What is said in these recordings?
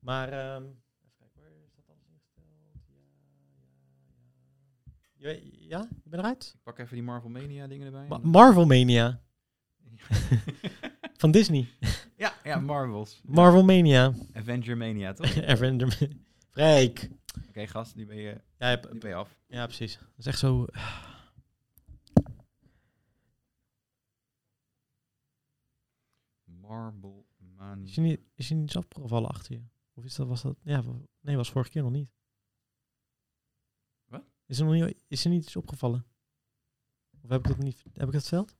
Maar ehm, even kijken, waar is dat alles ingesteld? Ja, ja, ja. Je, weet- ja, je bent eruit? Ik pak even die Marvel Mania dingen erbij. Ma- Marvel Mania van Disney. ja, ja, Marvels. Marvel Mania. Avenger Mania, toch? Oké, Avenger. Freek. gast, die ben, je, Ja, je die hebt- ben je af. ja, precies. Dat is echt zo. Marvel Is Mania. je niet, is je niet iets afgevallen achter je? Of is dat, was dat... Ja, wa- nee, was vorige keer nog niet. Wat? Is er, nog niet, is er niet iets opgevallen? Of heb ik dat niet... Heb ik dat verteld?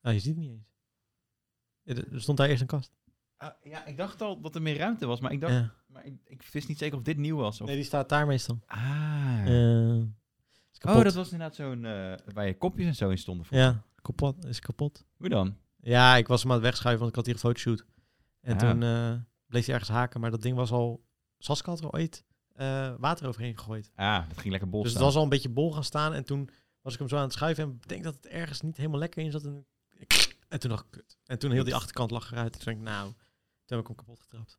Ah, je ziet het niet eens. Ja, Er er stond daar eerst een kast. Ah, ja, ik dacht al dat er meer ruimte was, maar ik dacht, Ja. maar ik, ik wist niet zeker of dit nieuw was. Of... Nee, die staat daar meestal. Ah. Eh, is kapot. oh, dat was inderdaad zo'n, eh, waar je kopjes en zo in stonden. voor. Ja, kapot. Is kapot. Hoe dan? Ja, ik was hem aan het wegschuiven, want ik had hier een fotoshoot. En Ah. toen eh, bleef hij ergens haken, maar dat ding was al... Saskia had er ooit eh, water overheen gegooid. Ah, dat ging lekker bol Dus het staan. was al een beetje bol gaan staan. En toen was ik hem zo aan het schuiven. En ik denk dat het ergens niet helemaal lekker in zat. En, en toen dacht ik, kut. En toen heel die achterkant lag eruit. Toen dacht ik, nou, toen heb ik hem kapot getrapt.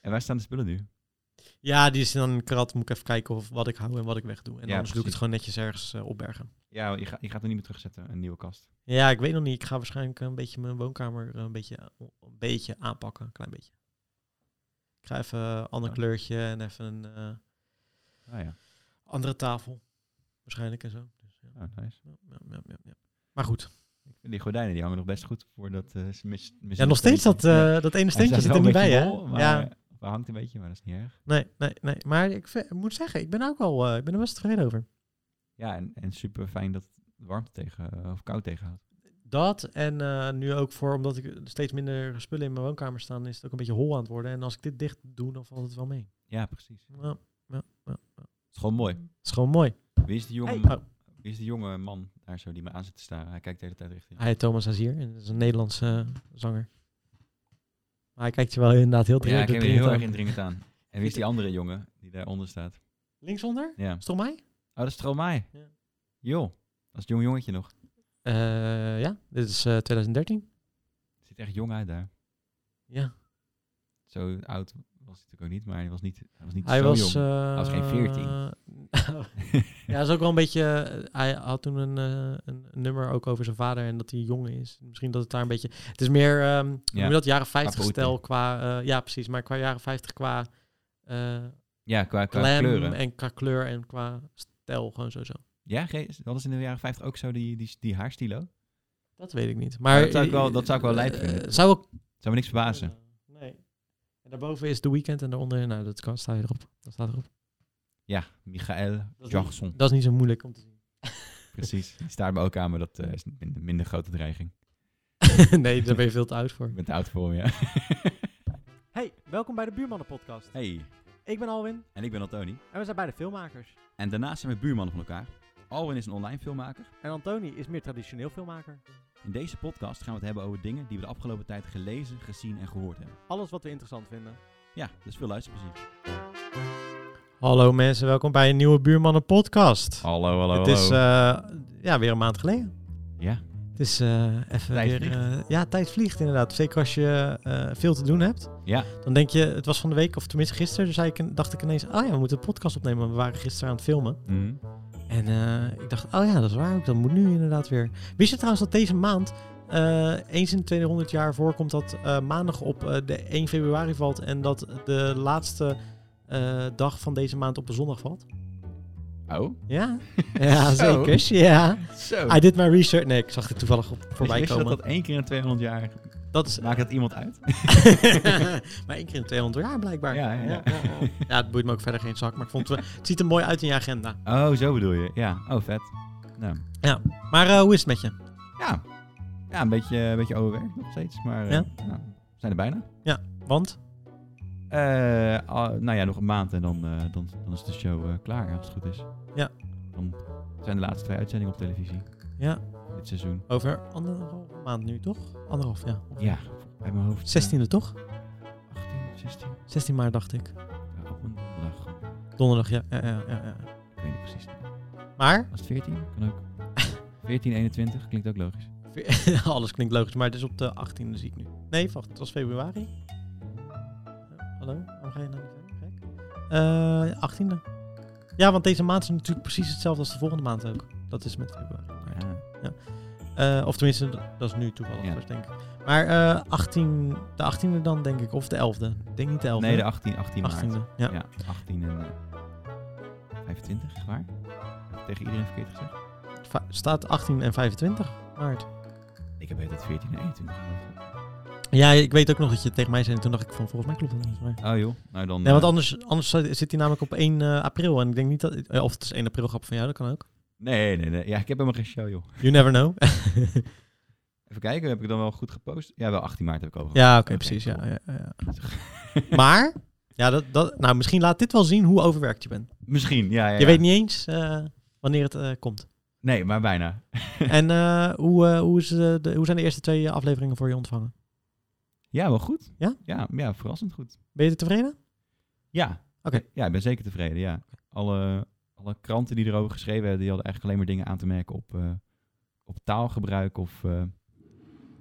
En waar staan de spullen nu? ja, die is dan een krat. Moet ik even kijken of wat ik hou en wat ik wegdoe. En Ja, anders doe ik precies. het gewoon netjes ergens eh, opbergen. Ja, je, ga- je gaat er niet meer terugzetten, een nieuwe kast. Ja, ik weet nog niet. Ik ga waarschijnlijk eh, een beetje mijn woonkamer eh, een beetje, een beetje aanpakken. Een klein beetje. Ik ga even eh, een ander Ja. kleurtje en even een eh, Ah ja, andere tafel. Waarschijnlijk en zo. Dus, ja. oh, nice. Ja, ja, ja, ja, ja. Maar goed. Die gordijnen die hangen nog best goed voor dat eh mis, Ja, nog steeds dat, eh, dat ene steentje zit er niet bij, hè? ja. Ja, hij hangt een beetje, maar dat is niet erg. nee, nee, nee. Maar ik ve- moet zeggen, ik ben ook wel, eh, ik ben er best tevreden over. Ja, en, en super fijn dat het warmte tegen, eh, of koud tegenhoudt. Dat en eh, nu ook voor, omdat ik steeds minder spullen in mijn woonkamer staan, is het ook een beetje hol aan het worden. En als ik dit dicht doe, dan valt het wel mee. Ja, precies. Het Ja, ja, ja. is gewoon mooi. Het is gewoon mooi. Wie is die jonge, Hey. ma- Oh, wie is die jonge man daar zo die me aan zit te staren? Hij kijkt de hele tijd richting. hij heet Thomas Azier en dat is een Nederlandse eh, zanger. Maar hij kijkt je wel inderdaad heel Ja, ik dringend. heb hem dringend heel erg aan. indringend aan. En wie is die andere jongen die daaronder staat? Linksonder? Ja. Is het om mij? Oh, dat is Stromae. Ja. Joh, dat is jong jongetje nog. Eh, ja, dit is eh, 2013. Ziet echt jong uit daar. Ja. Zo oud was hij natuurlijk ook niet, maar hij was niet, hij was niet Hij zo was, jong. eh, was geen 14. ja, dat is ook wel een beetje. eh, Hij had toen een, eh, een nummer ook over zijn vader en dat hij jong is. Misschien dat het daar een beetje. Het is meer. ehm hoe noem je dat jaren 50 poëtiek. stel qua. eh, ja, precies. Maar qua jaren 50 qua. eh Ja, qua, qua glam kleuren. en qua kleur en qua stijl. Gewoon sowieso. Ja, ge- hadden ze in de jaren 50 ook zo die, die, die haarstilo? Dat weet ik niet. Maar, dat zou ik wel- dat zou ik wel eh, lijp vinden. eh, zou ook. Zou me niks verbazen. Nee. En daarboven is The Weeknd en daaronder. Nou, dat kan. Sta je erop. Dat staat erop. Ja, Michael niet- Jackson. Dat is niet zo moeilijk om te zien. Precies. Die staart me ook aan, maar dat eh, is een minder, minder grote dreiging. nee, daar ben je veel te oud voor. Ik ben te oud voor hem, ja. Hey, welkom bij de Buurmannen Podcast. Hey, Ik ben Alwin en ik ben Antoni. en we zijn beide filmmakers. En daarnaast zijn we buurmannen van elkaar. Alwin is een online filmmaker. En Antoni is meer traditioneel filmmaker. In deze podcast gaan we het hebben over dingen die we de afgelopen tijd gelezen, gezien en gehoord hebben. Alles wat we interessant vinden. Ja, dus veel luisterplezier. Hallo mensen, welkom bij een nieuwe Buurmannen Podcast. Hallo, hallo, Het is eh, ja, weer een maand geleden. Ja, Het is eh, even Tijd weer... vliegt. eh, ja, tijd vliegt inderdaad. Zeker als je eh, veel te doen hebt. ja. Dan denk je, het was van de week of tenminste gisteren. Dus ik, dacht ik ineens, oh ja, we moeten een podcast opnemen. want We waren gisteren aan het filmen. En eh, ik dacht, oh ja, dat is waar ook. Dat moet nu inderdaad weer. Wist je trouwens dat deze maand eh, eens in de 200 jaar voorkomt dat eh, maandag op eh, de 1 februari valt en dat de laatste eh, dag van deze maand op de zondag valt? Oh. Ja, ja Zo. zeker. Ja. Zo. I did my research. Nee, ik zag dit toevallig op, voorbij Wist je komen. dat dat één keer in 200 jaar Dat is maakt dat iemand uit? maar één keer in de 200 jaar blijkbaar. Ja, ja, ja. ja. Ja, het boeit me ook verder geen zak, maar ik vond het, het ziet er mooi uit in je agenda. Oh, zo bedoel je. Ja, oh vet. Nou, Maar eh, hoe is het met je? ja. Ja, een beetje, een beetje overwerkt nog steeds, maar eh, Ja. nou, we zijn er bijna. Want? Eh, ah, nou ja, nog een maand en dan, eh, dan, dan is de show eh, klaar, als het goed is. Ja. Dan zijn de laatste twee uitzendingen op televisie Ja, dit seizoen. over anderhalve maand nu, toch? Anderhalf, ja. Ja, bij mijn hoofd. eh, 16e, toch? 18, 16. 16 maart, dacht ik. Ja, op een donderdag. Donderdag, ja. ja, ja, ja, ja. Ik weet niet precies. Maar, Als het 14? Kan ook. 14, 21 klinkt ook logisch. alles klinkt logisch, maar het is op de 18e, zie ik nu. Nee, wacht, het was februari. Hallo? Waarom ga je nou niet verder? Gek. Eh, 18e. Ja, want deze maand is natuurlijk precies hetzelfde als de volgende maand ook. Dat is met februari. Ja. Eh, of tenminste, d- dat is nu toevallig, Ja. dus denk ik. Maar eh 18, de 18e dan, denk ik. Of de 11e. Ik denk niet de 11e. Nee, de 18, 18 maart. 18e. Ja. Ja, 18 en eh, 25, is waar? Heb ik tegen iedereen verkeerd gezegd? Va- Staat 18 en 25 maart. Ik heb het 14 en 21 geloofd. Ja, ik weet ook nog dat je het tegen mij zei. En toen dacht ik van, volgens mij klopt dat niet. Maar... Oh joh, nou dan... Nee, want eh, anders, anders zou- zit hij namelijk op 1 eh, april. En ik denk niet dat... eh, Of het is 1 april grap van jou, dat kan ook. nee, nee, nee. Ja, ik heb helemaal geen show joh. You never know. Even kijken, heb ik dan wel goed gepost? Ja, wel 18 maart heb ik over. ja, oké, Oké, precies. Ja, cool. ja, ja. maar, ja, dat, dat, nou, misschien laat dit wel zien hoe overwerkt je bent. Misschien, ja, ja, Je ja. weet niet eens eh, wanneer het eh, komt. Nee, maar bijna. En eh, hoe, eh, hoe, is, eh, de, hoe zijn de eerste twee eh, afleveringen voor je ontvangen? Ja, wel goed. Ja? Ja, ja verrassend goed. Ben je er tevreden? Ja. Eh, Oké. Ja, ik ben zeker tevreden, ja. Alle, alle kranten die erover geschreven hebben, die hadden eigenlijk alleen maar dingen aan te merken op, eh, op taalgebruik of... eh,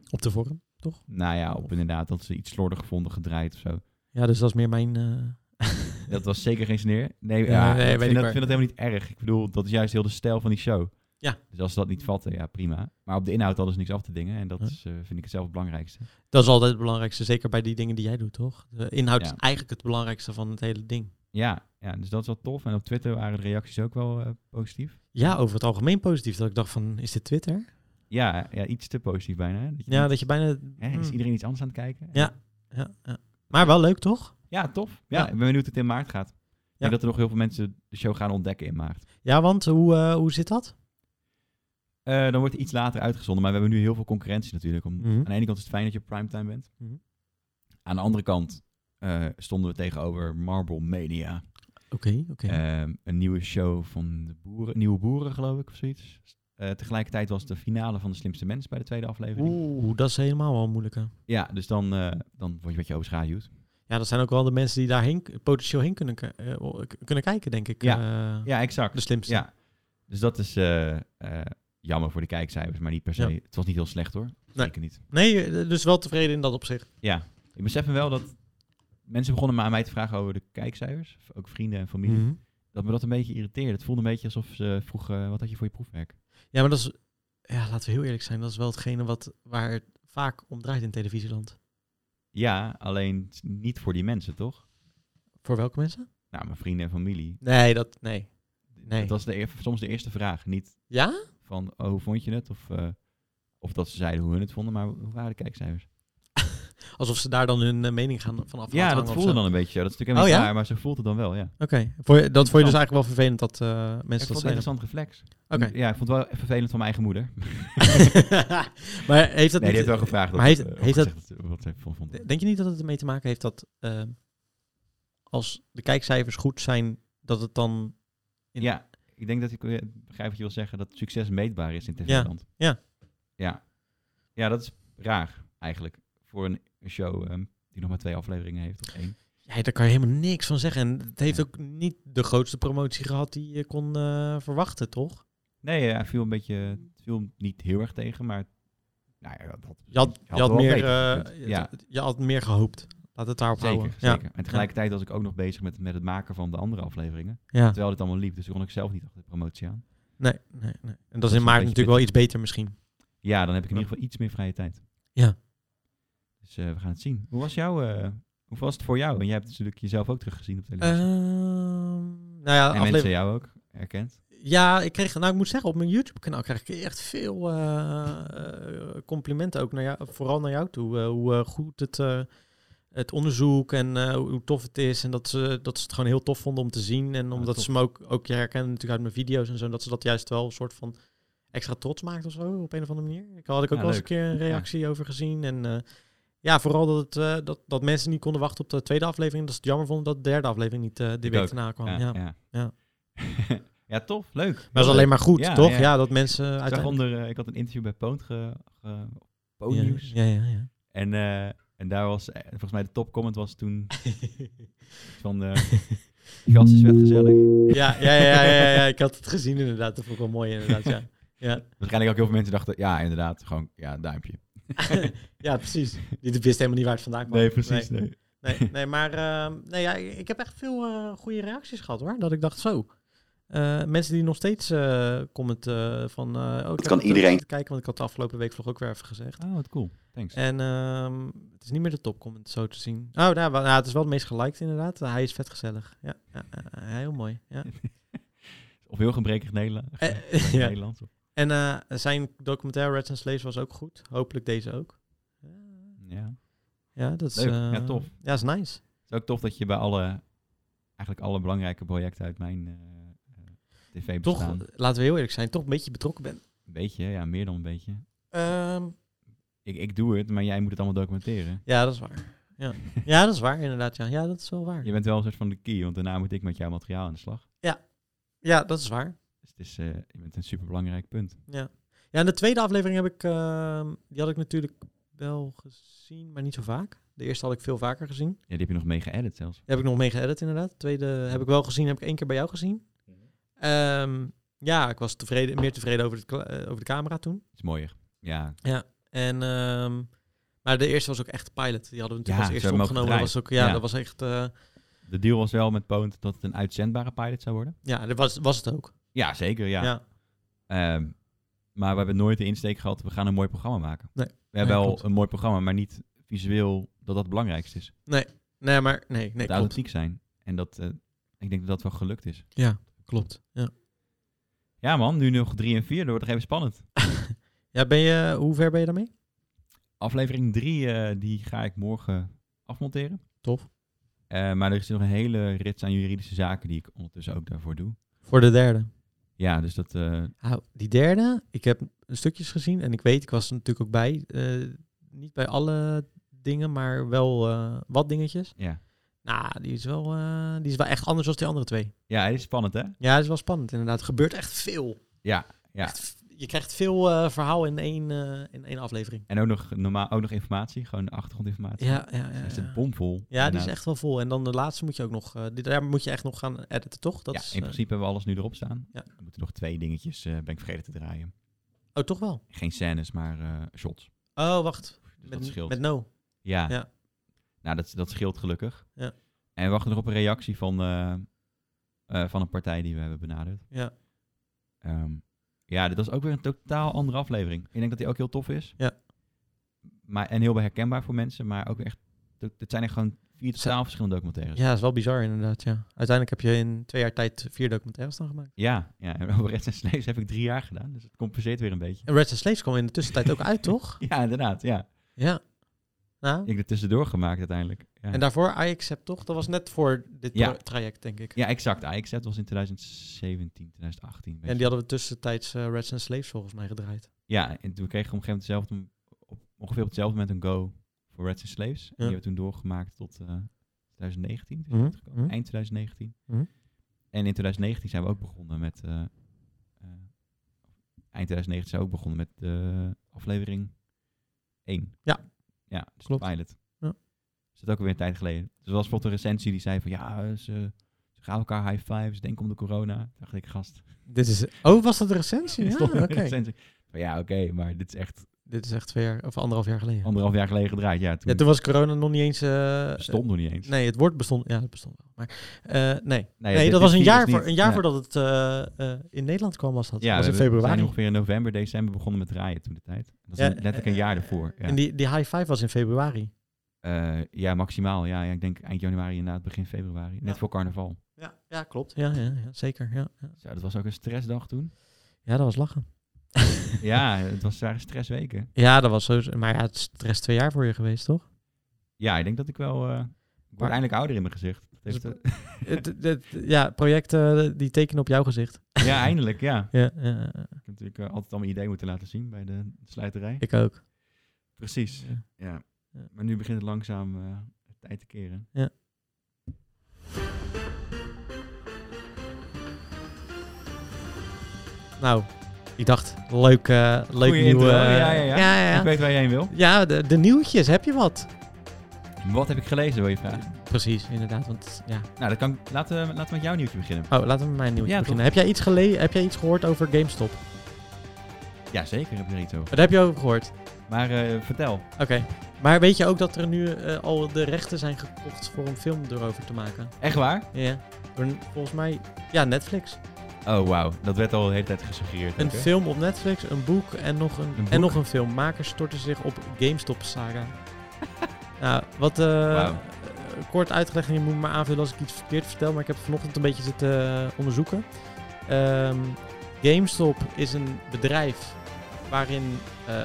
Op de vorm. nou ja, op inderdaad dat ze iets slordig vonden gedraaid of zo. Ja, dus dat is meer mijn... eh, Dat was zeker geen sneer. Nee, Nee, nee, ja, ik weet vind, ik dat, maar. vind dat helemaal niet erg. Ik bedoel, dat is juist heel de stijl van die show. Ja. Dus als ze dat niet vatten, ja prima. Maar op de inhoud hadden ze niks af te dingen. En dat Ja. is, eh, vind ik het zelf het belangrijkste. dat is altijd het belangrijkste, zeker bij die dingen die jij doet, toch? De inhoud Ja. is eigenlijk het belangrijkste van het hele ding. Ja, ja, dus dat is wel tof. En op Twitter waren de reacties ook wel eh, positief. Ja, over het algemeen positief. Dat ik dacht van, is dit Twitter? Ja, ja, iets te positief bijna. hè. Dat je Ja, denkt, dat je bijna... hè, is Mm. iedereen iets anders aan het kijken? Ja. Ja, ja. Maar wel leuk, toch? Ja, tof. Ja, Ja. ik ben benieuwd hoe het in maart gaat. Ik denk dat er nog heel veel mensen de show gaan ontdekken in maart. Ja, want hoe, eh, hoe zit dat? Eh, dan wordt het iets later uitgezonden. Maar we hebben nu heel veel concurrentie natuurlijk. Om, Mhm. Aan de ene kant is het fijn dat je op primetime bent. Mhm. Aan de andere kant eh, stonden we tegenover Marble Mania. Oké, oké. Ehm, een nieuwe show van de boeren, Nieuwe Boeren, geloof ik, of zoiets. Eh, tegelijkertijd was de finale van De Slimste Mens bij de tweede aflevering. Oeh, dat is helemaal wel moeilijker. Ja, dus dan, eh, dan word je een beetje overschaduwd. Ja, dat zijn ook wel de mensen die daarheen k- potentieel heen kunnen, k- eh, k- kunnen kijken, denk ik. eh, Ja, exact. De slimste. Ja. Dus dat is eh, eh, jammer voor de kijkcijfers, maar niet per se. Ja. Het was niet heel slecht hoor. Zeker niet. Nee, eh, dus wel tevreden in dat opzicht. Ja, ik besef me wel dat mensen begonnen me aan mij te vragen over de kijkcijfers. Ook vrienden en familie. Mhm. Dat me dat een beetje irriteerde. Het voelde een beetje alsof ze vroegen, eh, wat had je voor je proefwerk? Ja, maar dat is... Ja, laten we heel eerlijk zijn. Dat is wel hetgene wat, waar het vaak om draait in televisieland. Ja, alleen niet voor die mensen, toch? Voor welke mensen? Nou, mijn vrienden en familie. Nee, dat... Nee. Nee. Dat was de, eer- soms de eerste vraag. Niet Ja? van, oh, hoe vond je het? Of, eh, of dat ze zeiden hoe hun het vonden, maar hoe waren de kijkcijfers? Alsof ze daar dan hun eh, mening gaan van af Ja, dat voelde dan een beetje zo. Dat is natuurlijk helemaal Oh, niet ja? waar, maar zo voelt het dan wel, ja. Oké. Voor je- Dat vond je dus eigenlijk wel vervelend dat eh, Ik mensen vond dat het een zeiden. interessant reflex. Oké. Ja, ik vond het wel vervelend van mijn eigen moeder. maar heeft dat nee, die niet... heeft wel gevraagd. maar heeft- eh, of heeft dat- gezegd wat ze ervan vond. Denk je niet dat het ermee te maken heeft dat eh, als de kijkcijfers goed zijn, dat het dan... in- Ja, ik denk dat ik eh, begrijp wat je wil zeggen, dat succes meetbaar is in tv-land. ja. ja. Ja, dat is raar eigenlijk voor een een show ehm, die nog maar twee afleveringen heeft of één. Ja, daar kan je helemaal niks van zeggen. En het heeft Ja. ook niet de grootste promotie gehad die je kon eh, verwachten, toch? Nee, ja, hij viel een beetje, het viel niet heel erg tegen, maar nou ja, dat, Je had, je had, wel meer, beter gekund. eh, ja, je had meer gehoopt. Laat het daarop zeker, houden. zeker. En tegelijkertijd was ik ook nog bezig met, met het maken van de andere afleveringen, Ja, ja. terwijl dit allemaal liep, dus toen kon ik zelf niet achter de promotie aan. Nee, nee, nee. En dat is is in een maart beetje natuurlijk wel iets beter misschien. Ja, dan heb ik in ieder geval iets meer vrije tijd. Ja. Dus eh, we gaan het zien. Hoe was jouw, eh, hoe was het voor jou? En jij hebt natuurlijk jezelf ook teruggezien op televisie. Eh, Ehm, nou ja, En aflevering- mensen jou ook herkent. Ja, ik kreeg, nou ik moet zeggen, op mijn YouTube-kanaal krijg ik echt veel eh, eh, complimenten ook naar jou, vooral naar jou toe. Eh, hoe eh, goed het, eh, het onderzoek en eh, hoe tof het is. En dat ze, dat ze het gewoon heel tof vonden om te zien. En omdat tof. ze me ook, ook je herkennen natuurlijk uit mijn video's en zo. en Dat ze dat juist wel een soort van extra trots maakt of zo, op een of andere manier. Ik had ik ook Ja, wel eens een leuk. keer een reactie over gezien. En eh, ja, vooral dat, het, eh, dat, dat mensen niet konden wachten op de tweede aflevering. Dat ze het jammer vonden dat de derde aflevering niet eh die Ik week ook. daarna kwam. Ja, ja. ja. ja. Ja, tof. Leuk. Maar dat is alleen maar goed, Ja, toch? ja. Ja. dat mensen Ik, zag uiteindelijk... onder, eh, ik had een interview bij Poont ge, ge- Poont Ja, Nieuws. Ja, ja, ja. En, eh, en daar was, eh, volgens mij de topcomment was toen van... eh Jas is vet gezellig. ja, ja, ja, ja, ja, ik had het gezien inderdaad. Dat vond ik wel mooi inderdaad, ja. Ja, Waarschijnlijk ook heel veel mensen dachten, ja inderdaad, gewoon ja, duimpje. ja precies. Die wist helemaal niet waar het vandaan kwam. Nee, precies. Nee. Nee, Nee, nee maar ehm, nee, ja, ik heb echt veel eh, goede reacties gehad hoor. Dat ik dacht zo. Eh, mensen die nog steeds eh commenten van... eh, oh, ik heb kan het iedereen. zitten Kijken, want ik had de afgelopen week vlog ook weer even gezegd. Oh, wat cool. Thanks. En ehm, het is niet meer de topcomment zo te zien. Oh, nou, wel- nou, het is wel het meest geliked inderdaad. Hij is vet gezellig. Ja, ja, ja, ja, heel mooi. Ja. Of heel gebrekkig Nederland. Eh, ja. Nederlands. of- En eh, zijn documentaire Reds and Slaves was ook goed. Hopelijk deze ook. Ja. Ja, dat is... Leuk. eh, Ja, tof. Ja, is nice. Het is ook tof dat je bij alle, eigenlijk alle belangrijke projecten uit mijn eh, eh, tv Toch, bestaan. laten we heel eerlijk zijn, toch een beetje betrokken bent. Een beetje, ja, meer dan een beetje. Ehm, Ik, ik doe het, maar jij moet het allemaal documenteren. ja, dat is waar. Ja. ja, dat is waar inderdaad. Ja, ja dat is wel waar. Je bent wel een soort van de key, want daarna moet ik met jouw materiaal aan de slag. Ja, dat is waar. Dus het is, eh, je bent een superbelangrijk punt. Ja, ja en de tweede aflevering heb ik, ehm, die had ik natuurlijk wel gezien, maar niet zo vaak. De eerste had ik veel vaker gezien. Ja, die heb je nog mee geëdit zelfs. Daar heb ik nog mee geëdit inderdaad. De tweede heb ik wel gezien, heb ik één keer bij jou gezien. Mhm. Ehm, ja, ik was tevreden, meer tevreden over, het, kla- eh, over de camera toen. Het is mooier. Ja, En, ehm, maar de eerste was ook echt de pilot. Die hadden we natuurlijk Ja, als ze eerste hebben hem ook opgenomen. Dat was ook, ja, Ja. dat was echt... eh, de deal was wel met Poont dat het een uitzendbare pilot zou worden. ja, dat was, was het ook. Ja, zeker, ja. Ja. Ehm, maar we hebben nooit de insteek gehad, we gaan een mooi programma maken. Nee. We hebben Nee, wel klopt. een mooi programma, maar niet visueel dat dat het belangrijkste is. Nee, maar... Nee, nee, het klopt. authentiek zijn. En dat, eh, ik denk dat dat wel gelukt is. Ja, klopt. Ja. Ja man, nu nog 3 en 4, dat wordt nog even spannend. ja, ben je... Hoe ver ben je daarmee? Aflevering 3, die ga ik morgen afmonteren. Tof. Eh, maar er is nog een hele rits aan juridische zaken die ik ondertussen ook daarvoor doe. Voor de derde. Ja, dus dat... eh, Nou, die derde, ik heb stukjes gezien en ik weet, ik was er natuurlijk ook bij. eh, niet bij alle dingen, maar wel eh, wat dingetjes. ja. Nou, die is, wel, eh, die is wel echt anders dan die andere twee. ja, het is spannend hè? Ja, dat is wel spannend inderdaad. Er gebeurt echt veel. Ja, ja. Echt f- je krijgt veel eh, verhaal in één, eh, in één aflevering. En ook nog, normaal, ook nog informatie, gewoon de achtergrondinformatie. Ja, ja, ja. Dus het ja. bomvol. Ja, die is Inderdaad. echt wel vol. En dan de laatste moet je ook nog... eh, die, daar moet je echt nog gaan editen, toch? Dat ja, is, in eh, principe hebben we alles nu erop staan. ja. Er moeten nog twee dingetjes, eh, ben ik vergeten te draaien. oh, toch wel? Geen scènes, maar eh, shots. Oh, wacht. Dus dat Met, scheelt. met no. Ja. Ja. Nou, dat, dat scheelt gelukkig. Ja. En we wachten nog op een reactie van, eh, eh, van een partij die we hebben benaderd. Ja. Ehm, ja, dit was ook weer een totaal andere aflevering. Ik denk dat die ook heel tof is. Ja. Maar, en heel herkenbaar voor mensen, maar ook weer echt... to- Het zijn echt gewoon vier Zijn- totaal verschillende documentaires. Ja, dat is wel bizar inderdaad, ja. Uiteindelijk heb je in twee jaar tijd vier documentaires dan gemaakt. Ja, ja. En over Reds en Slaves heb ik drie jaar gedaan, dus het compenseert weer een beetje. En Reds and Slaves kwam in de tussentijd ook uit, toch? Ja, inderdaad, ja. Ja. Nou, Ik heb er tussendoor gemaakt uiteindelijk. Ja, en daarvoor I Accept, toch? Dat was net voor dit Ja. pro- traject, denk ik. ja exact. AXZ was in 2017, 2018. weet En je. die hadden we tussentijds eh, Reds and Slaves volgens mij gedraaid. Ja, en toen kregen we op een gegeven moment hetzelfde- op, ongeveer op hetzelfde moment een go voor Reds and Slaves. En die hebben we toen doorgemaakt tot eh, 2019. Dus Mhm, uitgekomen. mhm. Eind 2019. Mhm. En in 2019 zijn we ook begonnen met... eh, eh, eind 2019 zijn we ook begonnen met de aflevering 1. Ja. Ja, dus Klopt. de pilot. Ja. Dus dat is ook weer een tijd geleden. Dus er was bijvoorbeeld een recensie die zei van... Ja, ze, ze gaan elkaar high five. Ze denken om de corona. Toen dacht ik, gast. Dit is... Oh, was dat de recensie? er Ja, stond een oké. recensie. Maar ja, oké. maar dit is echt Dit is echt twee jaar, of anderhalf jaar geleden. anderhalf jaar geleden gedraaid. Ja, toen, Ja, toen was corona nog niet eens... eh, bestond nog niet eens. Nee, het woord bestond... Ja, het bestond wel. Maar eh, nee, Nee, nee dit- dat was dit een virus jaar, voor, niet. een jaar Ja. voordat het eh, eh, in Nederland kwam, was dat. Ja, was in we- we zijn februari. ongeveer in november, december begonnen met draaien toen de tijd. Dat is Ja, net letterlijk een eh, jaar ervoor. Ja, En die, die high five was in februari. Eh, ja maximaal. Ja, ja, ik denk eind januari inderdaad, begin februari. Net Ja. voor carnaval. Ja, ja klopt. Ja, ja, ja zeker. Ja, ja. Zo, dat was ook een stressdag toen. ja, dat was lachen. ja, het was, waren stressweken. Ja, dat was zo. Maar ja, het is de rest twee jaar voor je geweest, toch? Ja, ik denk dat ik wel... eh ik word Maar- eindelijk ouder in mijn gezicht. Dat heeft, Dus- eh, Het- het- ja, projecten eh, die tekenen op jouw gezicht. eh, ja, eindelijk, ja. Ja, ja, ja, Ik heb natuurlijk eh, altijd al mijn idee moeten laten zien bij de slijterij. ik ook. Precies. Ja. Ja. Ja. Maar nu begint het langzaam eh, tijd te keren. Ja. Nou, ik dacht, leuk, eh, leuk Goeie nieuwe... intro, eh, ja, ja, ja. ja, ja. Ik weet waar je heen wil. Ja, de, de nieuwtjes, heb je wat? Wat heb ik gelezen, wil je vragen? Precies, inderdaad. Want, ja. Nou, dat kan, ik- laten, we- laten we met jouw nieuwtje beginnen. Oh, laten we met mijn nieuwtje Ja, beginnen. Heb jij, iets gele heb jij iets gehoord over GameStop? Ja, zeker heb je er iets over. Dat heb je ook gehoord. Maar eh, vertel. Oké. Maar weet je ook dat er nu eh, al de rechten zijn gekocht voor een film erover te maken? Echt waar? Ja. Door- Volgens mij, ja, Netflix. Oh, wauw. Dat werd al de hele tijd gesuggereerd. Een ook, hè? film op Netflix, een boek en nog een, boek. En nog een film. Makers storten zich op GameStop-saga. nou, wat eh, Wauw. eh, kort uitgelegd, en je moet me maar aanvullen als ik iets verkeerd vertel, maar ik heb vanochtend een beetje zitten eh, onderzoeken. Ehm, GameStop is een bedrijf waarin eh,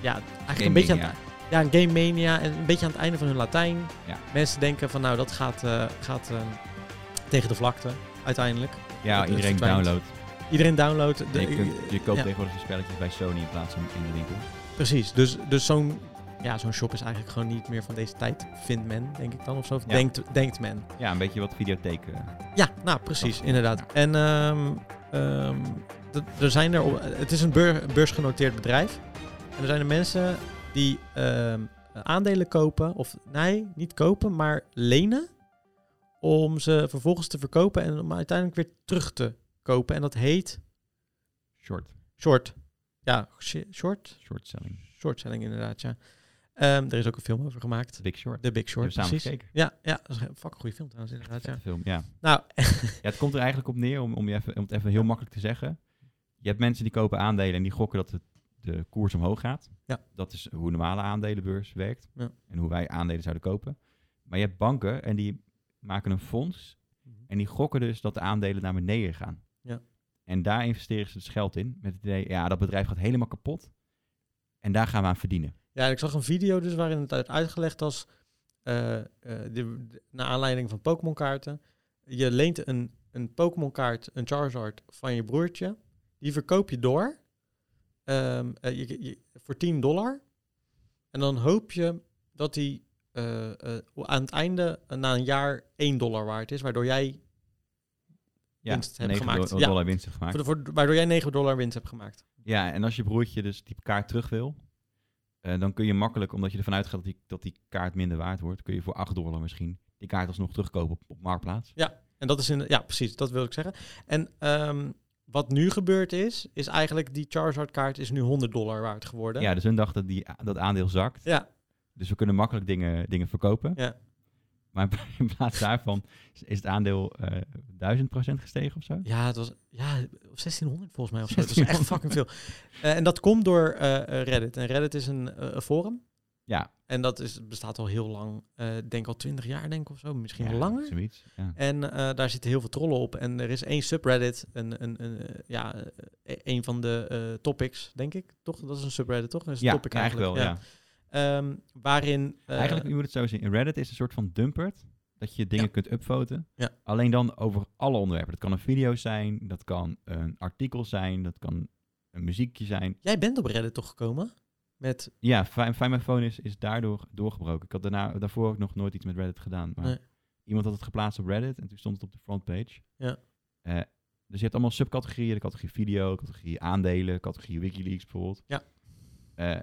ja, eigenlijk een beetje aan, Mania. ja, een Game Mania en een beetje aan het einde van hun Latijn. Ja. Mensen denken van nou, dat gaat, eh, gaat eh, tegen de vlakte uiteindelijk. Ja, dat het iedereen verdwijnt. downloadt. Iedereen downloadt. de- Je, kunt- je koopt ja. tegenwoordig je spelletjes bij Sony in plaats van in de winkel. Precies, dus, dus zo'n ja, zo'n shop is eigenlijk gewoon niet meer van deze tijd, vindt men, denk ik dan of zo. Of Ja. denkt, denkt men. Ja, een beetje wat videotheek. eh. Ja, nou precies, inderdaad. En ehm, ehm, d- er zijn er, op- het is een beur- beursgenoteerd bedrijf. En er zijn er mensen die ehm, aandelen kopen, of nee, niet kopen, maar lenen. Om ze vervolgens te verkopen en om uiteindelijk weer terug te kopen. En dat heet short, short. Ja, shi- short? short selling. Shortselling inderdaad, ja. Ehm, er is ook een film over gemaakt. Big Short. The Big Short, Hebben we samen precies. gekeken. Ja, ja, dat is een fucking goede film trouwens, inderdaad. Ja. Vette film, ja. Nou, Ja, het komt er eigenlijk op neer, om, om, je even, om het even heel makkelijk te zeggen. Je hebt mensen die kopen aandelen en die gokken dat de, de koers omhoog gaat. Ja. Dat is hoe een normale aandelenbeurs werkt Ja. en hoe wij aandelen zouden kopen. Maar je hebt banken en die maken een fonds en die gokken dus dat de aandelen naar beneden gaan. Mhm. Ja. En daar investeren ze dus geld in met het idee, ja, dat bedrijf gaat helemaal kapot en daar gaan we aan verdienen. ja, ik zag een video dus waarin het uit uitgelegd was, eh, eh, de, de- naar aanleiding van Pokémon kaarten. Je leent een, een Pokémon kaart, een Charizard, van je broertje. Die verkoop je door ehm, eh, je, je- voor 10 dollar. En dan hoop je dat die eh, eh, aan het einde, eh, na een jaar, 1 dollar waard is. Waardoor jij, Ja, Winst hebben 9 gemaakt. do- Ja. dollar winst gemaakt. voor, voor- waardoor jij 9 dollar winst hebt gemaakt. Ja, en als je broertje dus die kaart terug wil, eh, dan kun je makkelijk, omdat je ervan uitgaat dat die, dat die kaart minder waard wordt, kun je voor 8 dollar misschien die kaart alsnog terugkopen op, op Marktplaats. En dat is in, ja, precies, dat wil ik zeggen. En ehm, wat nu gebeurd is, is eigenlijk die Charizard-kaart is nu 100 dollar waard geworden. Ja, dus hun dachten dat die, dat aandeel zakt. Ja. Dus we kunnen makkelijk dingen, dingen verkopen. Ja. Maar in plaats daarvan is is het aandeel eh 1000% gestegen of zo. Ja, het was ja, of 1600 volgens mij of zo. Het was echt fucking veel. Eh, en dat komt door eh, eh, Reddit. En Reddit is een, eh, een forum. Ja. En dat is, bestaat al heel lang. Eh, denk al 20 jaar, denk ik of zo. Misschien Ja, wel langer. Zoiets. Ja. En eh, daar zitten heel veel trollen op. En er is één subreddit, een, een, een, eh, ja, eh, een van de eh, topics, denk ik. Toch? Dat is een subreddit, toch? Dat is een Ja, topic eigenlijk wel. Ja. Ehm, waarin. eh, Eigenlijk, je moet het zo zien. Reddit is een soort van dumpert. Dat je dingen Ja. kunt upvoten. Ja. Alleen dan over alle onderwerpen. Dat kan een video zijn, dat kan een artikel zijn, dat kan een muziekje zijn. Jij bent op Reddit toch gekomen? Met. Ja, Fi- Find My Phone is, is daardoor doorgebroken. Ik had daarna, daarvoor ook nog nooit iets met Reddit gedaan. Maar Nee. iemand had het geplaatst op Reddit en toen stond het op de frontpage. Ja. Eh, dus je hebt allemaal subcategorieën. De categorie video, categorie aandelen, categorie Wikileaks bijvoorbeeld. Ja. Eh,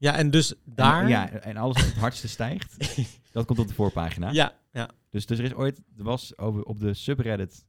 Ja, en dus daar. En, ja, en alles wat het hardste stijgt, dat komt op de voorpagina. ja, ja. Dus, dus er is ooit, er was over, op de subreddit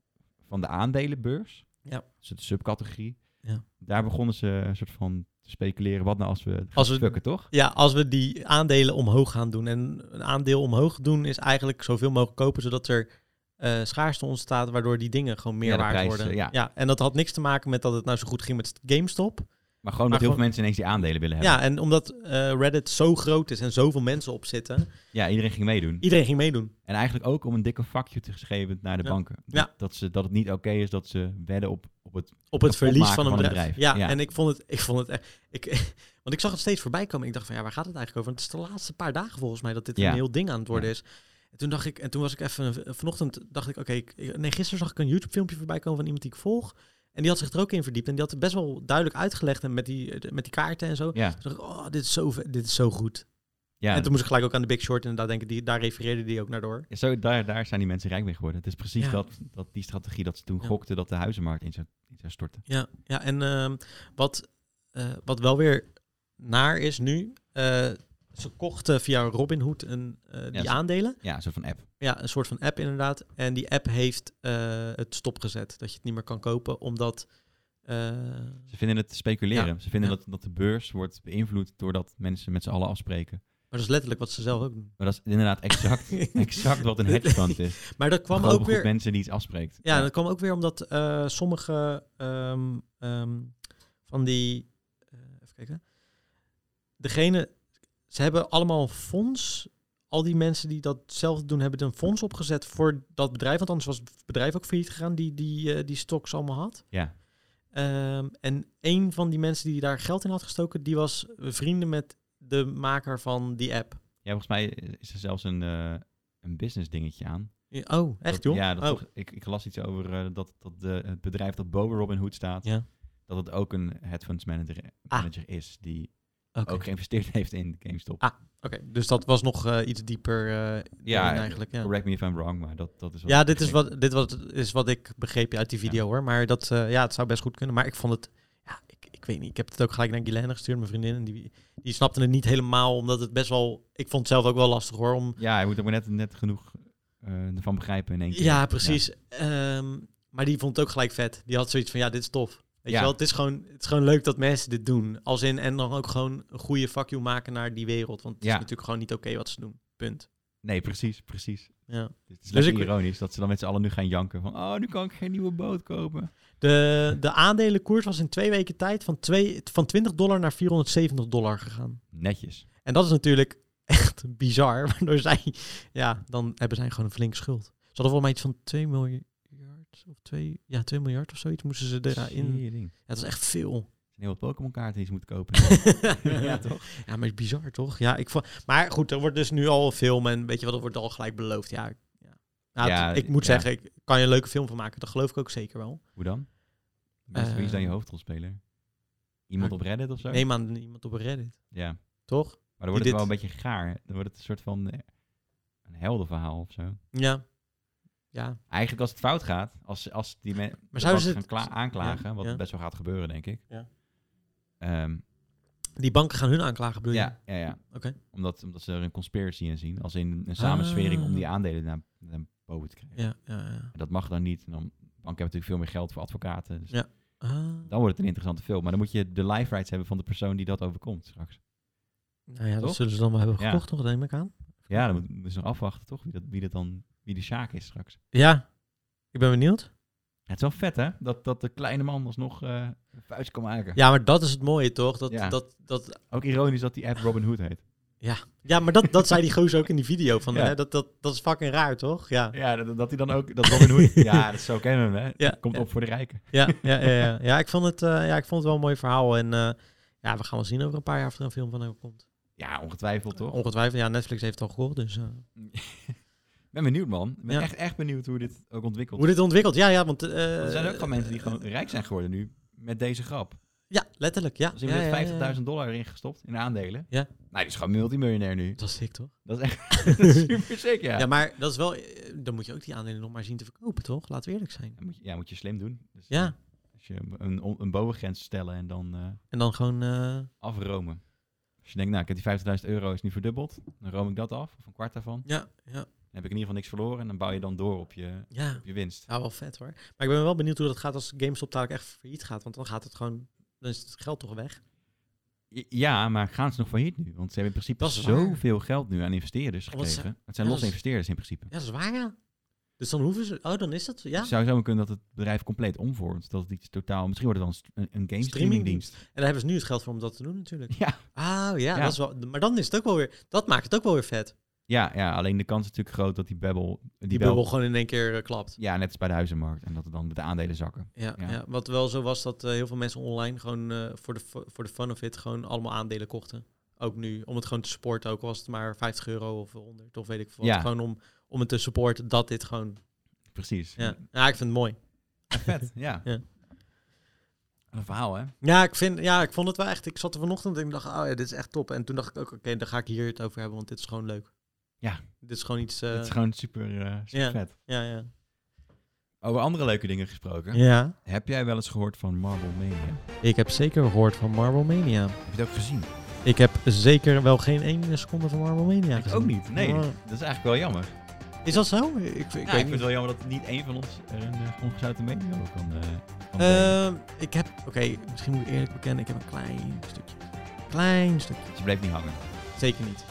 van de aandelenbeurs, Ja. dus de subcategorie, Ja. daar begonnen ze een soort van te speculeren, wat nou als we het Als gaan we- fucken, toch? Ja, als we die aandelen omhoog gaan doen. En een aandeel omhoog doen is eigenlijk zoveel mogelijk kopen, zodat er eh, schaarste ontstaat, waardoor die dingen gewoon meer Ja, de waard prijs, worden. eh, ja. en dat had niks te maken met dat het nou zo goed ging met GameStop. Maar gewoon Maar dat gewoon- heel veel mensen ineens die aandelen willen hebben. Ja, en omdat eh, Reddit zo groot is en zoveel mensen op zitten, Ja, iedereen ging meedoen. iedereen ging meedoen. En eigenlijk ook om een dikke vakje te geven naar de Ja. banken. Dat, Ja. dat, ze, dat het niet oké is dat ze wedden op, op het... op het kapot verlies maken van een van een bedrijf. bedrijf. Ja, Ja. en ik vond het, ik vond het echt. Ik, want ik zag het steeds voorbij komen. Ik dacht van ja, waar gaat het eigenlijk over? Want het is de laatste paar dagen volgens mij dat dit Ja. een heel ding aan het worden Ja. is. En toen dacht ik, en toen was ik even vanochtend dacht ik, oké, ik- ik- nee, gisteren zag ik een YouTube filmpje voorbij komen van iemand die ik volg. En die had zich er ook in verdiept. En die had het best wel duidelijk uitgelegd en met die, met die kaarten en zo. Ja, Toen dacht ik, oh, dit is zo, ve- dit is zo goed. ja. En toen moest ik gelijk ook aan de Big Short inderdaad denken. Die, daar refereerde die ook naar door. Ja, zo, daar, daar zijn die mensen rijk mee geworden. Het is precies Ja. dat, dat, die strategie dat ze toen Ja. gokten dat de huizenmarkt in zou, in zou storten. Ja, ja en ehm, wat, eh, wat wel weer naar is nu. eh, ze kochten via Robinhood een, eh, die ze- aandelen. Ja, een soort van app. Ja, een soort van app inderdaad. En die app heeft eh, het stopgezet. Dat je het niet meer kan kopen, omdat eh, eh, Ze vinden het speculeren. Ja, Ze vinden ja. dat, dat de beurs wordt beïnvloed doordat mensen met z'n allen afspreken. maar dat is letterlijk wat ze zelf ook doen. Maar dat is inderdaad exact, exact wat een hedge fund is. Maar dat Een kwam grote ook groep weer. mensen die iets afspreekt. Ja, dat kwam ook weer omdat eh, sommige ehm, ehm, van die. eh, even kijken. Degene. Ze hebben allemaal een fonds. Al die mensen die dat zelf doen, hebben een fonds opgezet voor dat bedrijf. Want anders was het bedrijf ook failliet gegaan die die, eh, die stocks allemaal had. Ja. Ehm, en een van die mensen die daar geld in had gestoken, die was vrienden met de maker van die app. ja, volgens mij is er zelfs een, eh, een business dingetje aan. Oh, echt Dat- joh? Ja, dat Oh. toch- ik, ik las iets over eh, dat, dat de, het bedrijf dat boven Robinhood staat, Ja. Ah. dat het ook een hedgefonds manager, manager is die Oké. ook geïnvesteerd heeft in GameStop. Ah, Oké, dus dat was nog eh, iets dieper eh Ja, ja, eigenlijk. Ja. Correct me if I'm wrong, maar dat, dat is wat Ja, ik dit is begreep. wat, dit wat, is wat ik begreep uit die video hoor. Maar dat, eh, ja, het zou best goed kunnen. Maar ik vond het, ja, ik, ik weet niet. Ik heb het ook gelijk naar Guilaine gestuurd, mijn vriendin. En die, die snapte het niet helemaal, omdat het best wel, ik vond het zelf ook wel lastig hoor. Om, Ja, je moet er maar net, net genoeg eh, ervan begrijpen in één keer. ja, precies. Ehm, maar die vond het ook gelijk vet. Die had zoiets van, ja, dit is tof. Weet Ja. je wel, het is, gewoon, het is gewoon leuk dat mensen dit doen. Als in, en dan ook gewoon een goede fuck you maken naar die wereld. Want het Ja. is natuurlijk gewoon niet oké wat ze doen. Punt. Nee, precies, precies. Ja. Het is lekker Dus ik- ironisch dat ze dan met z'n allen nu gaan janken van... Oh, nu kan ik geen nieuwe boot kopen. De, de aandelenkoers was in twee weken tijd van, twee, van 20 dollar naar 470 dollar gegaan. Netjes. En dat is natuurlijk echt bizar. Waardoor zij, ja, dan hebben zij gewoon een flinke schuld. Ze hadden volgens mij iets van 2 miljard of 2, ja, 2 miljard of zoiets moesten ze erin. Dus- Ja, Tering. Er dat is echt veel. zijn heel wat Pokémon kaarten die ze moeten kopen. ja, ja, toch? maar het is bizar toch? Ja, ik vond, maar goed, er wordt dus nu al een film en weet je wat, er wordt al gelijk beloofd. Ja, ik- ja. Nou, Ja, het- ik moet ja. zeggen, ik kan je een leuke film van maken. Dat geloof ik ook zeker wel. Hoe dan? Wie is- wie is dan je Eh, hoofdrolspeler? Iemand op Reddit of zo? Neem aan iemand op Reddit, Ja. toch? Maar dan wordt het dit- wel een beetje gaar. Dan wordt het een soort van eh, een heldenverhaal of zo. Ja. Ja, Eigenlijk als het fout gaat, als, als die mensen zouden ze gaan het- kla- aanklagen, Ja, wat ja. best wel gaat gebeuren, denk ik. Ja. Ehm, Die banken gaan hun aanklagen, bedoel je? ja, ja, ja. Oké. Omdat, omdat ze er een conspiracy in zien. Als in een samenswering om die Ah. aandelen naar, naar boven te krijgen. Ja, ja, ja. En dat mag dan niet. En dan, banken hebben natuurlijk veel meer geld voor advocaten. Dus Ja. Ah. Dan wordt het een interessante film. Maar dan moet je de live rights hebben van de persoon die dat overkomt straks. nou ja, dat Toch? zullen ze dan wel hebben Ja. gekocht, toch? Neem ik aan. Ja, dan moet- moeten ze nog afwachten, toch? Wie, dat, wie, dat dan, wie de Sjaak is straks. Ja, ik ben benieuwd. Ja, het is wel vet, hè? Dat, dat de kleine man alsnog eh een vuist kan maken. Ja, maar dat is het mooie, toch? Dat, Ja. dat, dat, Ook ironisch dat die app Robin Hood heet. ja maar dat, dat zei die gozer ook in die video. Van, Ja. hè, dat, dat, dat is fucking raar, toch? Ja, Ja, dat, dat hij dan ook... Dat Robin Hood... ja, dat zo kennen we hem, hè? Ja. Komt op voor de rijken. ja, ja, ja, ja. ja, ik vond het, eh, ja, ik vond het wel een mooi verhaal. En eh, ja, we gaan wel zien over een paar jaar of er een film van hem komt. Ja, ongetwijfeld, toch? Ongetwijfeld, ja, Netflix heeft het al gehoord, dus... eh, Ik ben benieuwd, man. Ik ben Ja. echt, echt benieuwd hoe dit ook ontwikkelt. hoe Eh, dit ontwikkelt, ja, ja, want... eh, Want er zijn ook gewoon mensen die gewoon rijk zijn geworden nu met deze grap. Ja, letterlijk, ja. Als ja, iemand ja, ja, heeft ja. 50.000 dollar erin gestopt in aandelen. Ja. Nou, die is gewoon multimiljonair nu. Dat is dik, toch? Dat is echt dat is super sick, ja. Ja, maar dat is wel, eh, dan moet je ook die aandelen nog maar zien te verkopen, toch? Laten we eerlijk zijn. Ja, moet je, ja, moet je slim doen. Dus, Ja, eh, Als je een, on- een bovengrens stellen en dan eh, en dan gewoon. eh, afromen. Als je denkt, nou, ik heb die 50.000 euro is nu verdubbeld. Dan room ik dat af, of een kwart daarvan. ja, ja, Dan heb ik in ieder geval niks verloren. En dan bouw je dan door op je, ja. op je winst. Ja, wel vet hoor. Maar ik ben wel benieuwd hoe dat gaat als GameStop dadelijk echt failliet gaat. Want dan gaat het gewoon, dan is het geld toch weg. I- Ja, maar gaan ze nog failliet nu? Want ze hebben in principe Dat is waar. zoveel geld nu aan investeerders Want ze- gegeven. het zijn ja, dus- dat losse is- investeerders in principe. Ja, dat is waar, ja. Dus dan hoeven ze, oh, dan is dat, ja. Het zou zomaar kunnen dat het bedrijf compleet omvormt. Dat het iets totaal... Misschien wordt het dan een, een game Streamingdienst. streamingdienst. En daar hebben ze nu het geld voor om dat te doen natuurlijk. Ja. Ah, ja, Ja. Dat is wel, maar dan is het ook wel weer, dat maakt het ook wel weer vet. Ja, ja, alleen de kans is natuurlijk groot dat die bubbel... Die, Die bel- bubbel gewoon in één keer eh, klapt. Ja, net als bij de huizenmarkt. En dat er dan de aandelen zakken. Ja, Ja. ja. wat wel zo was dat eh, heel veel mensen online gewoon eh, voor, de, fu- voor de fun of it gewoon allemaal aandelen kochten. Ook nu, om het gewoon te supporten, ook al was het maar 50 euro of 100 of weet ik veel. wat. Ja. Gewoon om, om het te supporten dat dit gewoon... Precies. Ja, ja ik vind het mooi. Vet, ja. Ja. Eh, Een verhaal, hè? Ja ik, vind, ja, ik vond het wel echt... Ik zat er vanochtend en ik dacht, oh ja, dit is echt top. En toen dacht ik ook, oké, dan ga ik hier het over hebben, want dit is gewoon leuk. Ja. Dit is gewoon iets... eh, het is gewoon super, eh, super ja. vet. Ja, ja. Over andere leuke dingen gesproken. Ja, Heb jij wel eens gehoord van Marvel Mania? ik heb zeker gehoord van Marvel Mania. Heb je het ook gezien? Ik heb zeker wel geen één seconde van Marvel Mania ik ook niet. Nee, dat is eigenlijk wel jammer. Is dat zo? Ik, ik Ik, weet ik vind niet. het wel jammer dat niet één van ons er een eh, ongezouten mening over kan. eh, kan brengen. Ehm, ik heb, oké, misschien moet ik eerlijk bekennen, ik heb een klein stukje. Klein stukje. Ze bleef Dus niet hangen. Zeker niet.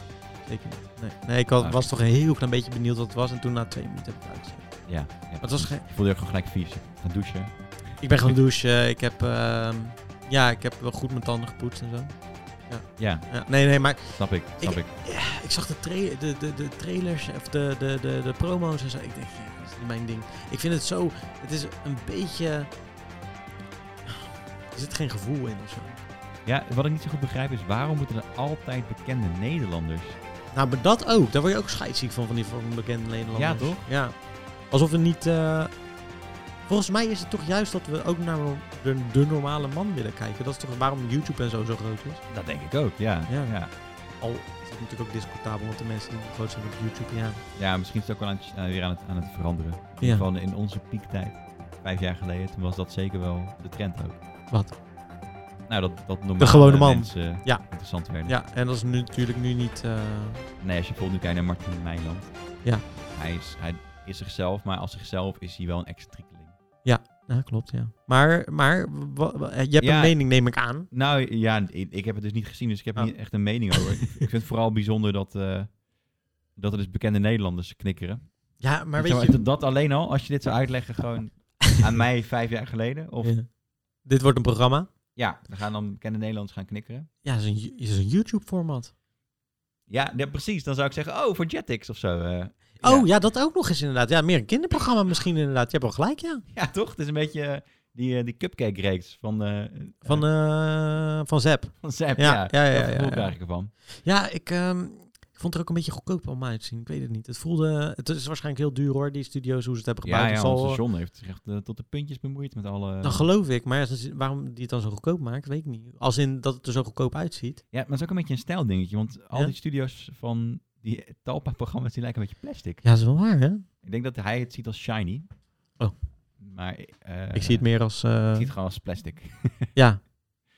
Zeker niet. Nee, nee ik had- Oké. was toch een heel klein beetje benieuwd wat het was. En toen na twee minuten heb ik het uitgezet. Ja. ja. Maar het was geen... Ik voelde je ook gewoon gelijk vies. Gaan douchen. Ik ben gaan douchen. Ik heb, ehm, ja, ik heb wel goed mijn tanden gepoetst en zo. Ja, Ja, nee, nee, maar snap ik. Snap ik. ik zag de, tra- de, de, de trailers of de, de, de, de promo's en zo. Ik denk, ja, dat is niet mijn ding. Ik vind het zo, het is een beetje, er zit geen gevoel in of zo. Ja, wat ik niet zo goed begrijp is waarom moeten er altijd bekende Nederlanders. Nou, maar dat ook. Daar word je ook scheidsziek van, van die van bekende Nederlanders. Ja, toch? Ja. Alsof we niet... eh, Volgens mij is het toch juist dat we ook naar de, de normale man willen kijken. Dat is toch waarom YouTube en zo zo groot is. Dat denk ik ook, ja. Ja. Ja, ja. Al is het natuurlijk ook discutabel, want de mensen die groot zijn op YouTube, ja. misschien is het ook wel aan het- eh, weer aan het, aan het veranderen. In Ja. ieder geval in onze piektijd, vijf jaar geleden, toen was dat zeker wel de trend ook. Wat? Nou, dat, dat normale gewone man. mensen Ja. interessant werden. Ja, en dat is nu, natuurlijk nu niet... eh, Nee, als je bijvoorbeeld nu kijkt naar Martin Meiland. Ja. Hij is, hij is zichzelf, maar als zichzelf is hij wel een extriekeling. Ja, klopt, ja. Maar, maar wa- wa- eh, je hebt Ja. een mening, neem ik aan. Nou ja, ik, ik heb het dus niet gezien, dus ik heb Oh. niet echt een mening over. ik vind het vooral bijzonder dat, eh, dat er dus bekende Nederlanders knikkeren. Ja, maar Zeg weet maar, je... dat- Dat alleen al, als je dit zou uitleggen gewoon aan mij vijf jaar geleden. Of ja, Ja. Dit wordt een programma. we gaan dan bekende Nederlanders gaan knikkeren. Ja, het is een, Ju- het is een YouTube-format. Ja, ja, precies. Dan zou ik zeggen, oh, voor Jetix of zo. eh. Oh, ja. ja, dat ook nog eens inderdaad. Ja, meer een kinderprogramma misschien inderdaad. Je hebt wel gelijk, ja. Ja, toch? Het is een beetje eh, die, eh, die cupcake-reeks van, eh Van, eh van Zep. van Zep. ja, Ja, ja, ja, Dat ja, gevoel ja. krijg ik ervan. Ja, ik, ehm, ik vond het er ook een beetje goedkoop om uit te zien. Ik weet het niet. Het voelde... Het is waarschijnlijk heel duur, hoor, die studio's, hoe ze het hebben Ja, gebouwd. ja, Het onze zal- John heeft zich echt eh, tot de puntjes bemoeid met alle... dat geloof ik. Maar ja, ze- waarom die het dan zo goedkoop maakt, weet ik niet. Als in dat het er zo goedkoop uitziet. Ja, maar het is ook een beetje een stijldingetje, want al Ja? die studio's van die Talpa-programma's, die lijken een beetje plastic. Ja, dat is wel waar, hè? Ik denk dat hij het ziet als shiny. Oh. Maar... eh, ik zie het meer als... eh, Ik zie het gewoon als plastic. Ja.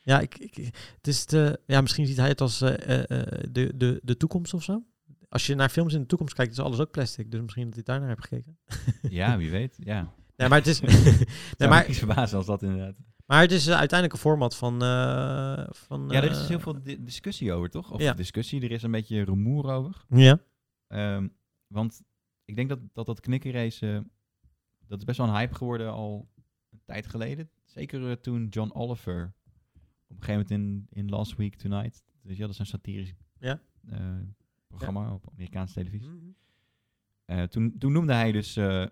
Ja, ik, ik, het is te, ja, misschien ziet hij het als eh, eh, eh, de, de, de toekomst of zo. Als je naar films in de toekomst kijkt, is alles ook plastic. Dus misschien dat hij daarnaar heeft gekeken. Ja, wie weet. Ja. Nee, maar het is, nee, Zou maar... maar, niks verbazen als dat inderdaad. maar het is eh, uiteindelijk een format van... eh, van ja, er is eh, dus heel veel di- discussie over, toch? Of Ja. discussie, er is een beetje rumoer over. Ja, Ehm, want ik denk dat dat, dat knikkerrace, eh, dat is best wel een hype geworden al een tijd geleden. Zeker eh, toen John Oliver op een gegeven moment in, in Last Week Tonight, dus ja, dat is een satirisch Ja. Mhm. eh, programma op Amerikaanse televisie. Eh, toen, toen noemde hij dus eh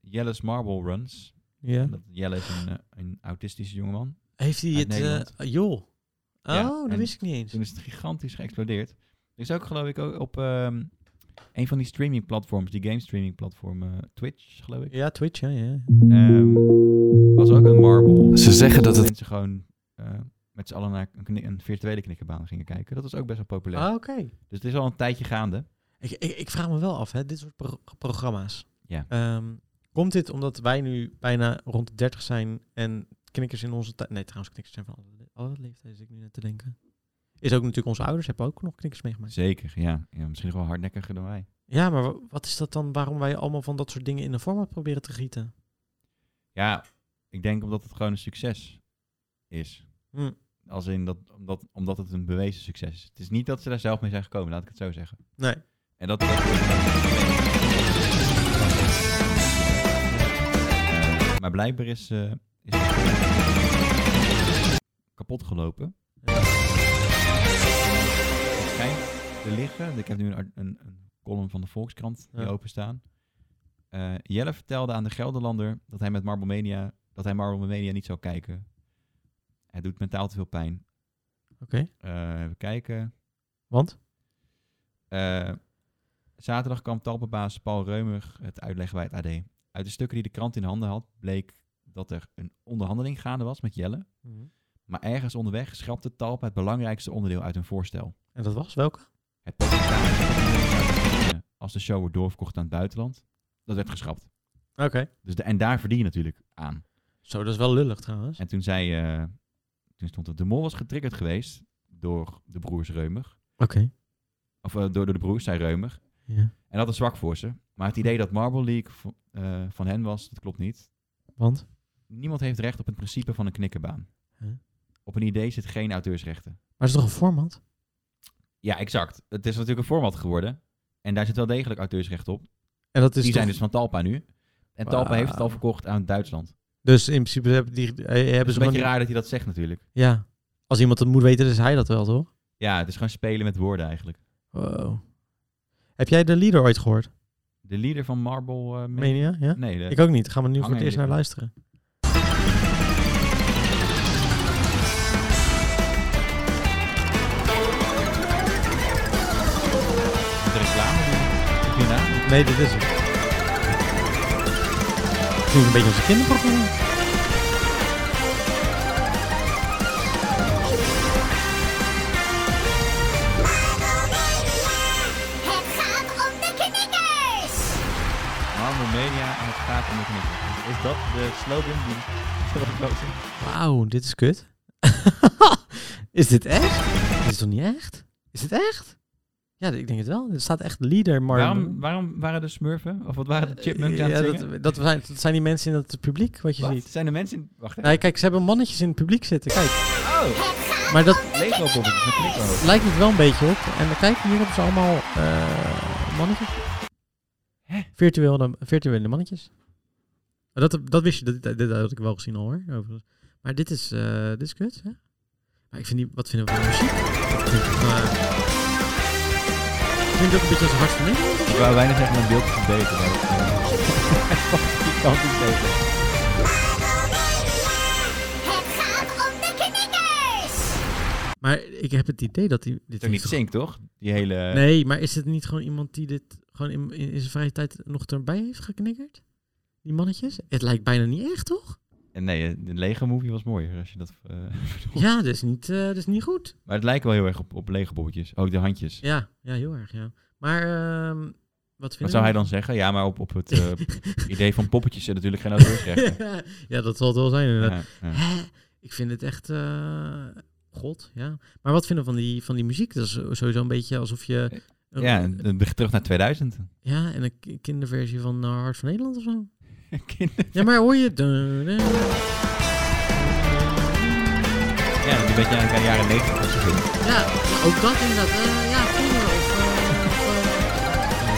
Jelle's Marble Runs. ja. En Dat Jelle is een, eh, een autistische jongeman. Heeft hij Uit het... Nederland. eh, joh. Oh, Ja, dat en wist ik niet eens. Toen is het gigantisch geëxplodeerd. Er is ook geloof ik ook op ehm, een van die streaming platforms, die game streaming platform, eh, Twitch geloof ik. Ja, Twitch, ja, ja. Ehm, was er ook een marble. Ze zeggen dat het- Mensen gewoon eh, met z'n allen naar een, kni- een virtuele knikkenbaan gingen kijken. Dat was ook best wel populair. Ah, Oké. Dus het is al een tijdje gaande. Ik, ik, ik vraag me wel af, hè, dit soort pro- programma's. Ja. Ehm, komt dit omdat wij nu bijna rond de 30 zijn en knikkers in onze tijd... Nee, trouwens, knikkers zijn van alle, le- alle leeftijden, zit ik nu net te denken. Is ook natuurlijk onze ouders hebben ook nog knikkers meegemaakt. Zeker, ja. ja misschien nog wel hardnekkiger dan wij. Ja, maar wa- wat is dat dan waarom wij allemaal van dat soort dingen in een format proberen te gieten? Ja, ik denk omdat het gewoon een succes is. Hm. Als in dat, omdat, omdat het een bewezen succes is. Het is niet dat ze daar zelf mee zijn gekomen, laat ik het zo zeggen. Nee. En dat. dat- Eh, maar blijkbaar is. eh, is kapot gelopen. Het schijnt te liggen. Ik heb nu een, art- een, een column van de Volkskrant die Ja. openstaan. Eh, Jelle vertelde aan de Gelderlander dat hij met Marble Mania, dat hij Marble Mania niet zou kijken. Hij doet mentaal te veel pijn. Oké. Eh, even kijken. Want? Eh, zaterdag kwam talpenbaas Paul Reumer het uitleggen bij het AD. Uit de stukken die de krant in handen had, bleek dat er een onderhandeling gaande was met Jelle. Mhm. Maar ergens onderweg schrapte Talpa het belangrijkste onderdeel uit hun voorstel. En dat was welke? Het percentage als de show wordt doorverkocht aan het buitenland, dat werd geschrapt. Oké. Dus de, en daar verdien je natuurlijk aan. Zo, dat is wel lullig trouwens. En toen zei, eh, toen stond dat de mol was getriggerd geweest door de broers Reumer. Oké. Of eh, door, door de broers, zei Reumer. Ja. En dat is zwak voor ze. Maar het idee dat Marble League v- eh, van hen was, dat klopt niet. Want? Niemand heeft recht op het principe van een knikkenbaan. Huh? Op een idee zit geen auteursrechten. Maar het is toch een format? Ja, exact. Het is natuurlijk een format geworden. En daar zit wel degelijk auteursrecht op. En dat is Die toch- zijn dus van Talpa nu. En Talpa Wauw. heeft het al verkocht aan Duitsland. dus in principe hebben, die, eh, Het hebben is ze een beetje gewoon- raar dat hij dat zegt natuurlijk. Ja. Als iemand het moet weten, is hij dat wel, toch? Ja, het is gewoon spelen met woorden eigenlijk. Wow. Heb jij de leader ooit gehoord? De leader van Marble... eh, Meen je? Ja? Nee, de- Ik ook niet. Gaan we nu Hang voor het eerst jij naar die- luisteren. de reclame die- die hierna. Nee, dit is het. Het klinkt een beetje als een kinderprogramma. Het gaat om de knikkers! Marble Mania en het gaat om de knikker. Is dat de slogan die Wauw, dit is kut. is dit echt? Dit is toch niet echt? Is dit echt? Ja, ik denk het wel. Er staat echt leader, maar... Waarom, waarom waren de smurfen? Of wat waren de chipmunks aan ja, het zingen? dat, dat, zijn, dat zijn die mensen in het publiek, wat je Wat? ziet. Zijn de mensen... in- Wacht even. Nee, kijk, ze hebben mannetjes in het publiek zitten. Kijk, Oh, maar dat Lego poppetjes met knikkerhoofd. lijkt het wel een beetje op. En dan kijk, hier hebben ze allemaal eh, mannetjes. Hè? Virtuele, virtuele mannetjes. Maar Oh, Dat, dat wist je, dat, dat, dat had ik wel gezien al hoor. overigens. Maar dit is, eh, dit is kut, hè? Maar ik vind die, wat vinden we van de muziek? Ik vind het, eh, ik vind het ook een beetje als hart van Nederland. Ik wou weinig zeggen mijn beeld verbeteren. maar dat, eh, Ik kan het niet beter. Het gaat om de knikkers! Maar ik heb het idee dat die... Dit Het is ook niet toch- zink, toch? Die hele... Nee, maar is het niet gewoon iemand die dit gewoon in, in, in zijn vrije tijd nog erbij heeft geknikkerd? Die mannetjes? Het lijkt bijna niet echt, toch? En nee, eh, de Lego movie was mooier als je dat... eh, Ja, dat is niet, eh, dat is niet goed. maar het lijkt wel heel erg op, op Lego poppetjes. Ook de handjes. Ja, ja, heel erg, ja. Maar ehm, wat Wat vind zou hij dan zeggen? Ja, maar op, op het eh, idee van poppetjes zit natuurlijk geen auteursrechten. ja, dat zal het wel zijn inderdaad. ja, ja. Hè? Ik vind het echt... eh, God, ja. Maar wat vinden we van die, van die muziek? Dat is sowieso een beetje alsof je... Ja, en dan ben je terug naar 2000. Ja, en een ki- kinderversie van eh, Hart van Nederland of zo. Kinder. Ja, maar hoor je... Dun, dun. Ja, dat is een beetje aan de jaren 90. als je wil. Ja, ja, ook dat inderdaad. Eh, ja, kinderen of... eh, of,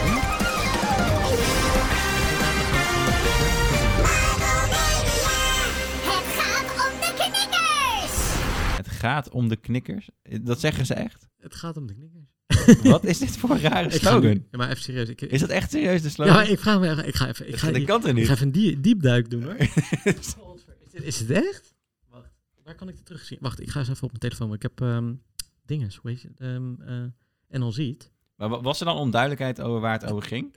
eh, Het gaat om de knikkers! Het gaat om de knikkers. Dat zeggen ze echt. Het gaat om de knikkers. Wat is dit voor een rare Ik ga nu- slogan? Ja, maar even serieus. Ik, Is dat echt serieus de ja, slogan? maar ik vraag me echt... Ik ga even, ik Dat- ga, dat ik, kan er niet. ga even een die, diepduik doen hoor. Is dit- Is het echt? Wacht, waar kan ik het terugzien? Wacht, ik ga eens even op mijn telefoon. want Ik heb ehm dingen, hoe heet het? Ehm, eh, en al ziet. Maar wa- was er dan onduidelijkheid over waar het over ging?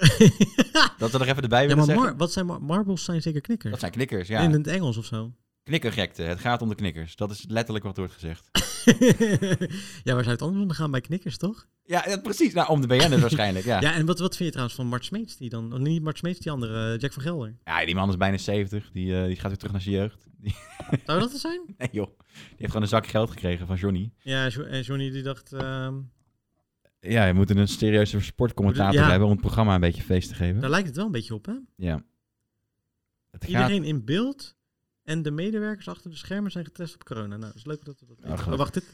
Dat we er even erbij ja, willen maar zeggen? mar- wat zijn mar- marbles zijn zeker knikkers. Dat zijn knikkers, ja. In het Engels of zo. Knikkergekte. Het gaat om de knikkers. Dat is letterlijk wat wordt gezegd. ja, waar zou het anders om gaan bij knikkers, toch? Ja, ja, precies. Nou, om de BN'ers waarschijnlijk, ja. ja. Ja, en wat, wat vind je trouwens van Mart Smeets die dan? oh, niet Mart Smeets, die andere, eh, Jack van Gelder. die man is bijna 70. Die, eh, die gaat weer terug naar zijn jeugd. Zou dat het zijn? Nee, joh. Die heeft gewoon een zak geld gekregen van Johnny. Ja, Jo- en Johnny die dacht... ehm, Ja, je moet een serieuze sportcommentator Ja. hebben om het programma een beetje feest te geven. daar lijkt het wel een beetje op, hè? Ja. Het gaat... Iedereen in beeld en de medewerkers achter de schermen zijn getest op corona. Nou, is leuk dat we dat weten. gelukkig. oh, wacht, dit...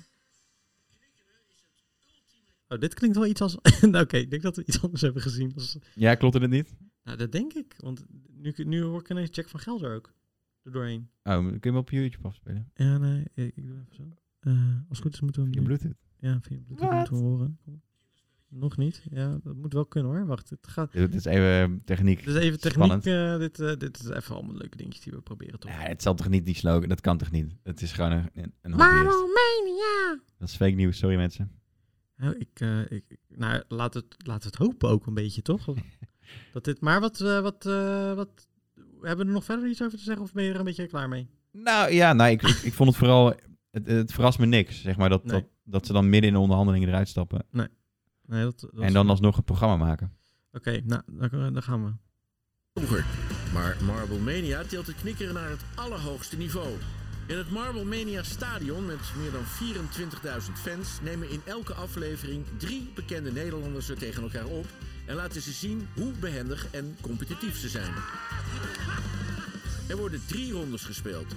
Oh, dit klinkt wel iets als... nou, Oké, ik denk dat we iets anders hebben gezien. Als... Ja, klopt het niet? Nou, dat denk ik. Want nu, nu hoor ik ineens Jack van Gelder ook er doorheen. Oh, kun je hem op YouTube afspelen? Ja, nee, ik, ik doe even zo. Eh, als het goed is moeten we Je hem... bluetooth? Ja, via Bluetooth Wat? moeten we horen. Nog niet. Ja, dat moet wel kunnen hoor. Wacht, het gaat. Dit is even eh, techniek. Dus even Spannend. techniek. eh, dit, eh, dit is even allemaal leuke dingetjes die we proberen toch. Ja, het zal toch niet die slogan? Dat kan toch niet? Het is gewoon een, een, een hobbyist. Maromania! Dat is fake nieuws, sorry mensen. Nou, ik, eh, ik, ik- nou laat het, laat het hopen ook een beetje toch? dat dit, maar wat, eh, wat, eh, wat. Hebben we er nog verder iets over te zeggen of ben je er een beetje klaar mee? Nou ja, nou, ik, ik, ik vond het vooral... Het, het verrast me niks, zeg maar, dat, Nee. dat, dat ze dan midden in de onderhandelingen eruit stappen. Nee, dat, dat en dan alsnog een programma maken. Oké, nou, dan, dan gaan we. Donker. Maar Marble Mania tilt de knikkeren naar het allerhoogste niveau. In het Marble Mania Stadion met meer dan 24.000 fans nemen in elke aflevering drie bekende Nederlanders er tegen elkaar op en laten ze zien hoe behendig en competitief ze zijn. Er worden drie rondes gespeeld.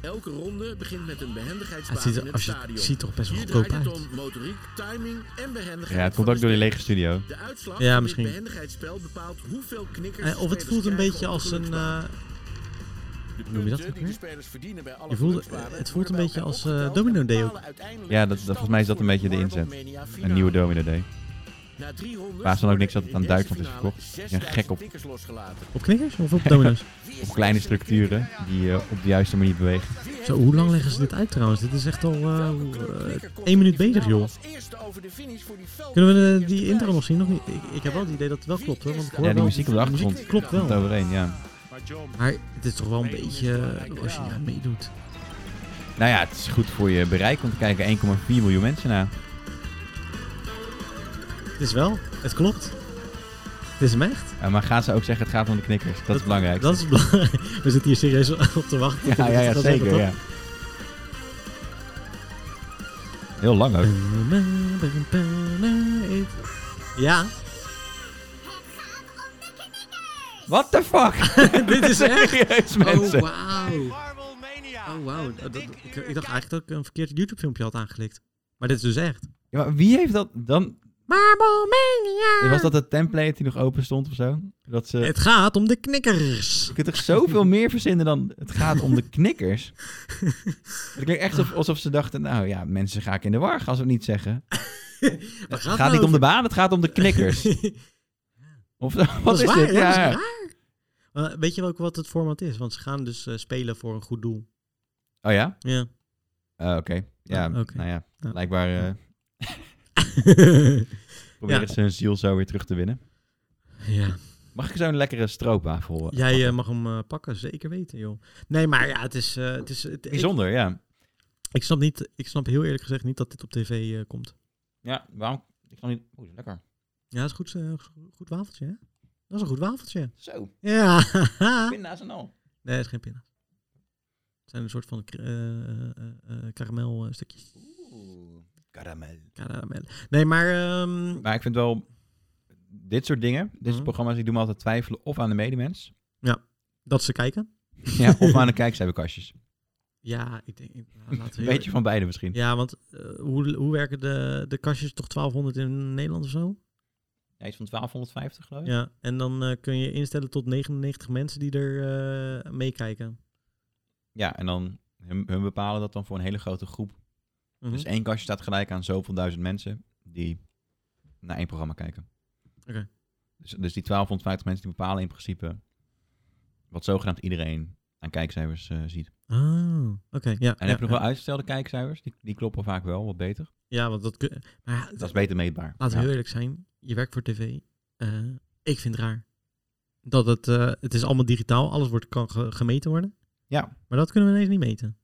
Elke ronde begint met een Ja, het behendigheidsbaas ziet er- in het als je het stadion. ziet toch best wel Hier goedkoop draait het uit. om motoriek, timing en behendigheid. Ja, het komt van ook de door die speler. lege studio. De uitslag Ja, van misschien. dit behendigheidsspel bepaalt hoeveel knikkers. Eh, of het dus voelt een beetje als een... eh, noem je dat ook weer? Je voelt- het voelt een beetje als, eh, Domino Day ook. Ja, dat- dat- volgens mij is dat een beetje de inzet. Een nieuwe Domino Day. Na drie rondes Waar ze dan ook niks worden aan in deze Duitsland is finale verkocht. 6000 Ja, gek op. knikkers losgelaten. op knikkers of op domino's? Wie is Of kleine deze structuren die eh, op de juiste manier bewegen. knikker? Wie heeft Zo, hoe lang deze leggen ze dit geluk? uit trouwens? Dit is echt al eh, Welke hoe, club eh, knikker komt in één minuut die bezig, finale joh. als eerste over de finish voor die veldwedstrijd Kunnen we eh, eerste die intro prijs? nog zien? Nog niet? Ik, ik heb wel het idee dat het wel klopt, hoor. Want ik hoor Ja, die wel- muziek op de achtergrond. muziek klopt Komt wel. overeen, ja. Maar het is toch wel een beetje... eh, als je daar meedoet. Nou ja, het is goed voor je bereik, want er kijken 1,4 miljoen mensen naar. Het is wel. Het klopt. Het is hem echt. Eh, maar gaan ze ook zeggen, het gaat om de knikkers. Dat is belangrijk. Dat is belangrijk. We zitten hier serieus op te wachten. tot ja, we ja, dit ja, gaan zeggen, toch? zeker, ja. Heel lang ook. Ja, What the fuck? dit is echt. Serieus, Oh, mensen. wauw. Oh, wauw. Dat- dat- Ik, ik dacht eigenlijk dat ik een verkeerd YouTube-filmpje had aangeklikt. Maar dit is dus echt. Ja, maar wie heeft dat dan... Marblemania! Was dat het template die nog open stond of zo? Dat ze... Het gaat om de knikkers. Je kunt toch zoveel meer verzinnen dan het gaat om de knikkers? Het klinkt echt alsof- alsof ze dachten, nou ja, mensen ga ik in de war als we het niet zeggen. Waar Het gaat niet om de baan, het gaat om de knikkers. Of wat is, waar, dit? Ja, dat Ja, is raar. Maar weet je ook wat het format is? Want ze gaan dus eh, spelen voor een goed doel. Oh ja? Ja. Eh, Oké. Ja, Ah, oké. nou ja. Ja. Blijkbaar eh, proberen Ja. ze hun ziel zo weer terug te winnen. ja. Mag ik zo'n lekkere stroopwafel? eh, Jij eh, mag hem eh, pakken, zeker weten, joh. Nee, maar ja, het is... eh, het is het, ik- Bijzonder, ja. Ik snap, niet, ik snap heel eerlijk gezegd niet dat dit op tv eh, komt. Ja, waarom? Ik kan niet... Oeh, lekker. Ja, dat is goed, eh, goed wafeltje, hè? Dat is een goed wafeltje. Zo, Ja. pinda's en al. nee, het is geen pinda. Het zijn een soort van eh eh, eh, karamel eh, stukjes. Oeh, karamel. Karamel. Nee, maar... ehm, Maar ik vind wel, dit soort dingen, dit soort Mhm. programma's, die doen me altijd twijfelen of aan de medemens. dat ze kijken? Ja, of aan de kijkcijferkastjes. Ja, ik denk... ik- nou, laten Een we heel- beetje van beide misschien. Ja, want eh, hoe, hoe werken de, de kastjes? Toch 1200 in Nederland of zo? Hij is van 1250 geloof ik. Ja, en dan eh, kun je instellen tot 99 mensen die er eh, meekijken. Ja, en dan hun, hun bepalen dat dan voor een hele grote groep. Mhm. Dus één kastje staat gelijk aan zoveel duizend mensen die naar één programma kijken. Oké. Dus, dus die 1250 mensen die bepalen in principe wat zogenaamd iedereen aan kijkcijfers eh, ziet. Ah, oké. ja, En ja, heb je nog ja. wel uitgestelde kijkcijfers? Die, die kloppen vaak wel wat beter. Ja, want dat kun Maar ja, Dat is beter meetbaar. laten we Ja. heel eerlijk zijn. Je werkt voor tv. Eh, ik vind het raar. Dat het... eh, het is allemaal digitaal. Alles wordt, kan ge- gemeten worden. Ja. Maar dat kunnen we ineens niet meten.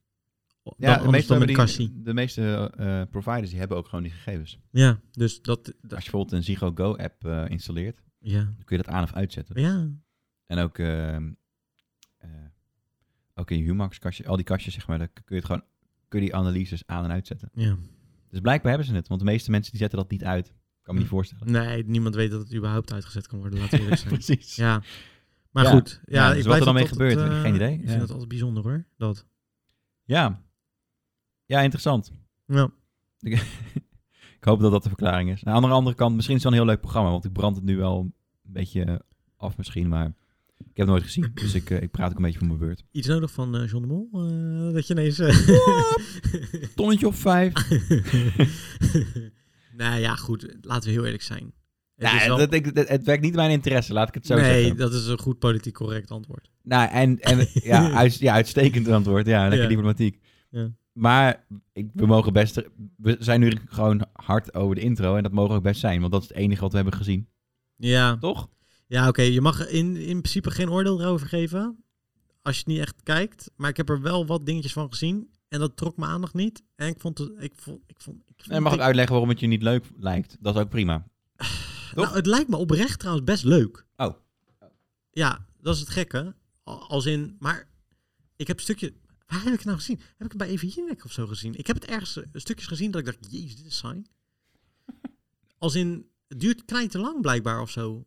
O- Ja, dan, de anders meeste, dan met een hebben kassie. die, de meeste eh, providers die hebben ook gewoon die gegevens. Ja, dus dat... Als dat je bijvoorbeeld een Ziggo Go app eh, installeert, ja. dan kun je dat aan of uitzetten. Ja. En ook, eh, eh, ook in je Humax kastje, al die kastjes zeg maar, dan kun je het gewoon, kun je die analyses aan en uitzetten. Ja. Dus blijkbaar hebben ze het, want de meeste mensen die zetten dat niet uit. Kan me niet voorstellen. Nee, niemand weet dat het überhaupt uitgezet kan worden. Laten we eerlijk zijn. Precies. Ja. Maar Ja. goed. Ja, Ja, ik dus wat blijf er dan dat mee altijd, gebeurt, eh, geen idee. Ik vind Ja. dat altijd bijzonder hoor. Dat. Ja. Ja, interessant. Ja. Ik hoop dat dat de verklaring is. Nou, Aan de andere kant, misschien is het wel een heel leuk programma, want ik brand het nu wel een beetje af misschien, maar ik heb het nooit gezien. Dus ik, eh, ik praat ook een beetje van mijn beurt. Iets nodig van eh John de Mol? eh, dat je ineens... eh, Tonnetje of vijf. nou ja, goed. Laten we heel eerlijk zijn. Het Nou, is wel- dat, ik, dat- het werkt niet mijn interesse, laat ik het zo nee, zeggen. dat is een goed politiek correct antwoord. Nou, en, en ja, uit, ja, uitstekend antwoord. Ja, lekker Ja. diplomatiek. Ja. Maar ik, we mogen best... We zijn nu gewoon hard over de intro en dat mogen ook best zijn. Want dat is het enige wat we hebben gezien. Ja, Toch? ja oké. Je mag in, in principe geen oordeel erover geven. Als je het niet echt kijkt. Maar ik heb er wel wat dingetjes van gezien. En dat trok mijn aandacht niet. En ik vond... het- Ik vond, ik vond, ik vond En je mag ook uitleggen waarom het je niet leuk lijkt. Dat is ook prima. Nou, het lijkt me oprecht trouwens best leuk. Oh. Ja, dat is het gekke. Al- Als in, maar ik heb een stukje. Waar heb ik het nou gezien? Heb ik het bij Even Jinek of zo gezien? Ik heb het ergens eh, stukjes gezien dat ik dacht, jezus, dit is saai. Als in, Het duurt knijt te lang blijkbaar of zo.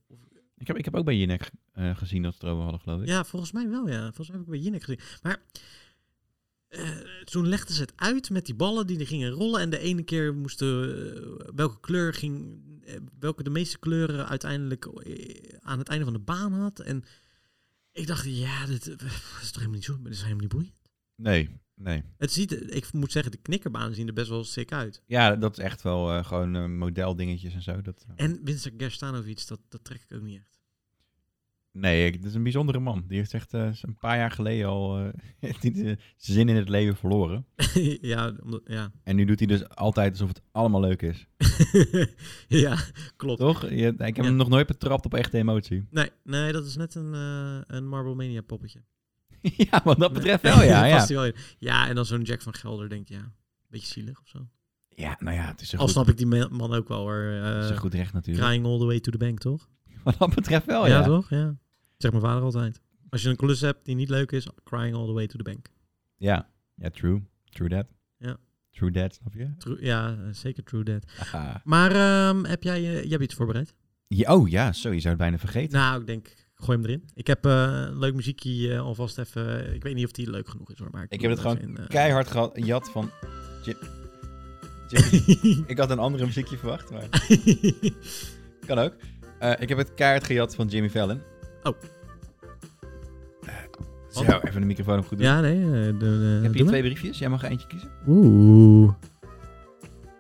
Ik heb, ik heb ook bij Jinek eh, gezien dat ze het erover hadden, geloof ik. Ja, volgens mij wel, ja. Volgens mij heb ik bij Jinek gezien. Maar eh, toen legden ze het uit met die ballen die er gingen rollen. En de ene keer moesten eh, welke kleur ging, eh, welke de meeste kleuren uiteindelijk eh, aan het einde van de baan had. En ik dacht, ja, dit, eh, is toch helemaal niet zo, dit is helemaal niet boeiend. Nee, nee. Het ziet, eh, ik moet zeggen, de knikkerbanen zien er best wel sick uit. Ja, dat is echt wel eh, gewoon eh, modeldingetjes en zo. Dat, eh, En Winston Gerstanovic, dat, dat trek ik ook niet echt. Nee, ik- dit is een bijzondere man. Die heeft echt eh, een paar jaar geleden al eh, die- die- zijn zin in het leven verloren. ja, omdat, ja. En nu doet hij dus altijd alsof het allemaal leuk is. ja, klopt. Toch? Je- ik heb Ja. hem nog nooit betrapt op echte emotie. Nee, nee, dat is net een, eh, een Marble Mania poppetje. ja, wat dat betreft Nee. wel, Oh ja. Past Ja, die wel in. ja, en dan zo'n Jack van Gelder denk je, ja, beetje zielig of zo. ja nou ja, het is een Al goed, snap ik die me- man ook wel hoor. eh, het is een goed recht natuurlijk. crying all the way to the bank, toch? Wat dat betreft wel, Oh ja. toch? Ja. Zegt mijn vader altijd. Als je een klus hebt die niet leuk is, crying all the way to the bank. Ja, ja true. True that. Ja. True that, snap je? True- ja, eh, zeker true that. Haha. Maar ehm, heb jij, eh, jij hebt iets voorbereid? Ja, oh ja, zo, je zou het bijna vergeten. Nou, ik denk, ik gooi hem erin. Ik heb eh, een leuk muziekje eh, alvast even. Ik weet niet of die leuk genoeg is hoor, maar Ik heb het doe gewoon even in, eh, keihard gehad. Een jat van... Chip. Chip. ik had een andere muziekje verwacht, maar kan ook. Eh, ik heb het keihard gejat van Jimmy Fallon. Oh. Eh, Zo, even de microfoon op goed doen. ja, nee. eh, de- de- Heb je doe twee briefjes? Jij mag er eentje kiezen. maar. Oeh.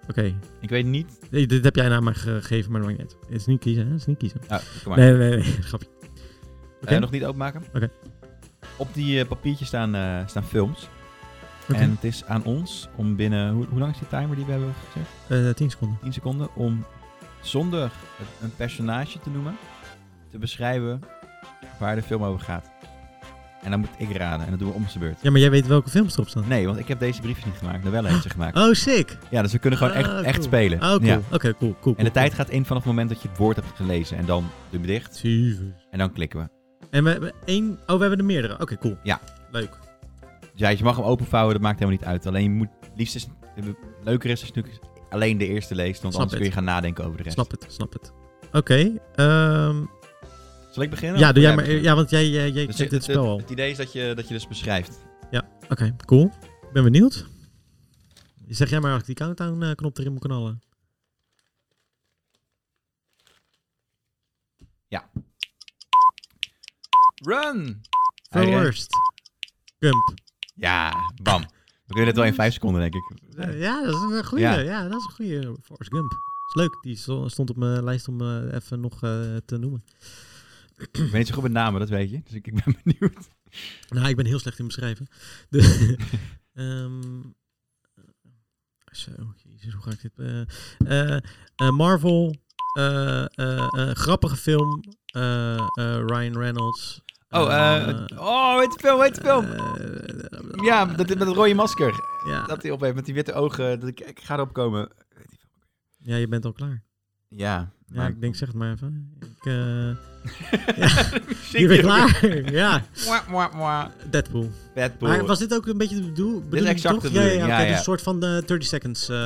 Oké. Ik weet niet. Nee, dit heb jij naar mij gegeven, maar dat maakt niet uit. Het is niet kiezen, hè? Het is niet kiezen. Oh, kom maar. Nee, nee, nee. Grapje. Eh, Oké. nog niet openmaken. Oké. Op die eh, papiertjes staan, eh, staan films. Oké. En het is aan ons om binnen... Hoe, hoe lang is die timer die we hebben gezegd? Eh, 10 seconden. 10 seconden. Om zonder het- een personage te noemen... te beschrijven waar de film over gaat. En dan moet ik raden. En dat doen we om zijn beurt. Ja, maar jij weet welke films erop staan. Nee, want ik heb deze briefjes niet gemaakt. Novelle heeft ze gemaakt. Oh, sick. Ja, dus we kunnen gewoon echt, Ah, echt cool. spelen. Oh, cool. Ja. Oké, cool, cool, cool. En de tijd gaat in vanaf het moment dat je het woord hebt gelezen. En dan doen we dicht. Jezus. En dan klikken we. En we hebben één... Oh, we hebben er meerdere. Oké, cool. Ja. Leuk. Dus ja, je mag hem openvouwen, dat maakt helemaal niet uit. Alleen je moet liefst is, leuker is als je natuurlijk alleen de eerste leest. Want Snap anders het. kun je gaan nadenken over de rest. Snap het, snap het. Oké. ehm, Zal ik beginnen? ja, Of doe jij wil maar... beginnen? Ja, want jij, jij, jij Dus kent het- dit spel al. het, het idee is dat je, dat je dus beschrijft. Oké, cool. Ik ben benieuwd. Zeg jij maar als ik die countdown-knop erin moet knallen. Run! Hij rent. First. Gump. Ja, bam. We kunnen dit wel in vijf seconden, denk ik. Eh, Ja, dat is een goede. Ja. Ja. dat is een goede. Forrest Gump. Is leuk. Die sto- stond op mijn lijst om eh, even nog eh, te noemen. Ik ben niet zo goed met namen, dat weet je. Dus ik, ik ben benieuwd. Nou, ik ben heel slecht in beschrijven. Dus, ehm, zo, jezus, hoe ga ik dit... eh, eh, eh, Marvel, eh, eh, eh, grappige film, eh, eh, Ryan Reynolds. Oh, eh eh, oh, weet de film, weet de film. eh, ja, dat, met dat rode masker. ja. Dat hij op heeft met die witte ogen. Dat ik, ik ga erop komen. ja, je bent al klaar. Ja, Ja, ik denk, zeg het maar even. Ik, eh, Zie je bent je? klaar. ja, Mwah, mwah, mwah. Deadpool. Bad boy. Maar was dit ook een beetje de bedoel, bedoeling, exact toch? de ja, ja, bedoeling, oké, ja, dus ja. een soort van eh 30 seconds, eh,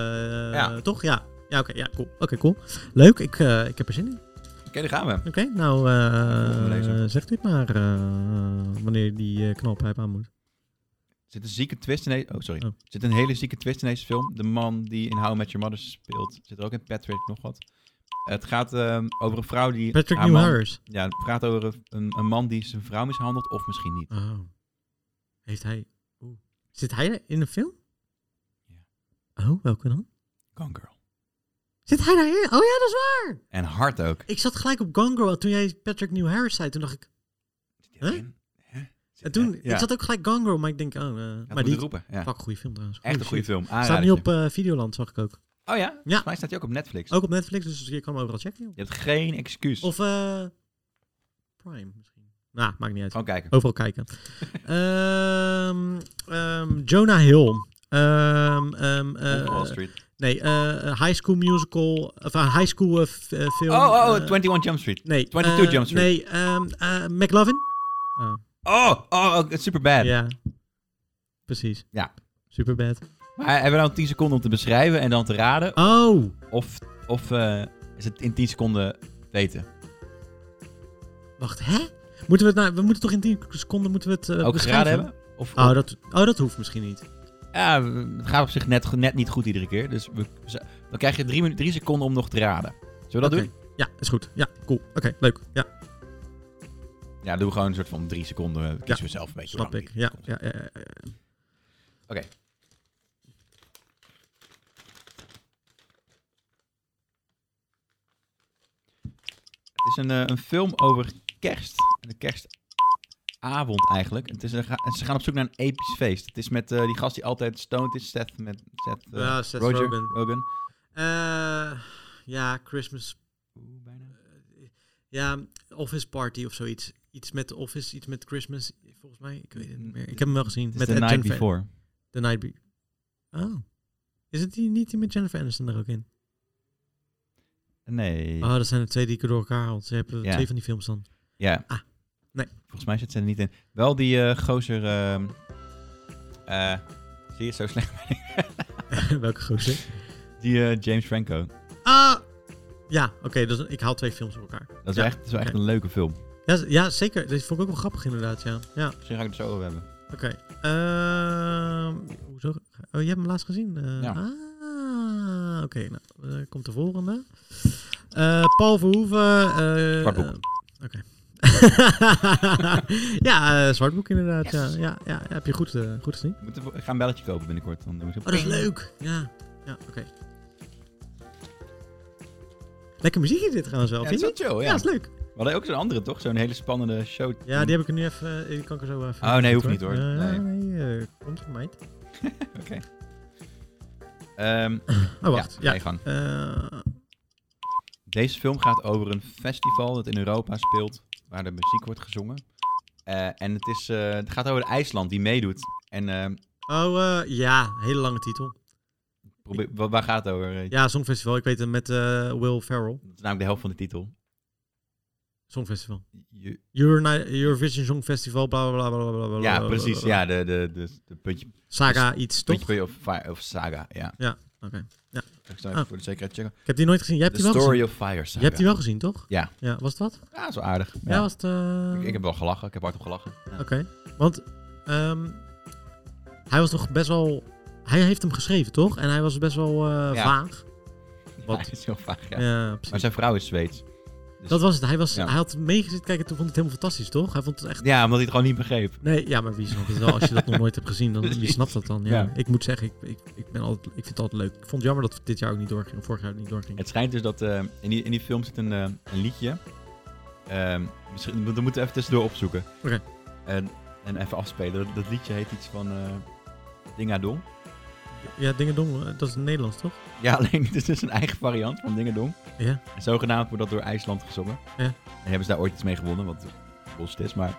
Ja. toch? Ja, ja oké, ja, cool. Oké, cool. Leuk, ik, eh, ik heb er zin in. Oké, daar gaan we. Oké, nou, eh, Volgende lezer. zegt u het maar eh, wanneer die eh knalpijp aan moet. Er zit een zieke twist in deze... Oh, sorry. Oh. Er zit een hele zieke twist in deze film. De man die in How I Met Your Mother speelt. Zit er ook in Patrick, nog wat. Het gaat ehm, over een vrouw die... Patrick haar man- Newhars. Ja, het gaat over een, een man die zijn vrouw mishandelt of misschien niet. Oh. Heeft hij... oeh. Zit hij in een film? Ja. Oh, welke dan? Gone Girl. Zit hij daarin? Oh ja, dat is waar! En hard ook. Ik zat gelijk op Gone Girl toen jij Patrick Newhars zei. Toen dacht ik... Zit Huh? erin? Hè? Zit- En toen, ja. Ik zat ook gelijk Gone Girl, maar ik denk... Oh, eh, Ja, maar maar die... roepen. Ja. Fuck, goede film trouwens. Echt een Goeie goede film. Staat nu Aanradertje. op eh, Videoland, zag ik ook. Oh ja? Volgens mij staat hij ook op Netflix. Ook op Netflix, dus je kan hem overal checken. joh. Je hebt geen excuus. Of eh, Prime misschien. Nou, maakt niet uit. Gewoon kijken. Overal kijken. Ehm, ehm, Jonah Hill. Ehm, ehm, eh, Wolf of Wall Street. nee, eh, eh, High School Musical. Of een High School eh, f- eh, film. Oh, oh, oh, eh, 21 Jump Street. Nee. 22 eh, Jump Street. Nee, ehm, eh, McLovin. Oh, Oh, oh, oh super bad. ja. Precies. Ja. Superbad. Maar hebben we nou 10 seconden om te beschrijven en dan te raden? Oh, Of, of eh, is is het in 10 seconden weten. Wacht, hè? Moeten we het nou... We moeten toch in 10 seconden moeten we het eh, Ook beschrijven? geraden hebben? Of, Oh dat, oh, dat hoeft misschien niet. ja, het gaat op zich net, net niet goed iedere keer. Dus we, ze- dan krijg je drie, minu- drie seconden om nog te raden. Zullen we dat Oké. doen? Ja, is goed. Ja, cool. Oké, leuk. Ja, Ja, doen we gewoon een soort van drie seconden. eh, Kiezen Ja, we zelf een beetje. snap lang ik. die Ja, komt. ja, ja, ja, ja. Oké. Het is een, eh, een film over kerst. De kerstavond eigenlijk. Het is een ga- ze gaan op zoek naar een episch feest. Het is met eh, die gast die altijd stoned is, Seth, met, Seth, eh, Ja, Seth Roger, Rogen. Eh, ja, Christmas. Oeh, bijna. Ja, Office Party of zoiets. Iets met Office, iets met Christmas. Volgens mij, ik weet het niet meer. Ik heb hem wel gezien. Het is met The Ed Night Jennifer- Before. The Night Be- Oh. Is het die niet die met Jennifer Aniston er ook in? Nee. Oh, dat zijn de twee die ik door elkaar haal. Ze hebben Ja. twee van die films dan. Ja. Ah, nee. Volgens mij zit ze er niet in. Wel die eh, gozer... ehm, eh, zie je, zo slecht ben ik. Welke gozer? Die eh, James Franco. Ah! Ja, oké. dus ik haal twee films door elkaar. Dat is, Ja. wel echt, dat is wel echt een leuke film. Ja, z- ja, zeker. Dat vond ik ook wel grappig inderdaad, ja. Ja, Misschien ga ik het zo over hebben. oké. Ehm, hoezo? Oh, je hebt hem laatst gezien? eh? Ja. Ah, oké. nou, eh, komt de volgende. Eh, Paul Verhoeven. eh, Zwart boek. eh, Oké. ja, eh Zwart boek inderdaad. Ja, ja, ja, ja, heb je goed, eh, goed gezien. We moeten- ik ga een belletje kopen binnenkort. Dan doen we zo- Oh, dat is leuk. Ja, ja oké. Lekker muziekje dit trouwens wel, Ja, het vind is je? wel niet? chill, ja. Ja, is leuk. We hadden ook zo'n andere, toch? Zo'n hele spannende show. Ja, die heb ik er nu even... eh, Die kan ik er zo even... Mm. Oh, nee, hoeft niet, hoor. Eh, Nee. nee, eh, komt van mij. Oké. Ehm, Oh, wacht. Ja, Ja. ga je gang. Eh, Deze film gaat over een festival dat in Europa speelt, waar de muziek wordt gezongen. Eh, en het, is, eh, het gaat over IJsland die meedoet. En ehm, oh, eh, ja. Hele lange titel. probeer, wa- waar gaat het over? eh, Ja, Songfestival. Ik weet het met eh, Will Ferrell. Dat is namelijk de helft van de titel. Songfestival. Je- Euro- Eurovision Songfestival, bla bla bla bla bla bla. ja, bla, precies. bla, bla. Ja, Dus de, de, de, de puntje, Saga iets, toch? puntje puntje of, fire, of Saga. Ja. Ja, oké. Ik zal even Ah. voor de zekerheid checken. Ik heb die nooit gezien. Jij hebt The die wel gezien. Story of Fire Je Saga. hebt die wel gezien, toch? Ja. Ja, was het wat? Ja, zo aardig. Ja, was het... eh, Ik, ik heb wel gelachen, ik heb hardop gelachen. Ja. Oké, want ehm, hij was toch best wel. Hij heeft hem geschreven, toch? En hij was best wel eh, Ja. vaag. Wat? Ja, is heel vaag, ja. Ja, precies. Maar zijn vrouw is Zweeds. dus- Dat was het. Hij, was, Ja. hij had meegezitten kijken, toen vond hij het helemaal fantastisch, toch? Hij vond het echt. Ja, omdat hij het gewoon niet begreep. Nee, ja, maar wie snapt het wel? Als je dat nog nooit hebt gezien, dan wie Precies. snapt dat dan? Ja. Ja. Ik moet zeggen, ik, ik, ik, ben altijd, ik vind het altijd leuk. Ik vond het jammer dat het dit jaar ook niet doorging, of vorig jaar ook niet doorging. Het schijnt dus dat eh, in, die, in die film zit een, eh, een liedje. Ehm, misschien, dat moeten we even tussendoor opzoeken. Oké. En, en even afspelen. Dat, dat liedje heet iets van eh Dingadong. Ja, dingen dong, eh, dat is Nederlands, toch? Ja, alleen het is dus een eigen variant van Dingadong. Ja. En zogenaamd wordt dat door IJsland gezongen. Ja. En hebben ze daar ooit iets mee gewonnen, wat bullshit is. Maar,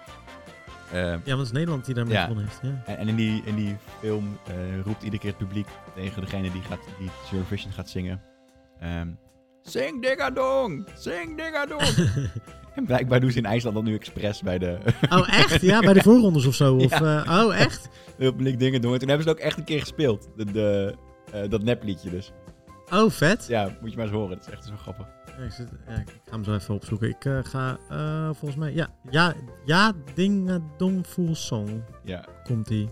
ehm, Ja, want het is Nederland die daarmee Ja. gewonnen heeft. Ja. en, en in, die, in die film eh, roept iedere keer het publiek tegen degene die, gaat, die Eurovision gaat zingen. ehm, Sing Dingadong! Sing Dingadong! En blijkbaar doen ze in IJsland dat nu expres bij de Oh, echt? Ja, bij de voorrondes of zo? Of, Ja. eh, oh, echt? publiek dingen doen. En toen hebben ze het ook echt een keer gespeeld. De, de, eh, dat nepliedje dus. Oh, vet. Ja, moet je maar eens horen. Dat is echt zo grappig. Ja, ik, zit, ja, ik ga hem zo even opzoeken. Ik eh, ga eh, volgens mij. Ja, ja, ja Dingadong Full Song Ja. komt die.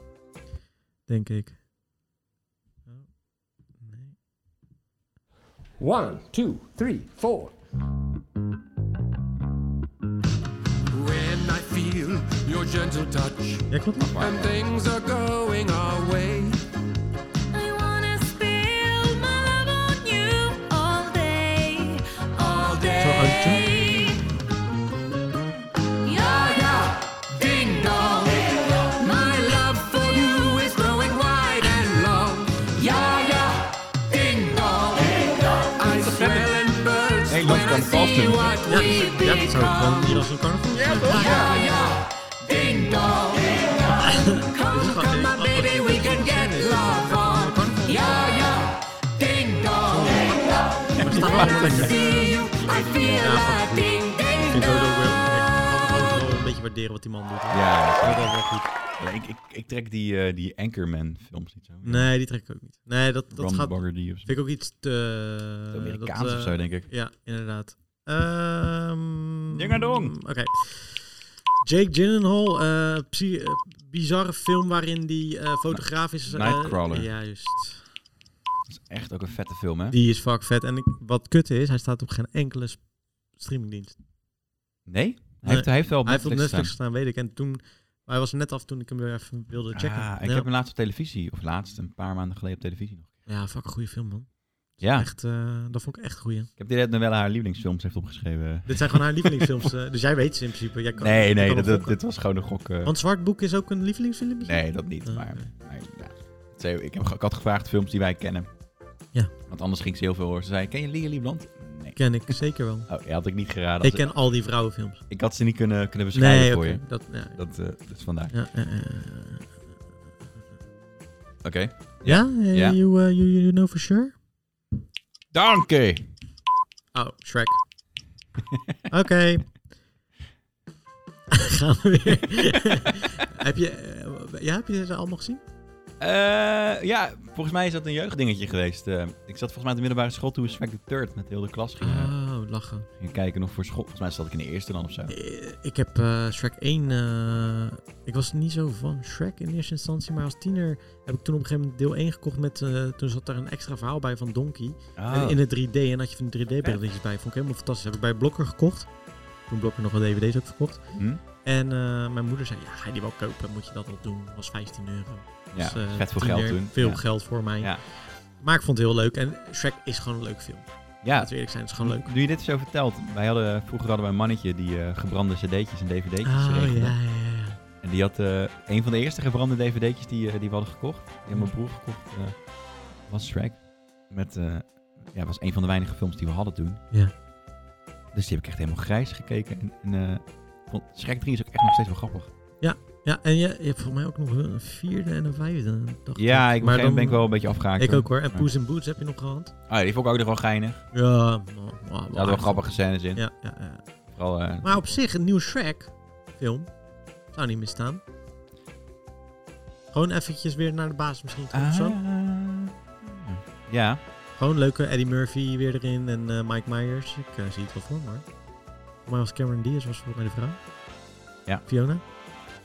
Denk ik. Oh, nee. One, two, three, four. When I feel your gentle touch Ja, klopt. nog. and things are going our way, I wanna spill my love on you all day, all day. Yeah, yeah, ding dong, my love for you is growing wide and long. Yeah, yeah, ding dong, I swell and burst Hey, dat when I kan vast see doen. what Ja, we ja, dat zou ik gewoon hier als een carnaval. Ja, Yeah, yeah, ding dong, come, come, my baby, we can get love on. Yeah, yeah, ding dong. maar staat wel allemaal lekker. Ik See you, I feel like ding ding vind sowieso dong. wel- ik kan wel een beetje waarderen wat die man doet. hoor. Ja, Dat is wel goed. Ik, ik, ik trek die, eh, die Anchorman-films niet zo. Nee, die trek ik ook niet. Nee, dat, dat Ron gaat, Burgundy of zo. vind ik ook iets te... Het Amerikaans dat, of eh, zo, denk ik. Ja, inderdaad. Ehm Dingadong. Oké. Jake Gyllenhaal, eh, psy- eh, bizarre film waarin die eh, fotograaf is. eh, Nightcrawler. ja, juist. Dat is echt ook een vette film, hè? Die is fuck vet. En ik, wat kut is, hij staat op geen enkele s- streamingdienst. Nee? Hij, Nee. Heeft, hij heeft wel op hij heeft op Netflix Netflix gestaan, weet ik. En toen, hij was er net af toen ik hem weer even wilde staan. checken. Ah, ik ja. heb hem laatst op televisie, of laatst, een paar maanden geleden op televisie nog. ja, fuck, een goede film, man. Ja, Echt, eh, dat vond ik echt een goeie. ik heb die net nog wel haar lievelingsfilms heeft opgeschreven. Dit zijn gewoon haar lievelingsfilms. eh, dus jij weet ze in principe. Jij kan, Nee, je nee, kan dat, hem dat- gokken. dit was gewoon een gok. eh. Want Zwart Boek is ook een lievelingsfilm? Nee, dat niet, Ah, maar... oké. maar ja. Ze- Ik, heb, ik had gevraagd films die wij kennen. Ja. Want anders ging ze heel veel horen. Ze zei, ken je Lily Liebland? Nee. Ken ik zeker wel. Oh, ja, had ik niet geraden. Ik Als- ken al die vrouwenfilms. Ik had ze niet kunnen, kunnen beschrijven Nee, voor oké. je. dat Ja, Dat, eh, dat is vandaar. ja, eh, eh, eh. Oké. ja? eh, Ja. You, eh, you, you know for sure? Dank je! Oh, Shrek. Oké. Gaan we weer. heb je, eh, ja, heb je ze allemaal gezien? Eh, ja, volgens mij is dat een jeugddingetje geweest. Eh, ik zat volgens mij op de middelbare school toen we Smack the Third met heel de klas gingen, Oh, lachen. gingen kijken nog voor school. Volgens mij zat ik in de eerste dan of zo. Eh, Ik heb eh, Shrek 1... eh, ik was niet zo van Shrek in eerste instantie, maar als tiener heb ik toen op een gegeven moment deel 1 gekocht met... eh, toen zat daar een extra verhaal bij van Donkey. Ah. Oh. En in het 3D en had je van die 3D-brilletjes bij. Vond ik helemaal fantastisch. Heb ik bij Blokker gekocht. Toen Blokker nog wel DVD's ook verkocht. Hm? En eh, mijn moeder zei, ja, ga je die wel kopen? Moet je dat wel doen? Dat was 15 euro. Ja, Dus, eh, vet veel 10 geld euro, toen. Veel ja. geld voor mij. Ja. Maar ik vond het heel leuk. En Shrek is gewoon een leuk film. Ja, Laten we eerlijk zijn, het is gewoon leuk. Nu je dit zo vertelt, wij hadden, vroeger hadden wij een mannetje die eh, gebrande cd'tjes en dvd'tjes regelde. Ah, ja, ja. En die had eh, een van de eerste gebrande dvd'tjes die, eh, die we hadden gekocht. Die had mijn Mhm. broer gekocht. eh, was Shrek. Met, eh, ja, was een van de weinige films die we hadden toen. Ja. Dus die heb ik echt helemaal grijs gekeken. En, en eh, ik vond Shrek 3 is ook echt nog steeds wel grappig. Ja, en je, je hebt voor mij ook nog een vierde en een vijfde. dacht Ja, ik op een gegeven Maar moment dan- ben ik wel een beetje afgehaakt. Ik ook hoor. En Ja. Poes in Boots heb je nog gehad? Ah, ja, die vond ik ook nog wel geinig. Er Ja, maar- maar- maar- zaten wel grappige scènes in. Ja, ja, ja. Vooral, eh, Maar op zich, een nieuw Shrek-film zou niet misstaan. Gewoon eventjes weer naar de basis misschien terug of zo. ah. ja, Gewoon leuke Eddie Murphy weer erin en eh, Mike Myers. Ik eh, zie het wel voor me hoor. Voor mij was Cameron Diaz was volgens mij de vrouw. Ja. Fiona?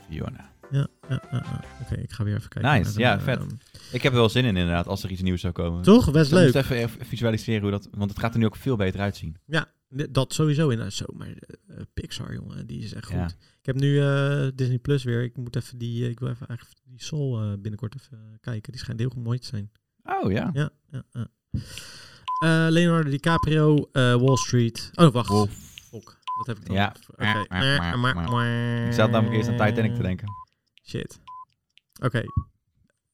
Fiona. Ja. ja, ja, ja. Oké, ik ga weer even kijken. Nice, naar de- ja, vet. ehm, Ik heb er wel zin in inderdaad, als er iets nieuws zou komen. toch? Best Dus leuk. we moeten even visualiseren hoe dat... Want het gaat er nu ook veel beter uitzien. Ja, d- dat sowieso in. Zo, maar eh, Pixar, jongen, die is echt goed. Ja. Ik heb nu eh, Disney Plus weer. Ik moet even die, eh, ik wil even eigenlijk die Soul eh, binnenkort even eh, kijken. Die schijnt heel goed mooi te zijn. Oh ja. Ja, ja, ja. Eh, Leonardo DiCaprio, eh, Wall Street. Oh, wacht. Wolf. Fok, Dat heb ik dan. Ja. Oké. Maar, maar, maar, Ik zat namelijk eerst aan Titanic te denken. Shit. Oké,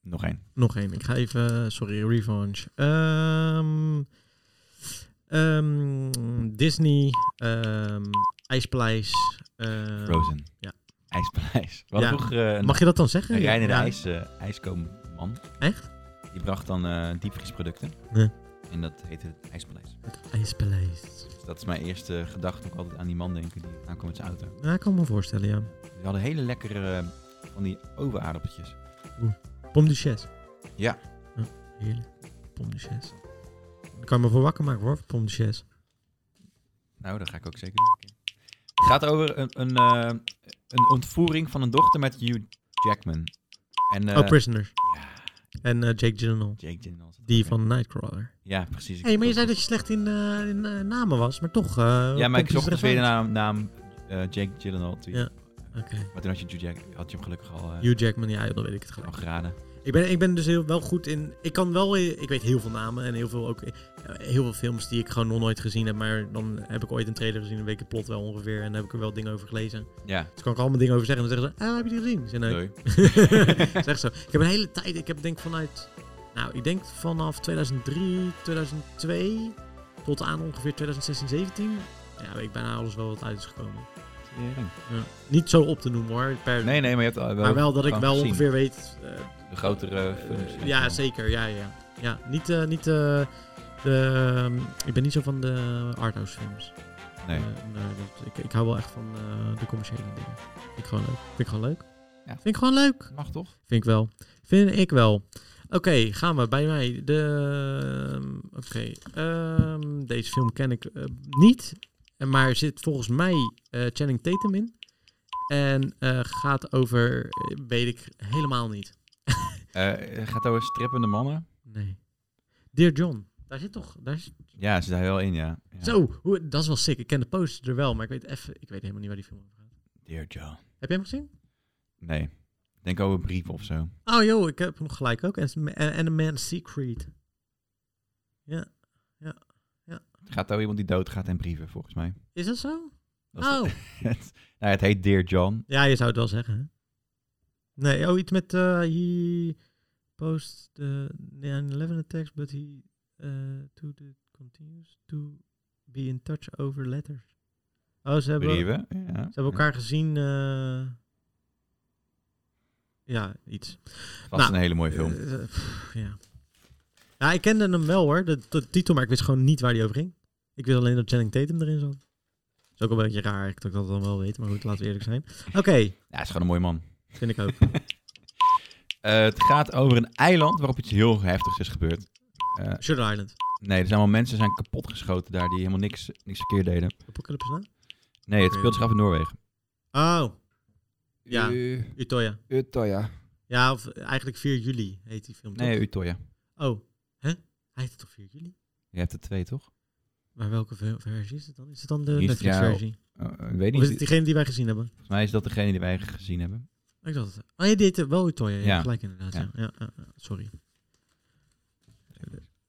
Nog één. nog één. Ik ga even... Sorry, Revenge. Ehm, ehm, Disney, ehm IJspaleis. ehm, Frozen. ja. IJspaleis. We hadden Ja. vroeger eh, een, Mag je dat dan een zeggen? rijdende Ja. ijs, eh, ijskoomman. Echt? Die bracht dan eh, diepvriesproducten. Ja. En dat heette het IJspaleis. Het IJspaleis. Dus dat is mijn eerste gedachte. Ook altijd aan die man denken die aankomt met zijn auto. Ja, ik kan me voorstellen, ja. Die hadden hele lekkere eh, van die overaardappeltjes. Pom de Chess. Ja. Ja, Heerlijk. Pom de Chess. Daar kan je me voor wakker maken hoor, Pom de Chess. Nou, dat ga ik ook zeker doen. Het gaat over een, een, eh, een ontvoering van een dochter met Hugh Jackman. En, eh, oh, Prisoners. ja, En eh, Jake Gyllenhaal. Jake Gyllenhaal zit Die ook in. van Nightcrawler. Ja, precies. Hé, maar je zei dat je slecht in, eh, in eh, namen was, maar toch. eh, komt Ja, maar ik hij zocht dus er weer even de naam, naam eh, Jake Gyllenhaal. Toen- Ja. uit? Oké. Maar toen had je, Hugh Jack, had je hem gelukkig al, eh, Hugh Jackman, ja, dan weet ik het al gelijk. geraden. Ik ben, ik ben dus heel, wel goed in... Ik kan wel... eh, Ik weet heel veel namen en heel veel, ook, eh, heel veel films die ik gewoon nog nooit gezien heb. Maar dan heb ik ooit een trailer gezien, een week het plot wel ongeveer. En dan heb ik er wel dingen over gelezen. Ja, Dus kan ik er allemaal dingen over zeggen. En dan zeggen ze, ah, heb je die gezien? Ik Zeg, nee. leuk. zeg zo. Ik heb een hele tijd... Ik heb denk vanuit... Nou, ik denk vanaf 2003, 2002 tot aan ongeveer 2016, 17... Ja, weet ik bijna alles wel wat uit is gekomen. Ja. Niet zo op te noemen hoor. Per, Nee, nee, maar je hebt al wel... maar wel dat ik gewoon wel gezien. ongeveer weet. eh, De grotere films. eh, ja, zeker. Ja, ja. ja niet. eh, niet eh, de, ehm, ik ben niet zo van de arthouse films. dus Nee. Eh, nee, dat- ik, ik hou wel echt van eh, de commerciële dingen. Vind ik gewoon leuk. Vind ik gewoon leuk. Vind ik gewoon leuk. Mag toch? Vind ik wel. Vind ik wel. Oké, gaan we bij mij. De, Oké, ehm, deze film ken ik eh, niet. En Maar er zit volgens mij eh, Channing Tatum in. En eh, gaat over, eh, weet ik helemaal niet. Eh, gaat over strippende mannen? Nee. Dear John, daar zit toch... Daar is- Ja, ze zit daar wel in, ja. ja. Zo, hoe, dat is wel sick. Ik ken de poster er wel, maar ik weet, effe, ik weet helemaal niet waar die film over gaat. Dear John. Heb jij hem gezien? Nee. Denk over brieven of zo. Oh joh, ik heb hem gelijk ook. En en A Man's Secret. Ja, Het gaat over iemand die doodgaat en brieven, volgens mij. is dat zo? Dat is Oh. het, nou, het heet Dear John. Ja, je zou het wel zeggen. Hè? Nee, oh, iets met eh he post the 9-11 attacks, but he eh, to the continues to be in touch over letters. Oh, ze hebben, ze Brieven. Ja. hebben elkaar gezien. eh, ja, iets. Vast Nou, een hele mooie film. Eh, eh, pff, ja. ja, ik kende hem wel hoor, de, de titel, maar ik wist gewoon niet waar die over ging. Ik wist alleen dat Channing Tatum erin zat. is ook een beetje raar eigenlijk dat ik dat dan wel weet, maar goed, laten we eerlijk zijn. Oké, Ja, hij is gewoon een mooie man. vind ik ook. Eh, het gaat over een eiland waarop iets heel heftigs is gebeurd. Eh, Shutter Island. nee, er zijn allemaal mensen zijn kapotgeschoten daar die helemaal niks, niks verkeerd deden. Apocalypse Now? Nee, het speelt zich af in Noorwegen. Oh, Ja. U- Utoya. Utoya. Ja, of eigenlijk 4 juli heet die film. toch? Nee, Utoya. Oh, hè? Hij heet toch 4 juli? Je hebt er twee, toch? Maar welke ver- versie is het dan? Is het dan de Hier is het, ja, Netflix-versie? Eh, eh, ik weet Of niet. is het diegene die wij gezien hebben? Volgens mij is dat degene die wij eigenlijk gezien hebben. Ik dacht het. Oh, je deed het wel Utoya. Ja, Ja. gelijk inderdaad. Ja. Ja. Ja, ja, ja, sorry.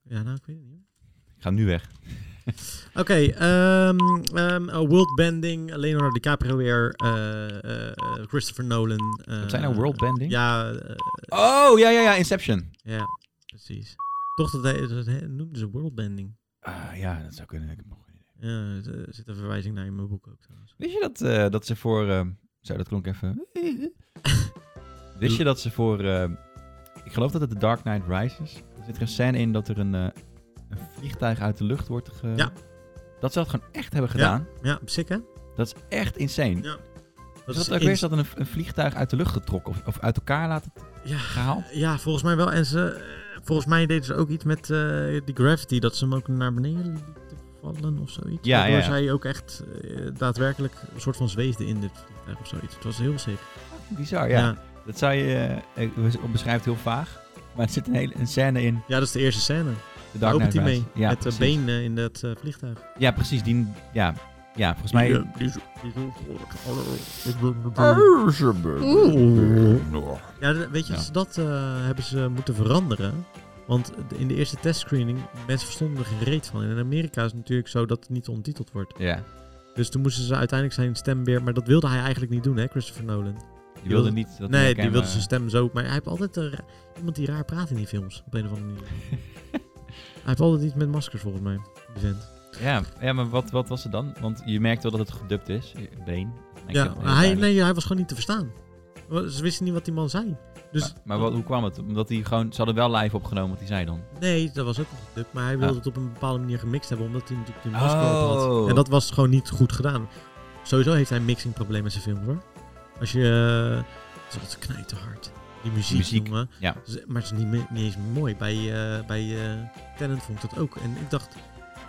Ja, nou, ik weet het niet. Ik ga nu weg. Oké, ehm ehm, eh, worldbending, Leonardo DiCaprio weer, eh, eh, eh, Christopher Nolan. eh, Wat zijn nou worldbending? Ja, eh, Oh, ja, ja, ja, Inception. ja, precies. Toch, dat, hij- dat hij- noemden ze worldbending. Ah, ja, dat zou kunnen. Ik heb nog geen idee. Ja, er er zit een verwijzing naar in mijn boek ook trouwens. Wist je dat, eh, dat ze voor... eh, zo, dat klonk even... Wist je dat ze voor... eh, ik geloof dat het The Dark Knight Rises... Er zit er een scène in dat er een, eh, een vliegtuig uit de lucht wordt ge... Ja. Dat ze dat gewoon echt hebben gedaan. Ja, sick hè? Dat is echt insane. Ja. Dat is dat ook weer eens dat een, een vliegtuig uit de lucht getrokken of, of uit elkaar laten ja, gehaald? ja, volgens mij wel. En ze, eh, volgens mij deden ze ook iets met eh, die gravity, dat ze hem ook naar beneden lieten vallen of zoiets. Ja, Waardoor ja, ja. zij ook echt eh, daadwerkelijk een soort van zweefde in dit vliegtuig of zoiets. Het was heel sick. Bizar, ja. Dat zou je... eh, ik we- beschrijft heel vaag. Maar er zit een, hele, een scène in Ja, dat is de eerste scène. The Daar Dark opent Knight hij mee. Rises. Ja, met de precies. been eh, in dat eh, vliegtuig. Ja, precies. Die, ja, ja, volgens mij... Ja, dat- weet je, Ja. als ze dat eh, hebben ze moeten veranderen. Want de- in de eerste testscreening, mensen verstonden er geen reet van. En in Amerika is het natuurlijk zo dat het niet ontiteld wordt. Ja, Dus toen moesten ze uiteindelijk zijn stem weer... Maar dat wilde hij eigenlijk niet doen, hè, Christopher Nolan. die wilde niet... Dat nee, die hij wilde herkenbaar- zijn stem zo... Maar hij heeft altijd een ra- iemand die raar praat in die films, op een of andere manier. hij heeft altijd iets met maskers, volgens mij. Die vent. eh, Ja, ja maar wat, wat was het dan? Want je merkt wel dat het gedubt is. Been. Ik Ja, heb het heel maar hij, duidelijk. nee, hij was gewoon niet te verstaan. Wa- Ze wisten niet wat die man zei. Dus, Maar, maar wat, hoe kwam het? Omdat hij gewoon... Ze hadden wel live opgenomen wat hij zei dan. Nee, dat was ook een stuk. Maar hij wilde Ah. het op een bepaalde manier gemixt hebben, omdat hij natuurlijk die masker op had. Oh. En dat was gewoon niet goed gedaan. Sowieso heeft hij een mixingprobleem met zijn films hoor. Als je... eh, Het is altijd knijterhard. Die muziek, Muziek, jongen. ja. Z- Maar het is niet, me- niet eens mooi. Bij, eh bij eh, Tenet vond ik dat ook. En ik dacht...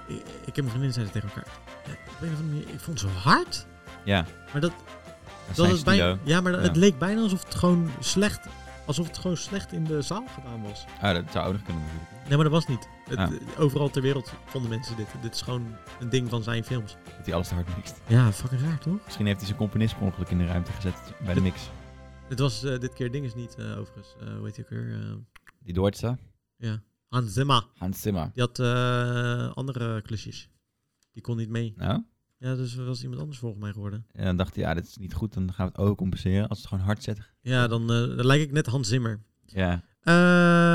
Ik, ik heb mijn vriendin zeiden tegen elkaar... eh, op een of andere manier, ik vond ze hard. Ja. Maar dat, Dat, dat zijn eh, het bijna, studio. ja, maar het Ja. leek bijna alsof het gewoon slecht... Alsof het gewoon slecht in de zaal gedaan was. Ah, dat zou ouder kunnen natuurlijk. Nee, maar dat was niet. Het- eh, Ah. Overal ter wereld vonden mensen dit. Dit is gewoon een ding van zijn films. Dat hij alles te hard mixt. Ja, fucking raar toch? Misschien heeft hij zijn componist per ongeluk in de ruimte gezet bij de mix. Het was eh, dit keer ding is niet, eh, overigens. Eh, hoe heet die ook weer? Eh, Die Duitse. Hans Zimmer. Hans Zimmer. Die had eh, andere klusjes. Die kon niet mee. Nou, Ja, dus er was iemand anders volgens mij geworden. en dan dacht hij, ja, dit is niet goed. Dan gaan we het ook compenseren als we het gewoon hard zetten. Ja, dan, eh, dan lijk ik net Hans Zimmer. Ja.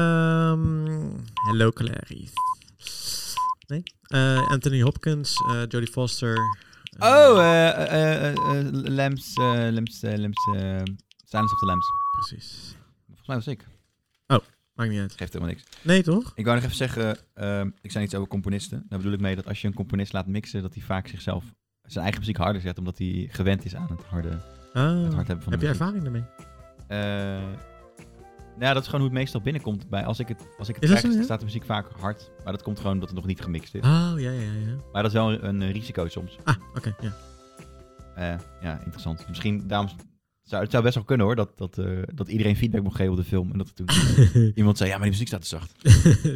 Ehm Hello Clarice. Nee. Eh, Anthony Hopkins, eh, Jodie Foster. eh, Oh, eh eh eh eh, Lems, eh Lems, eh, Lems, eh, Silence of the Lems. Precies. Volgens mij was ik. Maakt niet uit. Geeft helemaal niks. Nee, toch? Ik wou nog even zeggen, ehm, ik zei iets over componisten. Daar bedoel ik mee dat als je een componist laat mixen, dat hij vaak zichzelf, zijn eigen muziek harder zet, omdat hij gewend is aan het harde. Ah. hard hebben van heb de je muziek. ervaring ermee? Eh, nou, ja, dat is gewoon hoe het meestal binnenkomt. Bij, als ik het, als ik het Is dat krijg, zo, ja? staat de muziek vaak hard. Maar dat komt gewoon omdat het nog niet gemixt is. Oh, ja, ja, ja. Maar dat is wel een, een, eh, risico soms. Ah, oké, ja. Eh, ja, interessant. Misschien, daarom zou, het zou best wel kunnen hoor, dat, dat, eh, dat iedereen feedback mocht geven op de film. En dat er toen iemand zei, ja, maar die muziek staat te zacht.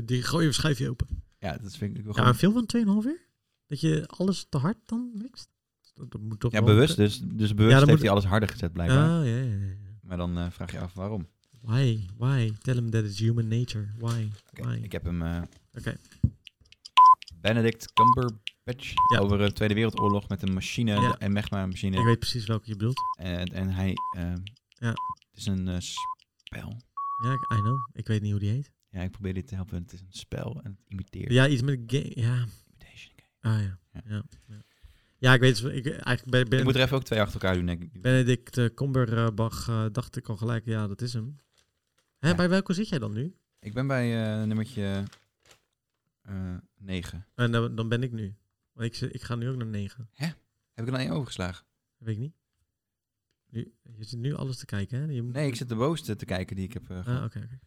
Die gooi je schrijf je open. Ja, dat vind ik wel Ja, gewoon... maar een film van 2,5 uur? Dat je alles te hard dan mixt? Dat, dat moet toch Ja, wel- bewust dus. Dus bewust Ja, dan heeft moet- hij alles harder gezet Ah, blijkbaar. ja, ja, ja. Maar dan eh, vraag je af waarom. Why? Why? Tell him that it's human nature. Why? Oké, Why? ik heb hem. eh, Oké. Benedict Cumberbatch Ja. over de Tweede Wereldoorlog met een machine Ja. en machine. Ik weet precies welke je bedoelt. En, en hij. eh, Ja. Het is een eh, spel. Ja, ik- I know. Ik weet niet hoe die heet. Ja, ik probeer dit te helpen. Het is een spel en het imiteert. Ja, iets met game. Ja. Imitation game. Ah ja. Ja. Ja, ja. Ja, ik weet het. Ik, eigenlijk ben, ben, Ik moet er even ook twee achter elkaar doen, denk ik. Benedict eh, Cumberbatch eh, dacht ik al gelijk, ja, dat is hem. Hè, Ja. Bij welke zit jij dan nu? Ik ben bij eh, nummertje eh, 9. En dan, dan ben ik nu. Want ik, zit- ik ga nu ook naar 9. Heb ik er nou één overgeslagen? Weet ik niet. Nu, je zit nu alles te kijken, hè? Je moet- Nee, ik zit de bovenste te kijken die ik heb. eh, Ah, gehad. oké. oké.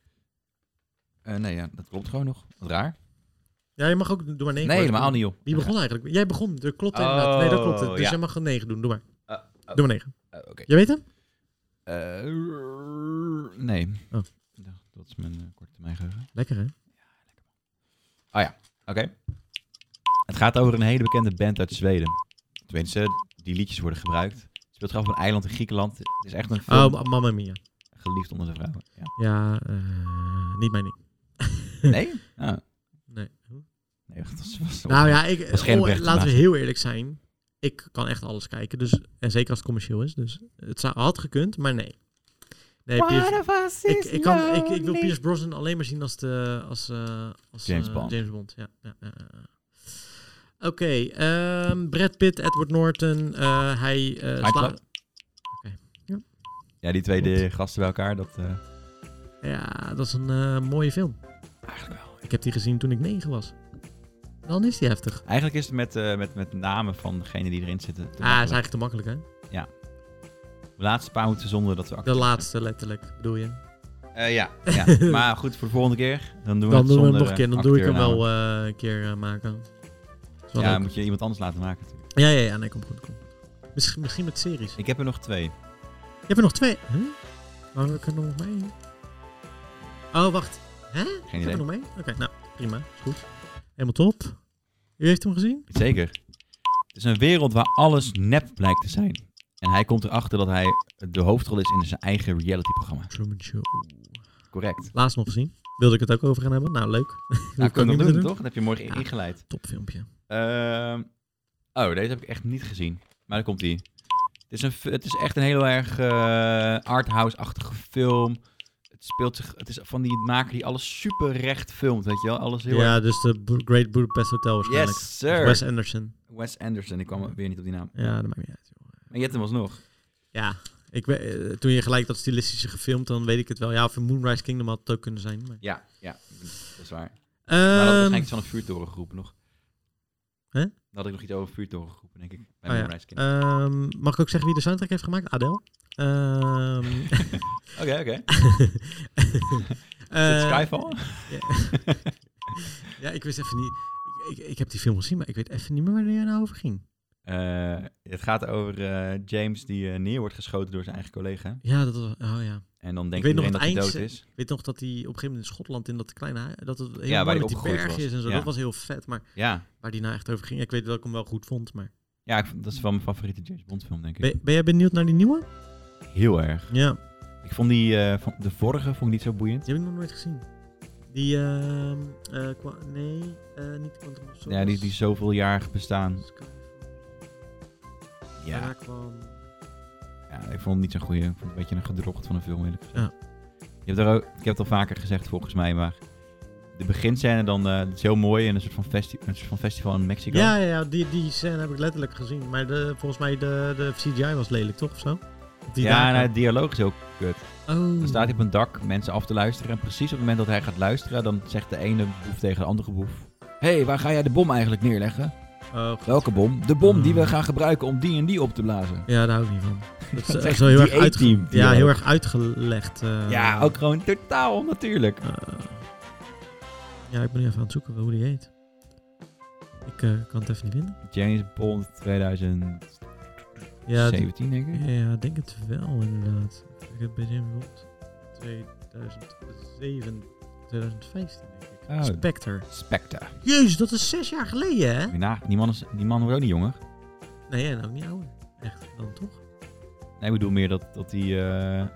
Eh, nee, ja, dat klopt gewoon nog. Wat raar. Ja, je mag ook, doe maar 9. Nee, helemaal niet, joh. Wie begon eigenlijk? Jij begon, dat klopt Oh, inderdaad. Nee, dat klopt. Dus ja. jij mag een 9 doen, doe maar. Eh, oh. Doe maar 9. Eh, Oké. Jij weet hem? Eh, nee. Oh. Ja, Dat is mijn eh, korte korttermijn geheugen. Lekker, hè? Oké. Het gaat over een hele bekende band uit Zweden. Tenminste, die liedjes worden gebruikt. Het speelt zich af op een eiland in Griekenland. Het is echt een film Oh, ma- Mamma Mia. geliefd onder de vrouwen. Ja. Ja, eh, niet mijn ding. Nee? Ah, Nee. nee, dat was, was Nou ja, ik, was geen oh, oprechte laten we baas. heel eerlijk zijn. Ik kan echt alles kijken. Dus, en zeker als het commercieel is. Dus het zou, had gekund, maar nee. Nee, Pierce, ik, ik, kan, ik, ik wil Pierce Brosnan alleen maar zien als, de, als, eh, als James eh, Bond. James Bond. Ja, ja, ja, ja. Oké, ehm, Brad Pitt, Edward Norton. eh, hij eh Fight slaat... Club? Ja, die twee de gasten bij elkaar, dat eh, Ja, dat is een eh, mooie film. eigenlijk wel. Ik heb die gezien toen ik negen was. Dan is die heftig. Eigenlijk is het met, eh, met, met namen van degene die erin zitten. te ah, is makkelijk. eigenlijk te makkelijk, hè? De laatste paar moeten zonder dat we De acteurs zijn. laatste letterlijk, bedoel je? Eh, ja, ja. maar goed, voor de volgende keer. Dan doen we, dan het doen we hem zonder, nog een eh, keer. Dan doe ik hem acteurnamen. wel eh, een keer eh, maken. Is wel Ja, leuk. moet je iemand anders laten maken natuurlijk. ja, ja, ja. Nee, kom goed. Kom. Misschien, misschien met series. Ik heb er nog twee. Je hebt er nog twee. Huh? Maar we kunnen er nog mee. Oh, wacht. Hè? Ik heb idee. er nog mee? Oké, nou, prima. Is goed. Helemaal top. U heeft hem gezien? Zeker. Het is een wereld waar alles nep blijkt te zijn. En hij komt erachter dat hij de hoofdrol is in zijn eigen realityprogramma. Truman Show. Correct. Laatst nog gezien. Wilde ik het ook over gaan hebben? Nou, leuk. Nou, ik ook kunnen niet we nog meer doen, toch? Dat heb je morgen Ja. ingeleid. Topfilmpje. Ehm, oh, deze heb ik echt niet gezien. Maar daar komt die. Het is, een, f- het is echt een heel erg eh, arthouse-achtige film. Het speelt zich... Het is van die maker die alles super recht filmt, weet je wel? Alles heel Ja, erg... dus de Bu- Great Budapest Hotel waarschijnlijk. Yes, sir. Wes Wes, Anderson. Anderson. Ik kwam weer niet op die naam. Ja, dat maakt niet uit. joh. Maar je hebt hem alsnog. Ja, ik we- eh, toen je gelijk dat stilistische gefilmd, dan weet ik het wel. Ja, of in Moonrise Kingdom had het ook kunnen zijn. Maar, Ja, ja, dat is waar. maar dat had Ehm, waarschijnlijk iets van een vuurtoren geroepen nog. Hè? Dan had ik nog iets over vuurtoren geroepen, denk ik. Bij Oh ja. Moonrise Kingdom. ehm, mag ik ook zeggen wie de soundtrack heeft gemaakt? Adele. Ehm, Oké, oké. Is eh, het Skyfall? Ja, ik wist even niet. Ik, ik, ik heb die film gezien, maar ik weet even niet meer waar die nou over ging. Eh, het gaat over eh, James die eh, neer wordt geschoten door zijn eigen collega. Ja, dat was. Oh ja. En dan Ik denkt weet nog iedereen dat het hij dood eindscène- is. Ik weet nog dat hij op een gegeven moment in Schotland in dat kleine hui- dat het heel Ja, waar mooi die met die opgegroeid bergjes was. en zo. Ja. Dat was heel vet, maar Ja, waar die nou echt over ging. ja, Ik weet dat ik hem wel goed vond, maar. ja ik vond- dat is wel mijn favoriete James Bond film, denk ik. Ben, ben jij benieuwd naar die nieuwe? Heel erg. Ja. Ik vond die, eh, van de vorige vond ik niet zo boeiend. Die heb ik nog nooit gezien. Die, ehm eh, qua- nee, eh, niet Quantum of Solace. Ja, die, die zoveel jaar bestaan. Skyfall. Ja, Daarna kwam... Ja, ik vond het niet zo'n goede. Ik vond het een beetje een gedrocht van een film, eerlijk gezegd. Ja. Je hebt er ook, ik heb het al vaker gezegd, volgens mij, maar de beginscène dan, eh, het is heel mooi in een soort van, festi een soort van festival in Mexico. Ja, ja, ja, die, die scène heb ik letterlijk gezien. Maar de, volgens mij de, de CGI was lelijk, toch? Of zo? Die ja en dagen. het dialoog is ook kut. Oh. Dan staat hij op een dak mensen af te luisteren en precies op het moment dat hij gaat luisteren, dan zegt de ene boef tegen de andere boef... Hé, hey, waar ga jij de bom eigenlijk neerleggen? Oh, Welke bom? De bom Mm. die we gaan gebruiken om die en die op te blazen. ja, daar hou ik niet van. Dat is, Dat is eh, echt zo heel die erg, uitge- A-team die ja, wel. heel erg uitgelegd. eh, ja, ook gewoon totaal onnatuurlijk. eh, ja, ik ben nu even aan het zoeken hoe die heet. Ik eh, kan het even niet vinden. James Bond 2017, Ja, het- denk ik. Ja, ik denk het wel inderdaad. Ik heb bij James Bond 2007, 2015 denk ik. Oh. Spectre. Spectre. Jezus, dat is zes jaar geleden hè? Na, die, man is, die man wordt ook niet jonger. Nee, en ook niet ouder. Echt, dan toch? Nee, ik bedoel meer dat, dat die, eh, hij...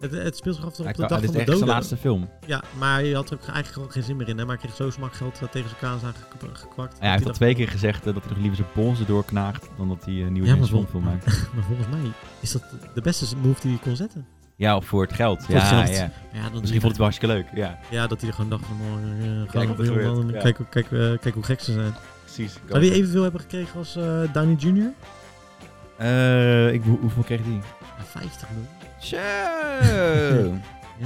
Het, het speelt zich af op de kwam- dag van Dit is de echt zijn doden. laatste film. Ja, maar je had er ook eigenlijk gewoon geen zin meer in. Hè? Maar hij kreeg zo smak geld dat tegen zijn kaas aangekwakt. gekwakt. Ja, hij heeft al twee keer gezegd eh, dat hij nog liever zijn polsen doorknaagt dan dat hij een nieuwe Ja, James maar Bond film maakt. Maar volgens mij is dat de beste move die hij kon zetten. Ja, of voor het geld. Voor ja, het geld. ja. Ja, dan Misschien vond het wel hartstikke leuk. Ja, Ja, dat hij er gewoon dacht van... Oh, eh, wat gaan er we weer gebeurt, dan. ja. Kijk, hoe- kijk, eh, kijk hoe gek ze zijn. precies. Zou die evenveel hebben gekregen als eh, Downey Jr.? Eh, ik, hoe- hoeveel kreeg die? Ja, 50 miljoen. Zo.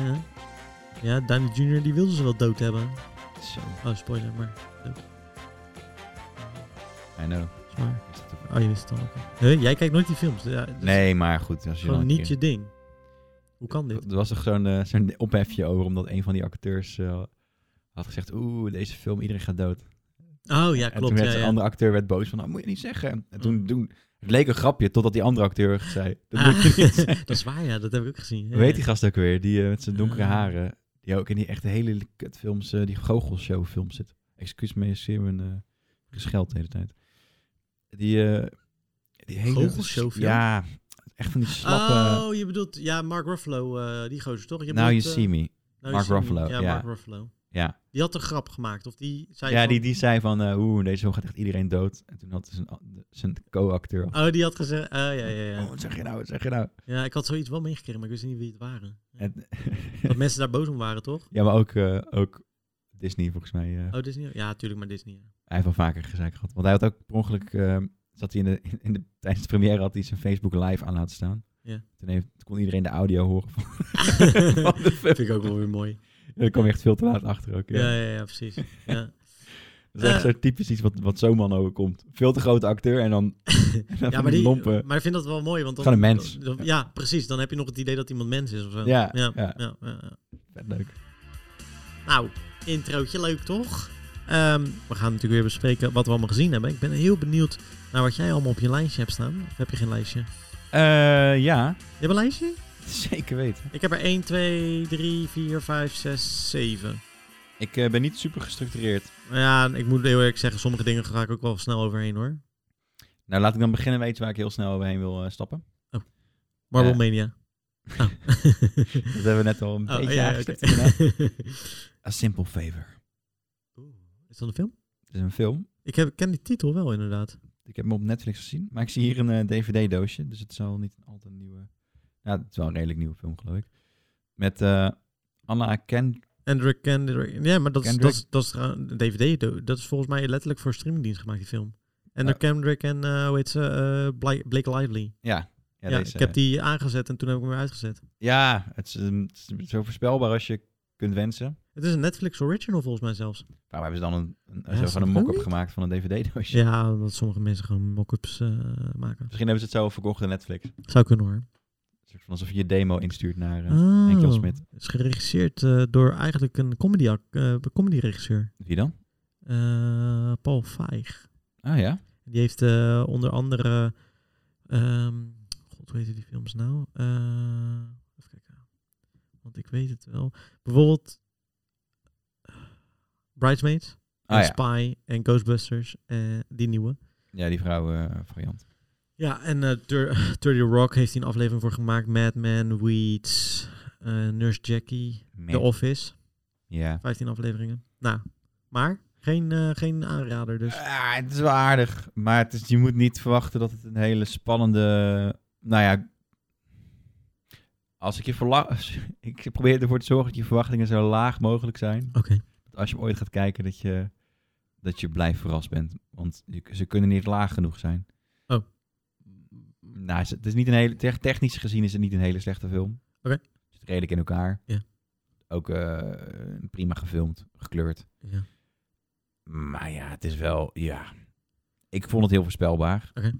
Ja. Ja, Downey Jr. die wilden ze wel dood hebben. Zo. Oh, spoiler, maar... I know. is maar- Oh, je wist het al. oké. Huh, jij kijkt nooit die films. Ja, dat is Nee, maar goed. Als je dan Gewoon een niet keer- je ding. Hoe kan dit? Er was toch zo'n eh, zo'n ophefje over omdat een van die acteurs eh, had gezegd... Oeh, deze film, iedereen gaat dood. Oh ja, en toen klopt. werd Ja, Mm. een ja. andere acteur werd boos van... Nou, moet je niet zeggen. En toen, toen, het leek een grapje totdat die andere acteur zei... Dat Ah, moet je niet zeggen. dat is waar, ja, dat heb ik ook gezien. Ja, Hoe heet ja. die gast ook weer? Die eh, met zijn donkere Eh. haren. Die ook in die echt hele kutfilms, eh die goochelshow films zit. Excuus me, Simon eh gescheld de hele tijd. Die, eh, die hele... Goochelshowfilm? Ja, echt van die slappe... Oh, je bedoelt, ja, Mark Ruffalo, eh, die gozer toch? Je Now You bedoelt, eh, See Me. Now You Mark See Me. Ruffalo, Ja, ja. Mark Ruffalo. Ja, Die had een grap gemaakt, of die zei ja van- die, die zei van, eh oeh, deze film gaat echt iedereen dood. En toen had zijn, zijn co-acteur... al- Oh, die had gezegd, oh ja, ja, Oh, ja. wat zeg je nou, wat zeg je nou? Ja, ik had zoiets wel meegekregen, maar ik wist niet wie het waren. En- Dat mensen daar boos om waren, toch? ja, maar ook, eh, ook Disney volgens mij. eh, Oh, Disney? Ja, tuurlijk, maar Disney. ja. Hij heeft al vaker gezeik gehad. Want hij had ook per ongeluk... eh, zat hij in de, in, de, tijdens de première had hij zijn Facebook live aan laten staan. Ja. Toen, heeft, toen kon iedereen de audio horen van, Dat van de film. vind ik ook wel weer mooi. Daar kwam hij echt veel te laat achter ook. Ja. Ja, ja, ja, precies. Ja, Dat is echt Eh. zo typisch iets wat, wat zo'n man overkomt. Veel te grote acteur en dan... en dan ja van maar, die, lompe- maar ik vind dat wel mooi, want dan... Gewoon een mens. dan- ja, precies. Dan heb je nog het idee dat iemand mens is of zo. Ja, ja, ja. ja, ja. Vet leuk. Nou, introotje leuk toch? Ehm, we gaan natuurlijk weer bespreken wat we allemaal gezien hebben. Ik ben heel benieuwd naar wat jij allemaal op je lijstje hebt staan. Of heb je geen lijstje? Je Eh, ja, hebt een lijstje? zeker weten. Ik heb er 1, 2, 3, 4, 5, 6, 7. Ik eh, ben niet super gestructureerd. Ja, ik moet heel eerlijk zeggen, sommige dingen ga ik ook wel snel overheen hoor. Nou, laat ik dan beginnen met iets waar ik heel snel overheen wil eh, stappen. Marble Ja. Mania. Oh. Dat hebben we net al een Oh, beetje ja, aangestipt. oké. inderdaad. A Simple Favor. Oeh, Is dat een film? Het is een film. Ik heb, ken die titel wel inderdaad. Ik heb hem op Netflix gezien. Maar ik zie hier een eh, DVD-doosje. Dus het zal niet altijd een nieuwe... Ja, het is wel een redelijk nieuwe film, geloof ik. Met eh, Anna Ken... Kendrick, Kendrick. Ja, maar dat is, Kendrick. dat is, dat is trouw- een DVD. do- Dat is volgens mij letterlijk voor streamingdienst gemaakt, die film. En door Oh. Kendrick en eh, hoe heet ze? eh, Blake, Blake Lively. Ja. Ja, Ja, deze, eh, ik heb die aangezet en toen heb ik hem weer uitgezet. ja het, is, ehm, het is zo voorspelbaar als je kunt wensen. Het is een Netflix original volgens mij zelfs. Waarom hebben ze dan een, een, Ja, zo snap van een ik mock-up niet. gemaakt van een DVD-doosje? Ja, dat sommige mensen gewoon mock-ups eh, maken. Misschien hebben ze het zo verkocht aan Netflix. Zou kunnen hoor. Een soort van Alsof je je demo instuurt naar eh, Oh. Henk Jan Smit. Het is geregisseerd eh, door eigenlijk een comedy, eh comedy regisseur. Wie dan? Eh, Paul Feig. Ah ja. Die heeft eh, onder andere... ehm, God, hoe heet die films nou? Eh, even kijken. Want ik weet het wel. Bijvoorbeeld... eh, Bridesmaids. Ah en ja. Spy en Ghostbusters. eh, die nieuwe. Ja, die vrouw eh, variant. Ja, en eh Tur- 30 Rock heeft hij een aflevering voor gemaakt. Mad Men, Weeds, eh, Nurse Jackie, Man. The Office. Ja. 15 afleveringen. Nou, maar geen, eh, geen aanrader dus. Ah, het is wel aardig, maar het is, je moet niet verwachten dat het een hele spannende... Nou ja, als ik je verla- Ik probeer ervoor te zorgen dat je verwachtingen zo laag mogelijk zijn. Oké. Dat als je hem ooit gaat kijken, dat je, dat je blij verrast bent. Want je- ze kunnen niet laag genoeg zijn. Oh. Nou, ze- het is niet een hele... te- Technisch gezien is het niet een hele slechte film. Oké. Het zit redelijk in elkaar. Ja. Ook eh, prima gefilmd, gekleurd. Ja. Maar ja, het is wel, ja. Ik vond het heel voorspelbaar. Oké.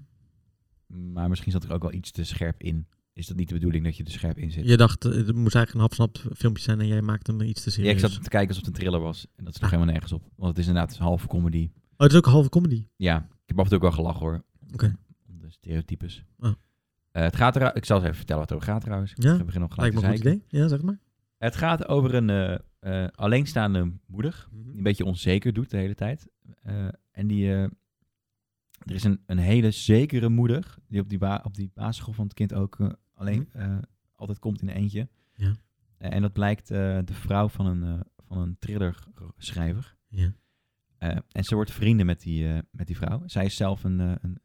Maar misschien zat ik er ook wel iets te scherp in. Is dat niet de bedoeling dat je er scherp in zit? Je dacht, eh, het moest eigenlijk een hapsnap filmpje zijn en jij maakt hem iets te Ja, serieus. ik zat te kijken alsof het een thriller was. En dat sloeg Ah. helemaal nergens op. Want het is inderdaad een halve comedy. Oh, het is ook een halve comedy. Ja, ik heb af en toe ook wel gelachen hoor. Oké. Om de stereotypes. Ah. Eh, het gaat er, ik zal eens even vertellen wat het over gaat trouwens. Ja, Ik begin al gelijk Lijkt te me een goed zeiken. idee. Ja, zeg maar. Het gaat over een eh, eh, alleenstaande moeder. Mhm. Die een beetje onzeker doet de hele tijd. Eh, en die... eh, er is een, een hele zekere moeder. Die op die, ba- op die basisschool van het kind ook eh, alleen eh, altijd komt in een eentje. Mhm. Ja. Eh, en dat blijkt eh, de vrouw van een, eh, van een thrillerschrijver. Ja. Eh, en ze wordt vrienden met die, eh, met die vrouw. Zij is zelf een, eh, een,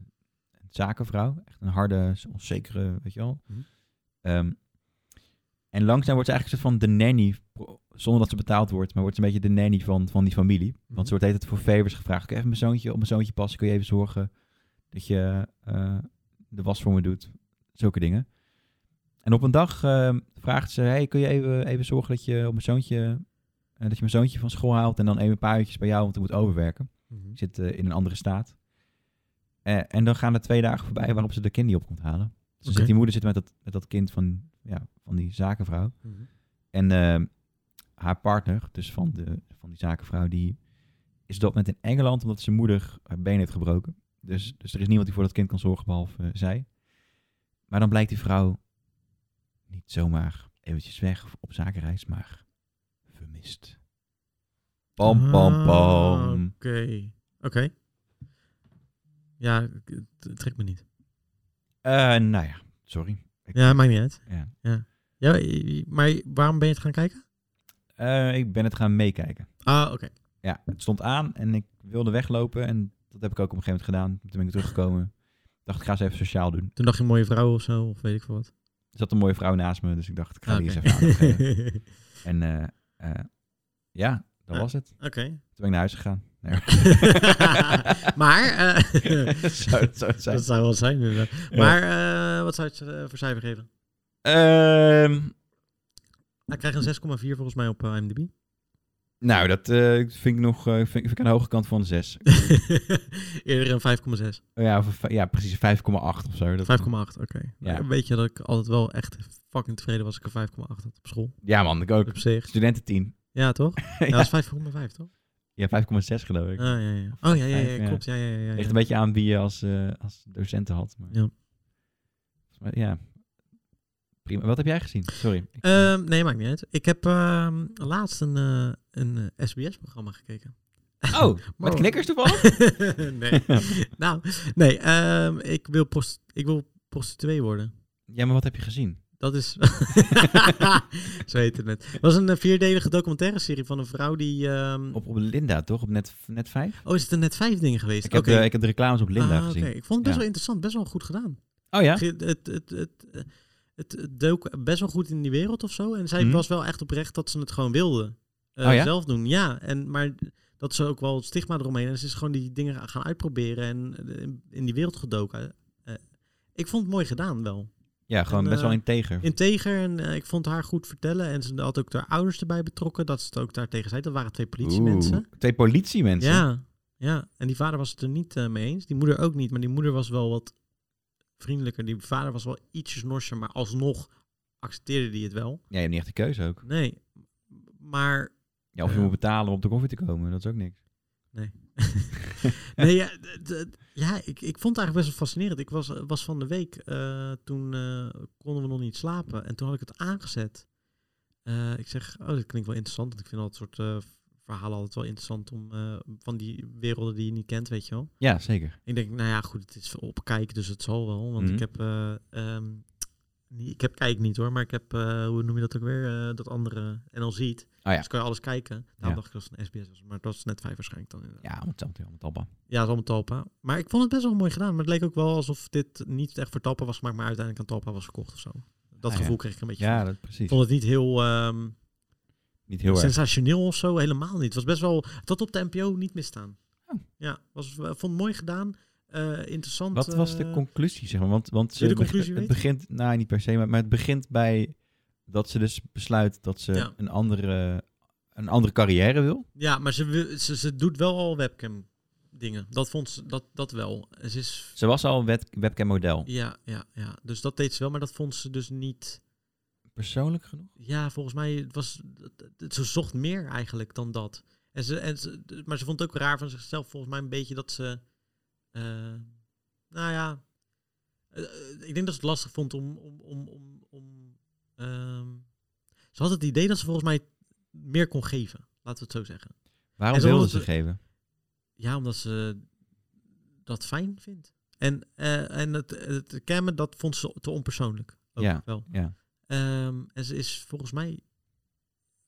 een zakenvrouw. Echt een harde, onzekere, weet je wel. Mhm. Ehm, en langzaam wordt ze eigenlijk een soort van de nanny. pro- Zonder dat ze betaald wordt, maar wordt ze een beetje de nanny van, van die familie. Want ze wordt heet het voor favors gevraagd. Kun je even mijn zoontje op mijn zoontje passen? Kun je even zorgen dat je eh, de was voor me doet? Zulke dingen. En op een dag ehm, vraagt ze, hey, kun je even, even zorgen dat je op mijn zoontje eh, dat je mijn zoontje van school haalt en dan even een paar uurtjes bij jou, want ik moet overwerken. Mhm. Ik zit eh, in een andere staat. Eh, en dan gaan er twee dagen voorbij waarop ze de kind niet op komt halen. Dus dan Oké. zit die moeder zit met dat, met dat kind van, ja, van die zakenvrouw. Mhm. En eh, haar partner, dus van, de, van die zakenvrouw, die is op dat moment in Engeland omdat zijn moeder haar been heeft gebroken. Dus, Mhm. dus er is niemand die voor dat kind kan zorgen behalve eh, zij. Maar dan blijkt die vrouw niet zomaar eventjes weg of op zakenreis, maar vermist. Pam, pam, Ah, Oké. pam. Oké. Ja, ik- het- het trekt me niet. Eh, nou ja, sorry. Ik, Ja, maakt niet uit. ja. Ja, eh, maar waarom ben je het gaan kijken? Eh, ik ben het gaan meekijken. Ah, oké. ja, het stond aan en ik wilde weglopen. En dat heb ik ook op een gegeven moment gedaan. Toen ben ik teruggekomen. dacht, ik ga ze even sociaal doen. Toen dacht je mooie vrouw of zo, of weet ik veel wat. Er zat een mooie vrouw naast me, dus ik dacht, ik ga Ah, die oké. eens even aandacht geven. En eh, eh, ja, dat Ah. was het. Toen Oké. ben ik naar huis gegaan. Nee, hoor. maar, eh, Zou het- zou het zijn. dat zou wel zijn. inderdaad. Maar eh, wat zou je het eh, voor cijfer geven? Ehm, Hij krijgt een 6,4 volgens mij op eh, IMDb. nou, dat eh, vind ik nog eh, vind, vind ik aan de hoge kant van de 6. Eerder een 5,6. 5,8, Oh ja, of een vij- ja, precies 5,8 of zo. Dat, oké. Ja. Ja. Weet je dat ik altijd wel echt fucking tevreden was als ik een 5,8 had op school. ja, man, ik ook. Op zich. Studenten 10. Ja, toch? Ja, dat is 5,5, toch? Ja, 5,6 geloof ik. Ah, ja, ja. Oh, ja, ja, ja, Ja. klopt. Ja, ja, ja, ja, Ligt ja. een beetje aan wie je als, eh, als docenten had. Maar... Ja. Maar ja. Prima. Wat heb jij gezien? Sorry. Ik- Ehm, nee, maakt niet uit. Ik heb ehm, laatst een, eh, een SBS-programma gekeken. oh, met wow. knikkers toevallig? nee. nou, nee. ehm, ik, wil prost- ik wil prostituee worden. ja, maar wat heb je gezien? Dat is. Zo heet het net. Het was een eh, vierdelige documentaire serie van een vrouw die. ehm, Op, op Linda, toch? Op net, net 5? Oh, is het er net vijf dingen geweest? Ik heb, eh, Oké. de, ik heb de reclames op Linda Ah, gezien. oké. Ik vond het best Ja. wel interessant, best wel goed gedaan. Oh ja? Het, het, het, het, het, het dook best wel goed in die wereld of zo. En zij Mhm. was wel echt oprecht dat ze het gewoon wilde. eh, Oh ja? Zelf doen, ja. En, maar dat ze ook wel het stigma eromheen. En ze is gewoon die dingen gaan uitproberen en eh, in die wereld gedoken. Eh, ik vond het mooi gedaan wel Ja, gewoon En, best wel eh, integer. integer en eh, ik vond haar goed vertellen. En ze had ook haar ouders erbij betrokken. Dat ze het ook daartegen zei. Dat waren twee politiemensen. Oeh, Twee politiemensen? Ja, ja, en die vader was het er niet eh, mee eens. Die moeder ook niet. Maar die moeder was wel wat vriendelijker. Die vader was wel ietsjes norser. Maar alsnog accepteerde die het wel. Ja, je hebt niet echt de keuze ook. Nee, maar... Ja, of je Ja. moet betalen om op de koffie te komen. Dat is ook niks. nee, ja, d- d- ja ik, ik vond het eigenlijk best wel fascinerend. Ik was, was van de week, eh, toen eh, konden we nog niet slapen. En toen had ik het aangezet. Eh, ik zeg, oh, dat klinkt wel interessant. Want ik vind dat soort eh, verhalen altijd wel interessant. om eh, Van die werelden die je niet kent, weet je wel. Ja, zeker. Ik denk, nou ja, goed, het is opkijken, dus het zal wel. Want Mhm. ik heb, eh, ehm, niet- ik heb kijk niet hoor, maar ik heb, eh, hoe noem je dat ook weer, Eh, dat andere NL ziet. Ah ja. Dus kan je alles kijken. Daarom Ja. dacht ik dat het een SBS was, maar dat is net vijf waarschijnlijk dan. inderdaad. Ja, want het is allemaal talpa. Ja, het is allemaal Talpa. Maar ik vond het best wel mooi gedaan. Maar het leek ook wel alsof dit niet echt voor Talpa was gemaakt, maar uiteindelijk aan Talpa was verkocht of zo. Dat Ah, ja. gevoel kreeg ik een beetje. Ja, van. dat, Ik precies. vond het niet heel ehm, Niet heel erg. sensationeel of zo, helemaal niet. Het was best wel, tot op de NPO niet misstaan. Oh. Ja, was, vond het mooi gedaan. eh, interessant. Wat was de eh, conclusie, zeg maar? Want, want Wil je ze de conclusie beg- het weten? begint, nou niet per se, maar, maar het begint bij dat ze dus besluit dat ze Ja. een, andere, een andere carrière wil. Ja, maar ze, wil- ze, ze doet wel al webcam dingen. Dat vond ze, dat, dat wel. Ze is, Ze was al een web webcam model. ja, ja, ja. Dus dat deed ze wel, maar dat vond ze dus niet... Persoonlijk genoeg? Ja, volgens mij was... Ze zocht meer eigenlijk dan dat. En ze, en ze, maar ze vond het ook raar van zichzelf volgens mij een beetje dat ze... eh, nou ja... eh, ik denk dat ze het lastig vond om... om, om, om, om ehm, ze had het idee dat ze volgens mij meer kon geven. Laten we het zo zeggen. Waarom En ze dus- wilde wilde ze ze- geven? Ja, omdat ze dat fijn vindt. En, eh, en het, het cammen, dat vond ze te onpersoonlijk. Ook Ja, wel. ja. Ehm, en ze is volgens mij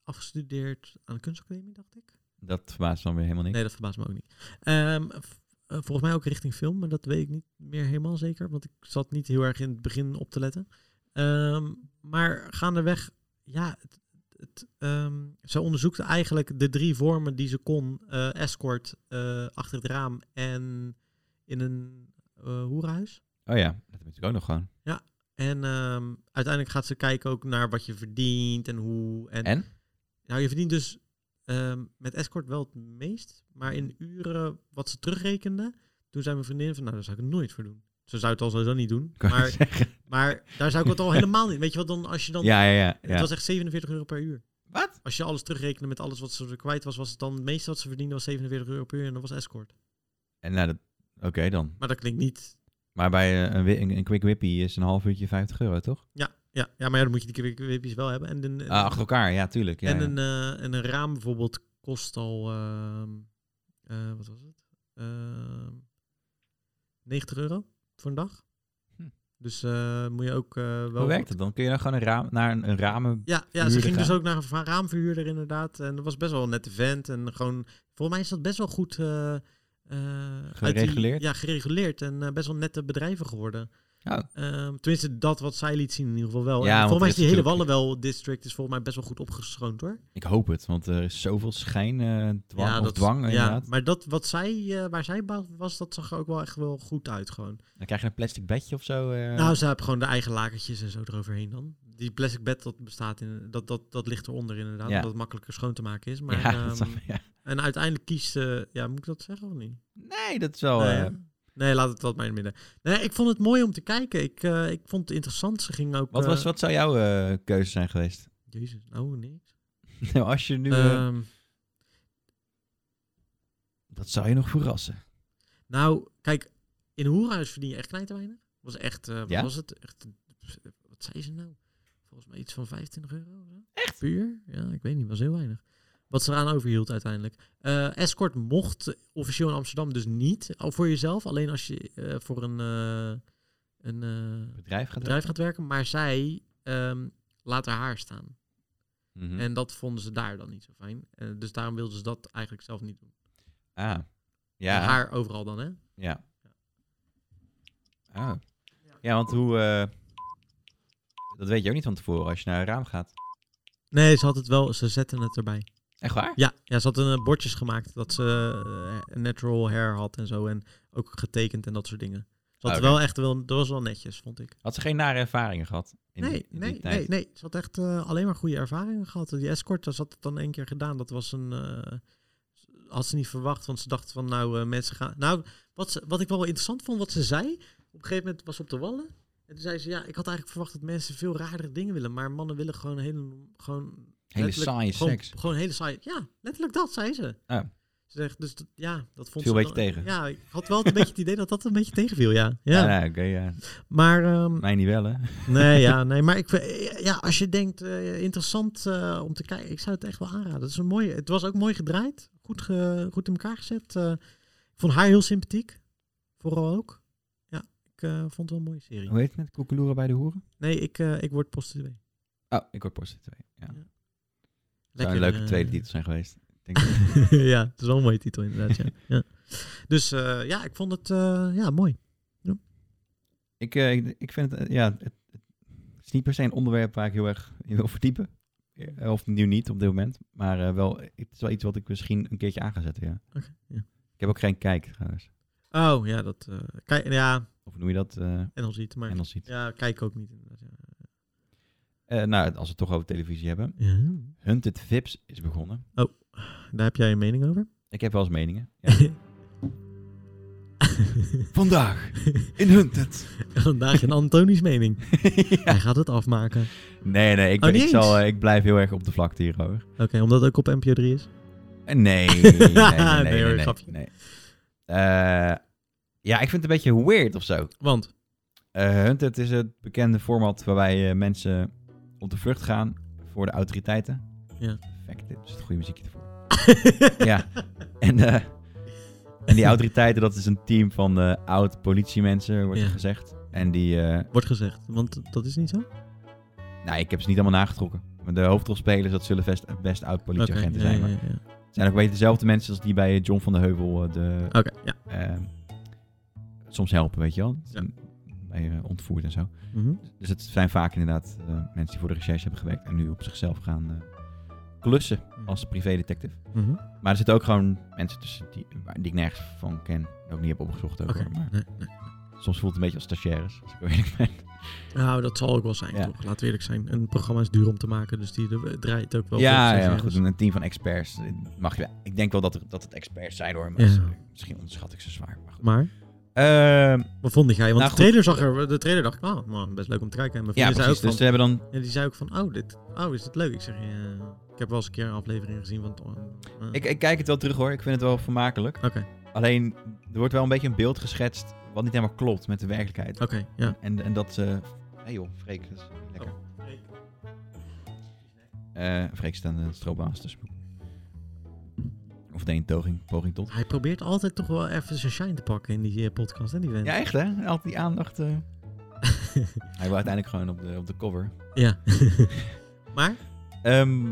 afgestudeerd aan de kunstacademie, dacht ik. Dat verbaast dan weer helemaal niks. Nee, dat verbaast me ook niet. Ehm, v- eh, volgens mij ook richting film, maar dat weet ik niet meer helemaal zeker. Want ik zat niet heel erg in het begin op te letten. Ehm, maar gaandeweg, ja, het, het, ehm, ze onderzoekte eigenlijk de drie vormen die ze kon. eh, escort, eh, achter het raam en in een eh hoerenhuis. Oh ja, dat heb ik natuurlijk ook nog gewoon. En ehm, uiteindelijk gaat ze kijken ook naar wat je verdient en hoe. En, En? Nou, je verdient dus ehm, met escort wel het meest. Maar in uren wat ze terugrekende, toen zei mijn vriendin van, nou, daar zou ik het nooit voor doen. Ze zou het al sowieso niet doen. Kan je Maar, zeggen. maar daar zou ik het al helemaal niet. Weet je wat dan, als je dan... Ja, ja, ja. Het ja. was echt 47 euro per uur. Wat? Als je alles terugrekende met alles wat ze er kwijt was, was het dan het meeste wat ze verdiende was 47 euro per uur en dat was escort. En nou, dat... Oké dan. Maar dat klinkt niet... Maar bij eh, een, wi- een, een quick whippie is een half uurtje 50 euro, toch? Ja, ja, ja maar ja, dan moet je die kwik- kwippies wel hebben. En, een- Ah, achter elkaar, ja, tuurlijk. Ja, en, ja. Een, eh, en een raam bijvoorbeeld kost al, ehm, eh, wat was het? Ehm, 90 euro voor een dag. Hm. Dus eh, moet je ook eh, wel... Hoe werkt het dan? Kun je dan gewoon een raam, naar een, een ramen... Ja, ja ze Huurder ging dus gaan? ook naar een va- raamverhuurder inderdaad. En dat was best wel een nette vent. En gewoon, volgens mij is dat best wel goed... eh, eh, uit die- Gereguleerd? ja, gereguleerd. En eh, best wel nette bedrijven geworden. Oh. Ehm, tenminste, dat wat zij liet zien in ieder geval wel. Ja, En want volgens mij er is is die hele natuurlijk- Wallenwel-district is volgens mij best wel goed opgeschoond hoor. Ik hoop het, want er is zoveel schijn, eh, dwang, of dat- dwang inderdaad. maar dat wat zij, eh, waar zij ba- was, dat zag er ook wel echt wel goed uit gewoon. Dan krijg je een plastic bedje of zo. eh. Nou, ze hebben gewoon de eigen lakertjes en zo eroverheen dan. Die plastic bed dat bestaat in, dat, dat, dat ligt eronder inderdaad, Ja. omdat het makkelijker schoon te maken is. Maar, ja, ehm, dat is- ja. En uiteindelijk kiest ze, ja, moet ik dat zeggen of niet? Nee, dat is wel... nee, eh, hè? nee, laat het dat maar in het midden. Nee, ik vond het mooi om te kijken. Ik, eh, ik vond het interessant. Ze ging ook... wat, was, eh, wat zou jouw eh, keuze zijn geweest? Jezus, nou, niks. nou, als je nu... eh, Ehm, dat zou je nog verrassen. Nou, kijk, in een hoerhuis verdien je echt knijt te weinig. Was echt, eh, wat Ja? was het? Echt, eh, wat zei ze nou? Volgens mij iets van 25 euro. Echt? Puur? Ja, ik weet niet, was heel weinig. Wat ze eraan overhield uiteindelijk. Eh, escort mocht officieel in Amsterdam dus niet. Al voor jezelf, alleen als je eh, voor een, eh, een eh, Bedrijf gaat bedrijf gaat werken. Maar zij ehm, laat haar haar staan. Mhm. En dat vonden ze daar dan niet zo fijn. Eh, dus daarom wilden ze dat eigenlijk zelf niet doen. Ah, ja. Haar overal dan, hè? Ja. Ah. Ja, want hoe... eh, dat weet je ook niet van tevoren als je naar een raam gaat. Nee, ze had het wel, ze zetten het erbij. Echt waar? Ja, ja ze had een eh, bordjes gemaakt dat ze eh, natural hair had en zo. En ook getekend en dat soort dingen. Ze had Ah, Oké. wel echt wel, dat was wel netjes, vond ik. Had ze geen nare ervaringen gehad in nee, die, in nee, die tijd? nee, nee. Ze had echt eh, alleen maar goede ervaringen gehad. Die escort, dat had het dan één keer gedaan. Dat was een. eh, had ze niet verwacht, want ze dacht van nou, eh, mensen gaan. Nou, wat, ze, wat ik wel interessant vond, wat ze zei. Op een gegeven moment was ze op de wallen. En toen zei ze, ja, ik had eigenlijk verwacht dat mensen veel raardere dingen willen. Maar mannen willen gewoon hele, gewoon Hele Letterlijk saaie gewoon, seks. Gewoon hele saai. Ja, letterlijk dat, zei ze. Ah. Ze zegt, dus dat- ja, dat vond Viel ze een beetje dan- tegen. Ja, ik had wel een beetje het idee dat dat een beetje tegenviel, ja. Ja, ja. nou, oké, ja. Maar, ehm, Mij niet wel, hè? nee, ja, nee, maar ik, vind- ja, als je denkt, eh, interessant eh, om te kijken, ik zou het echt wel aanraden. Het, is een mooie, het was ook mooi gedraaid, goed, ge- goed in elkaar gezet. eh. ik vond haar heel sympathiek, vooral ook. Ja, ik eh, vond het wel een mooie serie. Hoe heet het met koekeloeren bij de hoeren? Nee, ik, eh, ik word post 2. Oh, ik hoor Porsche 2. Ja. Ja. Zou een eh, leuke tweede titel zijn geweest. Ik Denk ja, het is wel een mooie titel inderdaad. Ja. ja. Dus eh, ja, ik vond het eh, ja, mooi. ik, eh, ik, ik vind het, eh, ja, het, het is niet per se een onderwerp waar ik heel erg in wil verdiepen. Eh, Of nu niet op dit moment. Maar eh, wel, het is wel iets wat ik misschien een keertje aan ga zetten, ja. Oké, ja. Ik heb ook geen kijk, trouwens. Oh ja, dat. eh, kijk, ja, Of noem je dat? eh en dan ziet maar. en als iets. Ja, kijk ook niet inderdaad. Ja. Eh, nou, als we het toch over televisie hebben. Ja. Hunted Vips is begonnen. Daar heb jij een mening over? Ik heb wel eens meningen. Ja. Vandaag in Hunted. Vandaag in Antonies mening. Hij gaat het afmaken. Nee, nee, ik, Oh, ben- niet ik, zal, eens? eh, ik blijf heel erg op de vlakte hier hoor. Oké, omdat het ook op NPO 3 is. Eh, Nee, nee, nee, nee, nee, Nee, nee, hoor, nee, grapje. nee. Eh, ja, ik vind het een beetje weird of zo. Want, Eh Hunted is het bekende format waarbij eh, mensen op de vlucht gaan voor de autoriteiten. Ja. Perfect, dit is het goede muziekje ervoor. ja, en, eh, en die autoriteiten, dat is een team van eh, oud-politiemensen, wordt Ja. er gezegd. En die, eh, wordt gezegd. Want eh, dat is niet zo. nou, ik heb ze niet allemaal nagetrokken. Maar de hoofdrolspelers, dat zullen best, best oud-politieagenten Oké, ja, ja, zijn. maar ja, ja. Het zijn ook een beetje dezelfde mensen als die bij John van de Heuvel eh, de, Oké, ja. ehm, soms helpen, weet je wel. Ja. Bij eh, ontvoerd en zo. Mhm. Dus het zijn vaak inderdaad eh, mensen die voor de recherche hebben gewerkt en nu op zichzelf gaan eh, klussen Hm. als privédetective. Mhm. Maar er zitten ook gewoon mensen tussen die, waar- die ik nergens van ken. Ook niet heb opgezocht. Ook, Oké, hoor. Maar nee, soms voelt het een beetje als stagiaires. Als ik heel eerlijk ben. Nou, dat zal ook wel zijn, Ja. toch? Laten we eerlijk zijn. Een programma is duur om te maken, dus die eh, draait ook wel. voor ja, ja, maar stagiaires. goed. Een team van experts. eh, Mag je, ik denk wel dat, er, dat het experts zijn hoor. Maar Ja. s- misschien onderschat ik ze zwaar. Maar goed. Maar, Ehm, wat vond jij? Want Nou, de trailer zag er... De trailer dacht ik, oh, man, best leuk om te kijken. En mijn ja, vriendin zei ook precies. van, Dus ze hebben dan Ja, die zei ook van, oh, dit, oh is dit leuk? Ik zeg, ja, ik heb wel eens een keer een aflevering gezien van... eh, Ik, ik kijk het wel terug hoor. Ik vind het wel vermakelijk. Oké, Alleen, er wordt wel een beetje een beeld geschetst wat niet helemaal klopt met de werkelijkheid. oké, ja. En, en dat... eh hey joh, Freek. Dat is niet lekker. Eh Freek staat aan de stroopbaas, dus... Of deed een toging, poging tot. Hij probeert altijd toch wel even zijn shine te pakken in die eh, podcast, hè, die vent. Ja, echt hè? Altijd die aandacht. eh. Hij wil uiteindelijk gewoon op de, op de cover. Ja. maar, Ehm,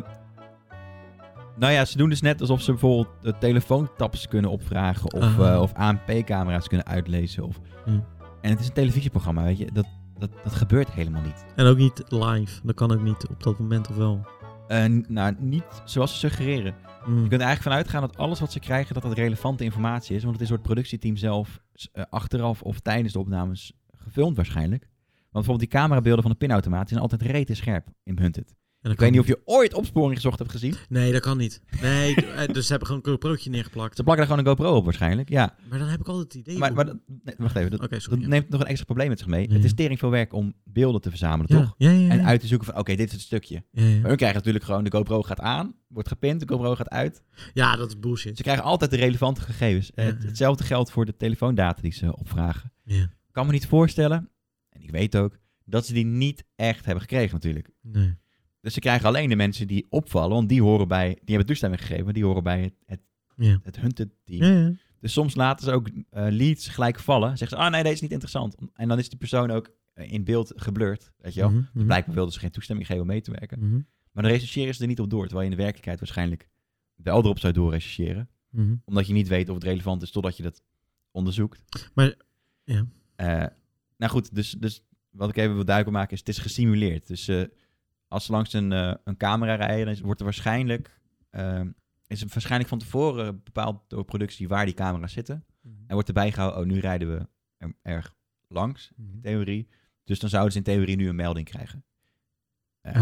nou ja, ze doen dus net alsof ze bijvoorbeeld eh, telefoontaps kunnen opvragen. Of, Ah. eh, of ANP-camera's kunnen uitlezen. Of... Hmm. En het is een televisieprogramma, weet je. Dat, dat, dat gebeurt helemaal niet. en ook niet live. Dat kan ook niet op dat moment, of wel. Eh, n- nou, niet zoals ze suggereren. Mm. Je kunt er eigenlijk vanuit gaan dat alles wat ze krijgen, dat dat relevante informatie is. Want het is door het productieteam zelf s- eh, achteraf of tijdens de opnames gefilmd waarschijnlijk. Want bijvoorbeeld die camerabeelden van de pinautomaat zijn altijd rete scherp in Hunted. En dat Ik weet kan niet of je ooit opsporing gezocht hebt gezien. Nee, dat kan niet. Nee, eh, dus ze hebben gewoon een GoPro'tje neergeplakt. Ze plakken er gewoon een GoPro op waarschijnlijk, ja. Maar dan heb ik altijd het idee... Maar, hoe- maar dat- nee, wacht even, dat, Oké, dat Oh, sorry. neemt nog een extra probleem met zich mee. Ja. Het is tering veel werk om beelden te verzamelen, Mhm. ja. toch? Ja, ja, ja. En uit te zoeken van, oké, dit is het stukje. Ja, ja. Maar hun krijgen natuurlijk gewoon, de GoPro gaat aan, wordt gepint, de GoPro gaat uit. Ja, dat is bullshit. Ze krijgen altijd de relevante gegevens. Ja. Het- hetzelfde geldt voor de telefoondata die ze opvragen. Ja. Ik kan me niet voorstellen, en ik weet ook, dat ze die niet echt hebben gekregen natuurlijk. Nee. Dus ze krijgen alleen de mensen die opvallen, want die horen bij, die hebben toestemming gegeven, die horen bij het, het, Ja. het hunted team. Ja, ja. Dus soms laten ze ook eh, leads gelijk vallen. Zeggen ze, ah nee, deze is niet interessant. En dan is die persoon ook eh, in beeld geblurred, weet je wel. Mhm, mhm, Blijkbaar wilden ze geen toestemming geven om mee te werken. mhm, Maar dan rechercheren ze er niet op door. Terwijl je in de werkelijkheid waarschijnlijk wel erop zou doorrechercheren. mhm. Omdat je niet weet of het relevant is totdat je dat onderzoekt. Maar- ja. Eh, nou goed, dus, dus wat ik even wil duidelijk maken is, het is gesimuleerd. Dus eh, als ze langs een, eh, een camera rijden, dan is- wordt er waarschijnlijk... eh, is er waarschijnlijk van tevoren bepaald door productie waar die camera's zitten. Mhm. En wordt erbij gehouden, oh, nu rijden we er, erg langs, in theorie. Dus dan zouden ze in theorie nu een melding krijgen. Ah.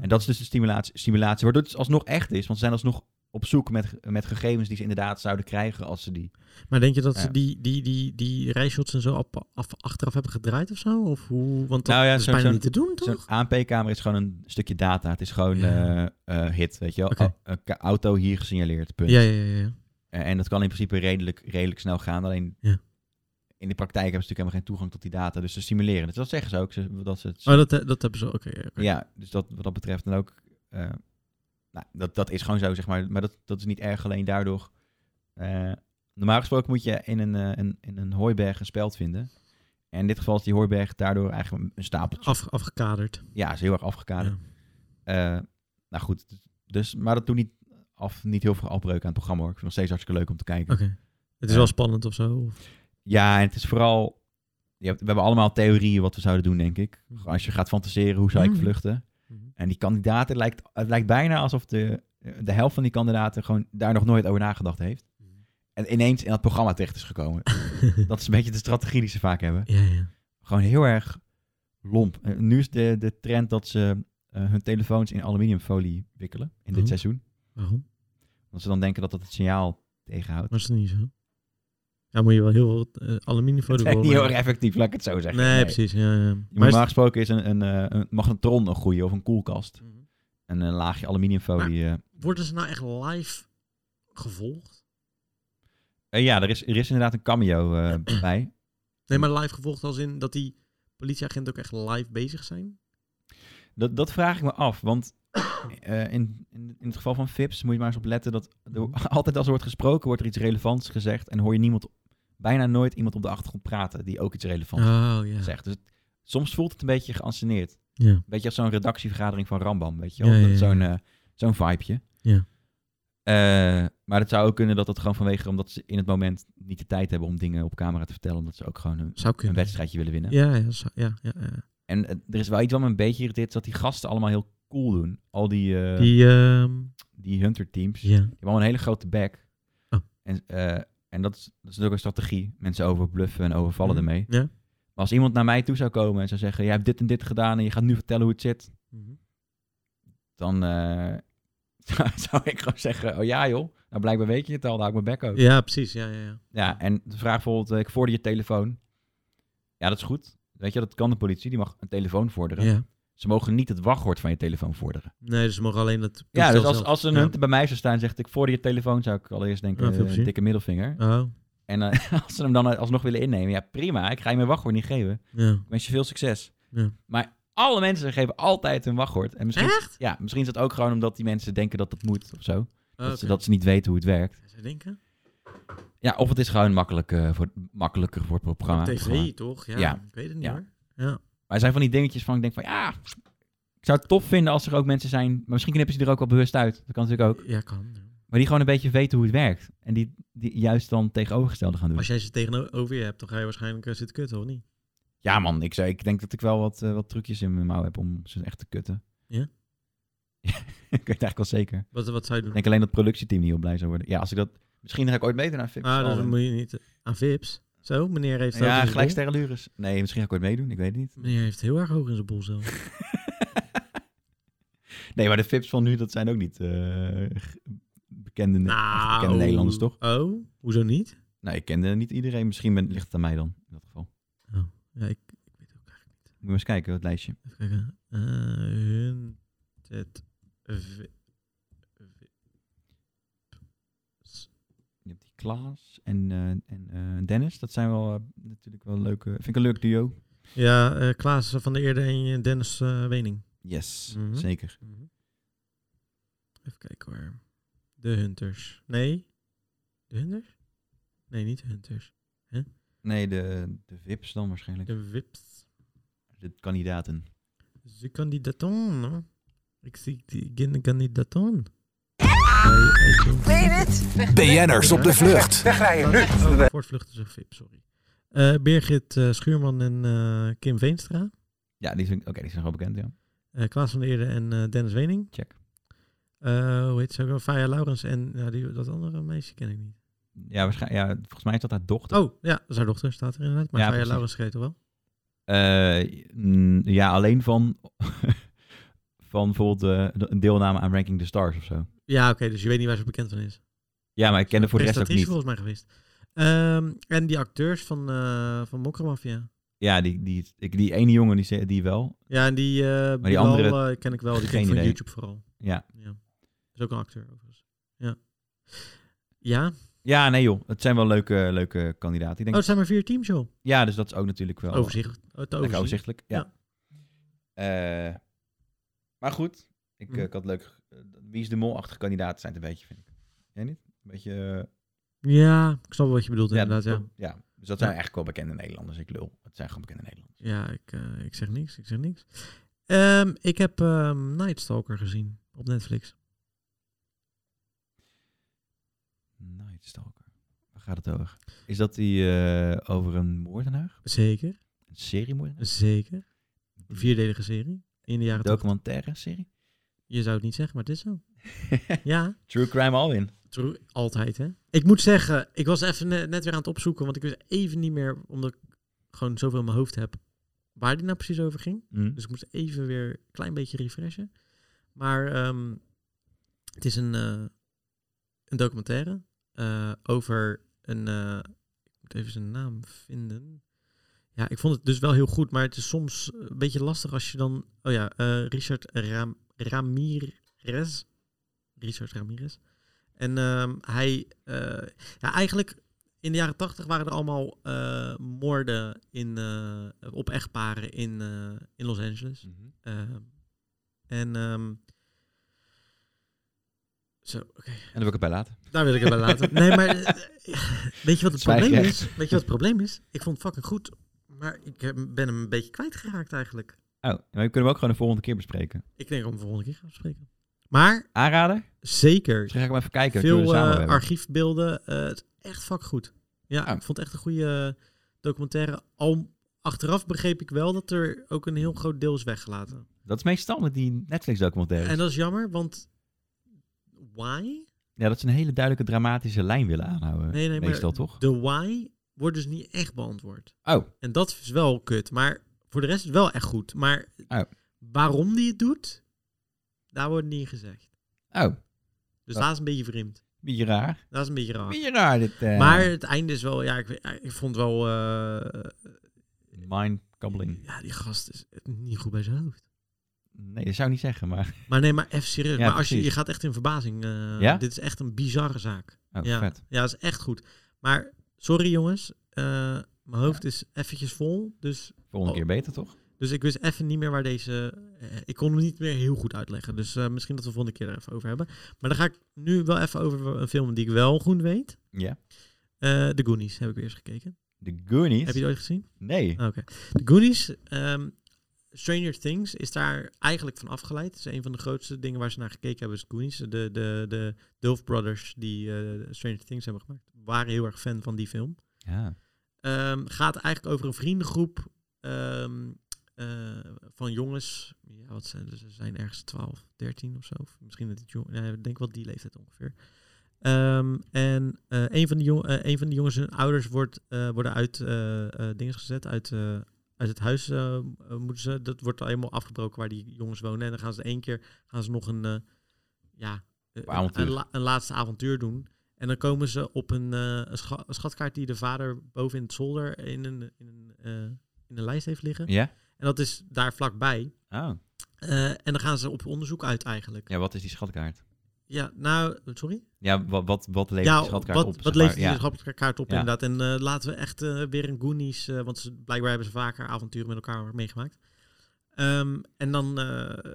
En dat is dus de stimulatie, stimulatie waardoor het alsnog echt is. Want ze zijn alsnog op zoek met, ge- met gegevens die ze inderdaad zouden krijgen als ze die... Maar denk je dat Ja. ze die, die, die, die rijshots en zo op, af, achteraf hebben gedraaid of zo? Of hoe? Want dat Nou ja, is zo'n- bijna zo'n- niet te doen, toch? Zo'n ANP-camera is gewoon een stukje data. Het is gewoon Ja. eh, eh, hit, weet je wel. Oké. Au- eh, ka- auto hier gesignaleerd, punt. Ja, ja, ja. ja. Eh, en dat kan in principe redelijk, redelijk snel gaan. Alleen Ja. in de praktijk hebben ze natuurlijk helemaal geen toegang tot die data. Dus ze simuleren het. Dat zeggen ze ook. Ze, dat ze het Oh, dat, dat hebben ze. Oké, oké. Ja, dus dat, wat dat betreft dan ook... eh, nou, dat, dat is gewoon zo, zeg maar. Maar dat, dat is niet erg, alleen daardoor... eh, normaal gesproken moet je in een, eh, een, in een hooiberg een speld vinden. En in dit geval is die hooiberg daardoor eigenlijk een- een stapeltje. Af, afgekaderd. Ja, is heel erg afgekaderd. Eh, nou goed, dus, maar dat doet niet, af, niet heel veel afbreuk aan het programma, hoor. Ik vind het nog steeds hartstikke leuk om te kijken. Oké. Het is Ja. wel spannend of zo. Of... Ja, en het is vooral... Je hebt, we hebben allemaal theorieën wat we zouden doen, denk ik. Als je gaat fantaseren, hoe zou ik Mm. vluchten? Mhm. En die kandidaten, het lijkt, het lijkt bijna alsof de, de helft van die kandidaten gewoon daar nog nooit over nagedacht heeft. Mhm. En ineens in dat programma terecht is gekomen. dat is een beetje de strategie die ze vaak hebben. Ja, ja. Gewoon heel erg lomp. Eh, nu is de, de trend dat ze eh, hun telefoons in aluminiumfolie wikkelen in dit Oh. seizoen. Waarom? Want ze dan denken dat dat het signaal tegenhoudt. Was het niet zo? Ja, moet je wel heel veel eh, aluminiumfolie Het is echt niet heel voor- erg effectief, laat ik het zo zeggen. eh, Nee, precies. Ja, ja. Maar Maar is- normaal gesproken is een, een, eh, een magnetron een goede of een koelkast. Mhm. En een laagje aluminiumfolie. eh. worden ze nou echt live gevolgd? Eh, ja, er is, er is inderdaad een cameo eh, bij. Nee, maar live gevolgd als in dat die politieagenten ook echt live bezig zijn? Dat, dat vraag ik me af, want eh, in, in, in het geval van Vips moet je maar eens op letten dat er, Mhm. altijd als er wordt gesproken wordt er iets relevants gezegd en hoor je niemand, bijna nooit iemand op de achtergrond praten die ook iets relevants Oh, ja. zegt. Dus het- soms voelt het een beetje geanceneerd. Ja. Een beetje als zo'n redactievergadering van Rambam, weet je wel? Ja, ja, Dat- ja. Zo'n eh, zo'n vibeje. Ja. Eh, maar het zou ook kunnen dat dat gewoon vanwege... omdat ze in het moment niet de tijd hebben om dingen op camera te vertellen... omdat ze ook gewoon een, Zou een kunnen. wedstrijdje willen winnen. Ja, ja, zo- ja, ja, ja. En eh, er is wel iets wat me een beetje irriteert... is dat die gasten allemaal heel cool doen. Al die, eh, die... Die, ehm, hunter teams. Die ja. hebben allemaal een hele grote back. Oh. En, eh, en dat, is, dat is natuurlijk een strategie. Mensen overbluffen en overvallen Mhm. ermee. Ja. Maar als iemand naar mij toe zou komen en zou zeggen... jij hebt dit en dit gedaan en je gaat nu vertellen hoe het zit... dan eh, zou- zou ik gewoon zeggen, oh ja joh, nou blijkbaar weet je het al, dan hou ik mijn bek ook. Ja, Ja, precies. Ja, ja, ja. en de vraag bijvoorbeeld, eh, ik vorder je telefoon. Ja, dat is goed. Weet je, dat kan de politie, die mag een telefoon vorderen. ja. Ze mogen niet het wachtwoord van je telefoon vorderen. Nee, dus ze mogen alleen dat. ja, dus toestel als, zelf. als een Ja. hunter bij mij zou staan en zegt, ik vorder je telefoon, zou ik allereerst Ja, denken, veel eh, plezier. dikke middelvinger. Oh, En eh, als ze hem dan alsnog willen innemen, ja prima, ik ga je mijn wachtwoord niet geven. ja. Ik wens je veel succes. Ja. Maar alle mensen geven altijd hun wachtwoord. En misschien, Echt? Ja, misschien is dat ook gewoon omdat die mensen denken dat dat moet of zo. Oh, Dat, ze, oké. dat ze niet weten hoe het werkt. Zij denken? Ja, of het is gewoon makkelijk, eh, voor, makkelijker voor het programma. Op Programma. tv, toch? Ja, Ja. Ik weet het niet Ja. hoor. Ja. Maar er zijn van die dingetjes van, ik denk van, ja, ik zou het tof vinden als er ook mensen zijn, maar misschien knippen ze er ook wel bewust uit. Dat kan natuurlijk ook. Ja, kan. ja. Maar die gewoon een beetje weten hoe het werkt. En die, die juist dan tegenovergestelde gaan doen. Als jij ze tegenover je hebt, dan ga je waarschijnlijk eh, zitten kutten, of niet? Ja man, ik, zou, ik denk dat ik wel wat, eh, wat trucjes in mijn mouw heb om ze echt te kutten. Ja? ik weet het eigenlijk wel zeker. Wat, wat zou je doen? Ik denk alleen dat het productieteam niet heel blij zou worden. Ja, als ik dat... Misschien ga ik ooit meedoen aan Fips. ah, dat Allen. moet je niet. Aan Vips. Zo, meneer heeft. hoog in ja, zijn gelijk sterrenlures. Nee, misschien ga ik ooit meedoen. Ik weet het niet. bol. Meneer heeft heel erg hoog in zijn bol zelf. Nee, maar de Fips van nu, dat zijn ook niet eh, g- bekende, Nou. echt bekende Nederlanders, toch? Oh, hoezo niet? Nou, ik kende niet iedereen. Misschien ben, ligt het aan mij dan, in dat geval. Ja, ik, ik weet ook eigenlijk niet. Moet je maar eens kijken, het lijstje. Even kijken. Eh, hun. Het. v- Je hebt die Klaas en, eh, en eh, Dennis. Dat zijn wel eh, natuurlijk wel leuke... Vind ik een leuk duo. Ja, eh, Klaas van der Eerde en eh, Dennis eh, Wening. Yes, Mhm. zeker. Even kijken hoor. De Hunters. Nee. De Hunters? Nee, niet de Hunters. Nee, de, de Vips dan waarschijnlijk. De Wips. De kandidaten. De kandidaton. hoor. Ik zie die geen kandidaton. BN'ers op de vlucht. Voortvluchten zijn VIP, sorry. Eh, Birgit eh, Schuurman en eh, Kim Veenstra. Ja, die zijn, oké, die zijn wel bekend, ja. Eh, Klaas van der Eerde en eh, Dennis Wening. Check. Eh, hoe heet ze ook wel? Faya Laurens en ja, die, dat andere meisje ken ik niet. Ja, waarschijnlijk, ja, volgens mij is dat haar dochter. Oh, ja, zijn dochter staat er inderdaad. Maar Ja, Faya precies. Laurens schreef er wel. Eh, mm, ja, alleen van, van bijvoorbeeld eh, de- een deelname aan Ranking the Stars of zo. Ja, oké, dus je weet niet waar ze bekend van is. Ja, maar ik ken er voor de rest ook Presentatrice niet. volgens mij geweest. Ehm, en die acteurs van, eh van Mokkermafia. Ja, die, die, ik, die ene jongen die, ze- die wel. Ja, en die, eh Bilal, andere- eh, ken ik wel. Die Geen ken ik van idee. YouTube vooral. Ja. Is ook een acteur overigens. Ja. Ja? ja, nee joh, het zijn wel leuke, leuke kandidaten. Ik Oh, denk, het zijn maar vier teams, joh. Ja, dus dat is ook natuurlijk wel Overzicht. Oh, Het lekker overzicht. overzichtelijk. Ja. Eh, maar goed, ik, Mhm. eh, ik had leuk. eh, wie is de mol-achtige kandidaat zijn het een beetje, vind ik. Jij niet? Een beetje... eh, Ja, ik snap wat je bedoelt ja, inderdaad, ja. ja, dus dat zijn Ja. eigenlijk wel bekende Nederlanders. Ik lul, het zijn gewoon bekende Nederlanders. Ja, ik, eh, ik zeg niks, ik zeg niks. Ehm, ik heb ehm Nightstalker gezien op Netflix. Night Stalker. Waar gaat het over? Is dat die eh, over een moordenaar? Zeker, Een Dus seriemoordenaar? zeker. Een vierdelige serie. In de jaren Een 80. documentaire serie? Je zou het niet zeggen, maar het is zo. ja. True Crime Alwin. True, altijd hè. Ik moet zeggen, ik was even ne- net weer aan het opzoeken, want ik wist even niet meer, omdat ik gewoon zoveel in mijn hoofd heb, waar die nou precies over ging. Mm. Dus ik moest even weer een klein beetje refreshen. Maar ehm, het is een, eh, een documentaire eh, over een, eh, ik moet even zijn naam vinden. Ja, ik vond het dus wel heel goed, maar het is soms een beetje lastig als je dan... Oh ja, eh, Richard Ram, Ramirez. Richard Ramirez. En ehm, hij... eh, ja, eigenlijk in de jaren tachtig waren er allemaal eh, moorden in, eh, op echtparen in, eh, in Los Angeles. Ehm, en... ehm, zo, oké. En dan wil ik het bij laten. Daar wil ik het bij laten. Nee, maar eh, weet je wat het Zwijgrecht. probleem is? Weet je wat het probleem is? Ik vond het fucking goed, maar ik eh, ben hem een beetje kwijtgeraakt eigenlijk. Oh, maar we kunnen hem ook gewoon de volgende keer bespreken. Ik denk om de volgende keer gaan spreken. Maar Aanrader? zeker, Misschien ga ik hem even kijken. wat veel jullie samen eh, hebben. archiefbeelden. eh, het is echt fucking goed. Ja, Ah. ik vond het echt een goede eh, documentaire. Al achteraf begreep ik wel dat er ook een heel groot deel is weggelaten. Dat is meestal met die Netflix-documentaires. En dat is jammer, want why? Ja, dat ze een hele duidelijke dramatische lijn willen aanhouden. Nee, nee, maar- meestal toch? De why wordt dus niet echt beantwoord. Oh, En dat is wel kut. Maar voor de rest is het wel echt goed. Maar Oh. waarom die het doet, daar wordt niet gezegd. oh. Dus Dat- dat is een beetje vreemd. Beetje raar. Dat is een beetje raar. Beetje raar dit. eh, Maar het einde is wel, ja, ik, weet- ja, ik vond wel, eh, Mind-coupling. ja, die gast is niet goed bij zijn hoofd. Nee, dat zou ik niet zeggen, maar... Maar nee, maar even serieus. Ja, maar als je, precies. je gaat echt in verbazing. eh, Ja? Dit is echt een bizarre zaak. Oh, ja. vet. ja, dat is echt goed. Maar sorry jongens, eh, mijn hoofd is eventjes vol. Dus Volgende Oh. keer beter, toch? Dus ik wist even niet meer waar deze. eh, ik kon hem niet meer heel goed uitleggen. Dus eh, misschien dat we volgende keer er even over hebben. Maar dan ga ik nu wel even over een film die ik wel goed weet. Ja. Eh The Goonies heb ik weer eens gekeken. De Goonies? Heb je die ooit gezien? Nee. Ah, Oké. The Goonies. ehm, Stranger Things is daar eigenlijk van afgeleid. Het is een van de grootste dingen waar ze naar gekeken hebben. Is Goonies. De, de, de Dulf Brothers die eh, Stranger Things hebben gemaakt. Waren heel erg fan van die film. Ja. Ehm, gaat eigenlijk over een vriendengroep ehm, eh, van jongens. Ja, wat zijn ze? Ze zijn ergens 12, 13 of zo. Of Misschien dat het jong, nee, ik denk wel die leeftijd ongeveer. Ehm, en eh, een, van de jong, eh, een van de jongens en ouders wordt, eh, worden uit eh eh, dingen gezet, uit, eh, uit het huis eh, eh, moeten ze. Dat wordt al helemaal afgebroken waar die jongens wonen. En dan gaan ze één keer gaan ze nog een, eh, ja, eh, een- Avontuur. een la- een laatste avontuur doen. En dan komen ze op een, eh, een, scha- een schatkaart die de vader boven in het zolder in een, in een, eh, in een lijst heeft liggen. Ja? En dat is daar vlakbij. Oh. Eh, en dan gaan ze op onderzoek uit eigenlijk. Ja, Ja, wat is die schatkaart? nou, sorry? Ja, wat, wat, wat levert ja, Nou, die wat, schatkaart op? zeg wat maar? levert die ja. schatkaart op Ja. inderdaad. En eh, laten we echt eh, weer een Goonies, eh, want ze, blijkbaar hebben ze vaker avonturen met elkaar meegemaakt. Ehm, en dan, eh,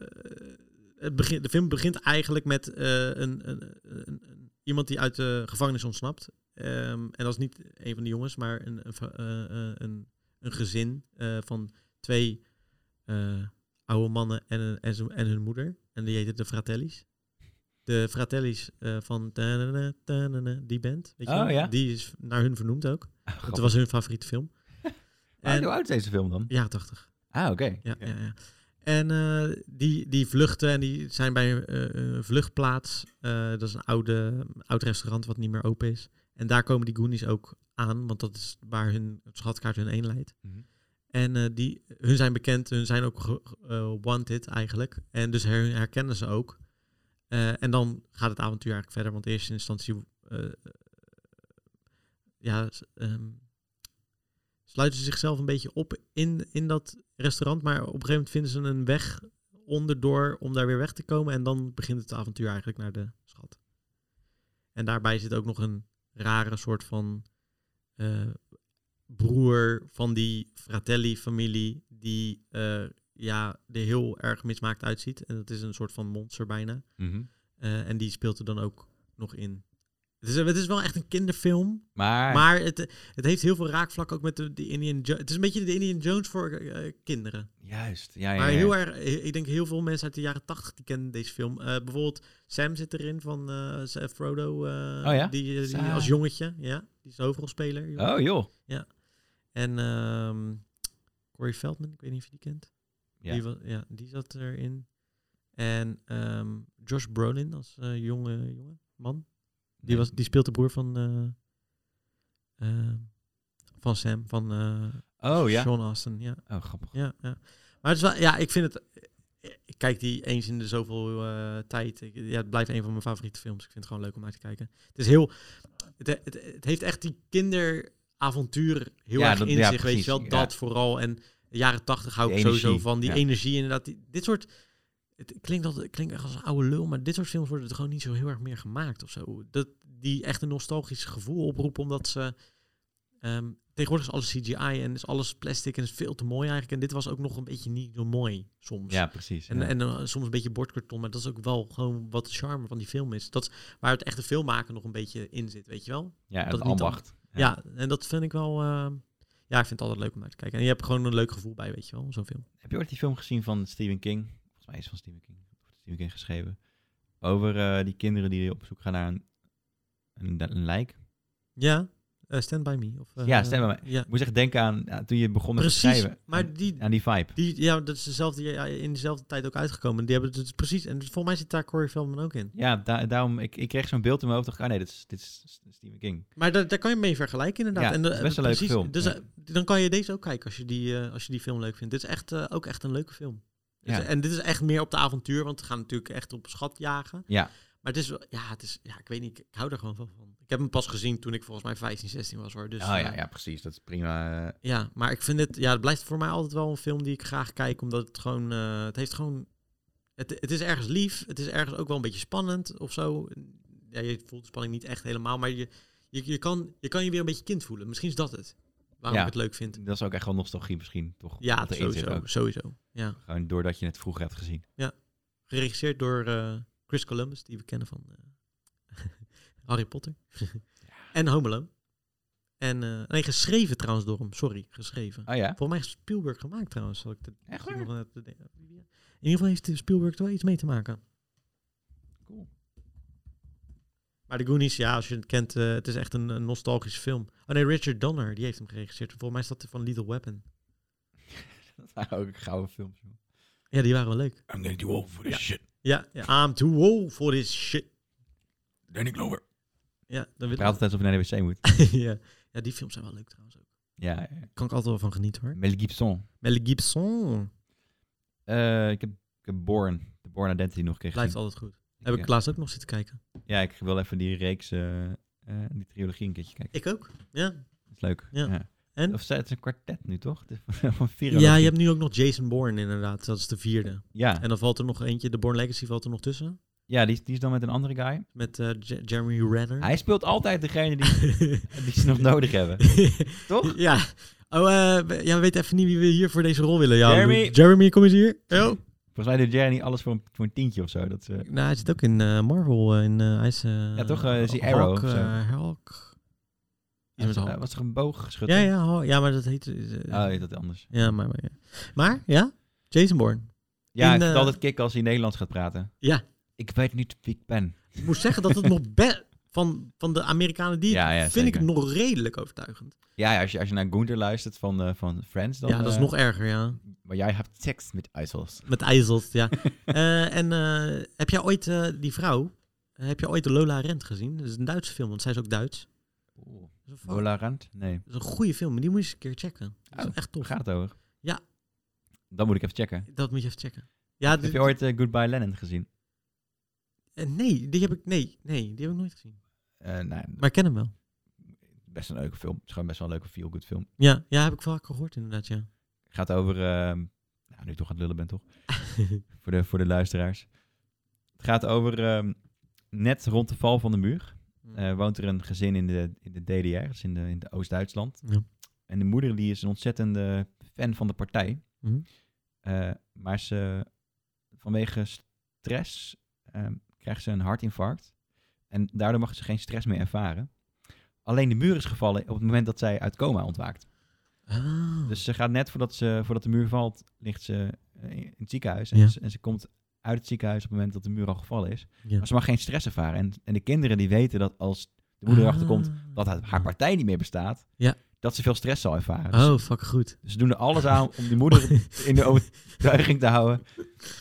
het begin, de film begint eigenlijk met eh, een, een, een- een- iemand die uit de gevangenis ontsnapt. Ehm, en dat is niet een van de jongens, maar een, een, va- eh, eh, een, een gezin eh, van twee eh, oude mannen en, een- en, zo- en hun moeder. En die heette de Fratellis. De Fratellis eh, van tanana, tanana, die band, weet je Oh, wel? ja. die is naar hun vernoemd ook. Ah, grappig. Dat was hun favoriete film. Ah, Hoe En, oud is deze film dan? ja, 80. Ah, oké. Ja, ja, ja. En eh, die, die vluchten en die zijn bij eh, een vluchtplaats. Eh, dat is een oude, oud restaurant wat niet meer open is. En daar komen die Goonies ook aan, want dat is waar hun schatkaart hun heen leidt. Mhm. En eh, die, hun zijn bekend, hun zijn ook ge- eh, wanted eigenlijk. En dus her- herkennen ze ook. Eh, en dan gaat het avontuur eigenlijk verder, want in eerste instantie eh, ja, s- ehm, sluiten ze zichzelf een beetje op in, in dat restaurant. Maar op een gegeven moment vinden ze een weg onderdoor om daar weer weg te komen. En dan begint het avontuur eigenlijk naar de schat. En daarbij zit ook nog een rare soort van eh, broer van die Fratelli-familie. Die eh, ja, er heel erg mismaakt uitziet. En dat is een soort van monster bijna. Mhm. Eh, en die speelt er dan ook nog in. Het is, het is wel echt een kinderfilm. Maar, Maar het, het heeft heel veel raakvlak ook met de, die Indian Jones. Het is een beetje de Indian Jones voor eh, kinderen. Juist. Ja, ja, Maar ja. heel erg, eh, ik denk heel veel mensen uit de jaren tachtig die kennen deze film. Eh, bijvoorbeeld Sam zit erin van eh, Seth Frodo. eh, Oh ja? die, die Sam. als jongetje, ja. Die is de hoofdrolspeler. joh. Oh, joh. En ehm Corey Feldman, ik weet niet of je die kent. Ja. Die, wa- ja, die zat erin. En ehm, Josh Brolin als eh, jonge, jonge man. Die, Nee. was, die speelt de broer van, eh, ehm, van Sam, van eh, Oh, ja. Sean Astin. Ja, Oh, grappig. ja, ja. Maar het is wel, ja, ik vind het... Ik kijk die eens in de zoveel eh, tijd. Ik- ja, het blijft een van mijn favoriete films. Ik vind het gewoon leuk om naar te kijken. Het is heel... Het, het, het heeft echt die kinderachtige avontuur heel Ja, erg dat- in ja, zich, weet precies, je wel. ja. Dat vooral. En de jaren tachtig hou Die ik sowieso energie, van. Die ja. energie inderdaad. Die, dit soort... Het klinkt, altijd, het klinkt echt als een oude lul, maar dit soort films worden er gewoon niet zo heel erg meer gemaakt of zo. Dat, die echt een nostalgisch gevoel oproepen, omdat ze... ehm, tegenwoordig is alles CGI en is alles plastic en is veel te mooi eigenlijk. En dit was ook nog een beetje niet zo mooi soms. Ja, precies. En, ja. en eh, soms een beetje bordkarton, maar dat is ook wel gewoon wat de charme van die film is. Dat is waar het echte filmmaken nog een beetje in zit, weet je wel? ja, dat het het niet ambacht. Ja, en dat vind ik wel... eh, ja, ik vind het altijd leuk om naar te kijken. En je hebt er gewoon een leuk gevoel bij, weet je wel, zo'n film. Heb je ooit die film gezien van Stephen King? Volgens mij is het van Stephen King. Of Stephen King geschreven. Over eh, die kinderen die op zoek gaan naar een, een, een lijk. Ja, eh, Stand By Me. Of, eh, Ja, Stand By eh, Ja. Ik moest echt denken aan ja, toen je begon met Precies, schrijven. maar die, Aan die vibe. die... Ja, dat is dezelfde, ja, in dezelfde tijd ook uitgekomen. Die hebben het dus precies... En volgens mij zit daar Corey Feldman ook in. Ja, da- daarom, ik, ik kreeg zo'n beeld in mijn hoofd. dacht ik, ah nee, dit is, dit is Stephen King. Maar daar, daar kan je mee vergelijken inderdaad. Ja, en, het eh, is best een leuke film, Dus ja. eh, dan kan je deze ook kijken als je die, eh, als je die film leuk vindt. Dit is echt, eh, ook echt een leuke film. Dus- Ja. en dit is echt meer op de avontuur, want we gaan natuurlijk echt op schat jagen. Ja. Maar het is, wel- ja, het is, ja, ik weet niet, ik hou er gewoon van. van. Ik heb hem pas gezien toen ik volgens mij 15, 16 was hoor. Dus, oh ja, eh, ja, precies. Dat is prima. eh, ja, maar ik vind het, ja, het blijft voor mij altijd wel een film die ik graag kijk, omdat het gewoon, eh, het heeft gewoon, het, het is ergens lief, het is ergens ook wel een beetje spannend of zo. Ja, je voelt de spanning niet echt helemaal, maar je, je, je, kan, je kan je weer een beetje kind voelen. Misschien is dat het, waarom Ja. ik het leuk vind. dat is ook echt wel nostalgie misschien, toch? Ja, Wat erin zit sowieso, ook. sowieso. Ja. Gewoon doordat je het vroeger hebt gezien. Geregisseerd door eh, Chris Columbus, die we kennen van eh, Harry Potter. En Home Alone. En, eh, nee, geschreven trouwens door hem, sorry, geschreven. Oh ja? Volgens mij is Spielberg gemaakt trouwens. Zal ik te- Echt zit waar? nog net te denken. In ieder geval heeft Spielberg er wel iets mee te maken. Cool. Maar de Goonies, ja, als je het kent, eh, het is echt een, een nostalgische film. Oh nee, Richard Donner, die heeft hem geregisseerd. Volgens mij is dat van Little Weapon. Dat waren ook gouden films, joh. Ja, die waren wel leuk. I'm gonna do all for this shit. Ja, ja I'm too old for this shit. Danny Glover. Ja, dan Ik wil praat altijd alsof je naar de wc moet. ja. ja, die films zijn wel leuk trouwens ook. ja, ja. Kan ik altijd wel van genieten hoor. Mel Gibson. Mel Gibson. Eh, ik, heb, ik heb Born, de Born Identity nog een keer Blijft gezien. altijd goed. Heb ik ja. laatst ook nog zitten kijken. ja, ik wil even die reeks, eh, eh, die trilogie een keertje kijken. Ik ook. Ja. Dat is leuk. Ja. En? Of ze- het is een kwartet nu, toch? Het is Van vier Ja, je hebt nu ook nog Jason Bourne inderdaad. Dat is de vierde. ja. En dan valt er nog eentje, de Born Legacy valt er nog tussen. ja die, is- die is dan met een andere guy. Met eh, Je- Jeremy Renner. Hij speelt altijd degene die, die ze nog nodig hebben. Toch? ja. Oh, eh, we- ja, we weten even niet wie we hier voor deze rol willen. Ja, Jeremy. Jeremy, kom eens hier. Yo. Volgens mij doet Jerry niet alles voor een, voor een tientje of zo. Dat ze, Nou, hij zit ook in eh, Marvel. eh, in, eh, hij is, eh, Ja, toch, eh, is hij Hulk, Arrow of zo? eh, Hulk. Iets met hij Hulk. was toch een boog geschud? Ja, ja, Hulk. ja, maar dat heet... eh, Oh, is dat anders? Ja, maar, maar, ja. maar, ja, Jason Bourne. Ja, In, ik vind eh, het altijd kick als hij Nederlands gaat praten. Ja. Ik weet niet wie ik ben. Ik moet zeggen dat het nog best... Van, van de Amerikanen die Ja, ja, vind ik zeker. het nog redelijk overtuigend. Ja, ja, als, je, als je naar Gunther luistert van, eh, van Friends, dan... ja, dat is eh, nog erger, ja. Maar jij hebt tekst met IJssels. Met ijzels, ja. Eh, en eh, heb jij ooit eh, die vrouw, eh, heb je ooit de Lola Rent gezien? Dat is een Duitse film, want zij is ook Duits. Oh. Dat is een, fuck- Lola Rand? Nee. dat is een goede film, maar die moet je eens een keer checken. Dat is Oh, echt Hoe tof. gaat het over? Ja. Dan moet ik even checken. Dat moet je even checken. Ja, Heb dit- je ooit eh, Goodbye Lennon gezien? eh, nee, die heb ik, nee, nee, die heb ik nooit gezien. Eh, nee, Maar ik ken hem wel. best een leuke film. Het is gewoon best wel een leuke feel-good film. Ja, ja, heb ik vaak gehoord inderdaad, ja. Gaat over... ehm, nou, nu ik toch aan het lullen ben, toch? voor, de, voor de luisteraars. Het gaat over... ehm, net rond de val van de muur eh, woont er een gezin in de, in de DDR, dus in, de, in de Oost-Duitsland. Ja. En de moeder die is een ontzettende fan van de partij. Mhm. Eh, maar ze, vanwege stress ehm, krijgt ze een hartinfarct. En daardoor mag ze geen stress meer ervaren. Alleen de muur is gevallen op het moment dat zij uit coma ontwaakt. Ah. Dus ze gaat net voordat, ze, voordat de muur valt, ligt ze eh, in het ziekenhuis. En, Ja. ze, en ze komt uit het ziekenhuis op het moment dat de muur al gevallen is. Ja. Maar ze mag geen stress ervaren. En, en de kinderen die weten dat als de moeder erachter komt Ah. dat haar- haar partij niet meer bestaat, Ja. dat ze veel stress zal ervaren. Dus Oh, fuck goed. ze doen er alles aan om die moeder in de overtuiging te houden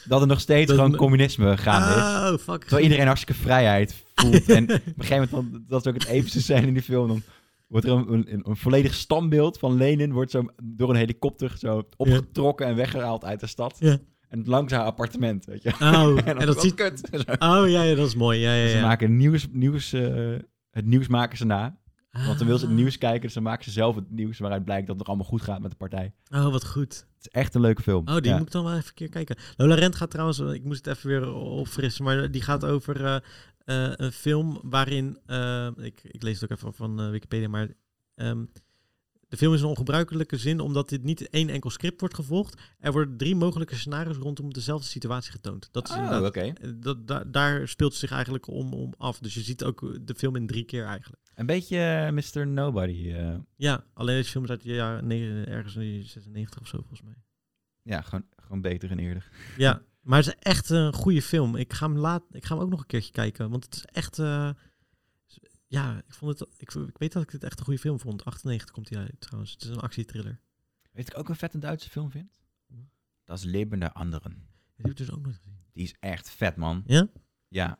dat er nog steeds Dat gewoon me- communisme gaande is. Oh, fuck. Terwijl iedereen hartstikke vrijheid voelt. en op een gegeven moment, dan- dat is ook het evenste zijn in die film, dan wordt er een, een, een volledig standbeeld van Lenin wordt zo door een helikopter zo opgetrokken en weggehaald uit de stad. Ja. En langs haar appartement, weet je. Oh, En en dat, dat is ziet... kut. Zo. Oh, ja, ja, dat is mooi. Ja, ja, Ze ja. maken nieuws, nieuws, eh, het nieuws maken ze na. Want dan wil Ah. ze het nieuws kijken, dus dan maken ze zelf het nieuws waaruit blijkt dat het nog allemaal goed gaat met de partij. Oh, wat goed. Het is echt een leuke film. Oh, die Ja. moet ik dan wel even een keer kijken. Lola Rent gaat trouwens, eh, ik moest het even weer opfrissen, maar die gaat over eh, eh, een film waarin, eh, ik, ik lees het ook even van eh, Wikipedia, maar ehm, de film is een ongebruikelijke zin omdat dit niet één enkel script wordt gevolgd. Er worden drie mogelijke scenario's rondom dezelfde situatie getoond. Dat is Oh, inderdaad, oké. eh, dat, daar- daar speelt het zich eigenlijk om, om af. Dus je ziet ook eh, de film in drie keer eigenlijk. Een beetje eh, Mr. Nobody. eh, Ja, alleen deze film is uit de jaren negen- ergens in de jaren 96 of zo volgens mij. ja, gewoon, gewoon beter en eerder. Ja, maar het is echt een goede film. Ik ga hem, laat, ik ga hem ook nog een keertje kijken. Want het is echt. eh, ja, ik, vond het, ik, ik weet dat ik dit echt een goede film vond. 98 komt hij uit trouwens. Het is een actietriller. Weet ik ook een vet een Duitse film vind? Hm? Dat is Leben der Anderen. Die heb ik dus ook nog gezien. Die is echt vet, man. Ja? Ja.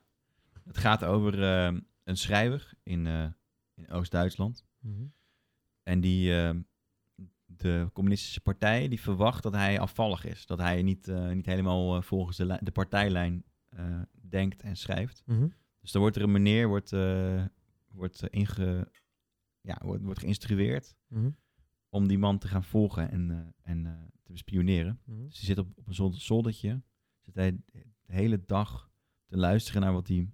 Het gaat over eh, een schrijver in, eh, in Oost-Duitsland. En die, eh, de communistische partij, die verwacht dat hij afvallig is. Dat hij niet, eh, niet helemaal eh, volgens de, li- de partijlijn eh, denkt en schrijft. Mhm. Dus dan wordt er een meneer wordt, eh, wordt, eh, inge, ja, wordt, wordt geïnstrueerd Mhm. om die man te gaan volgen en, eh, en eh, te bespioneren. Mhm. Dus die zit op, op een zolder- zoldertje. Zit hij de hele dag te luisteren naar wat die,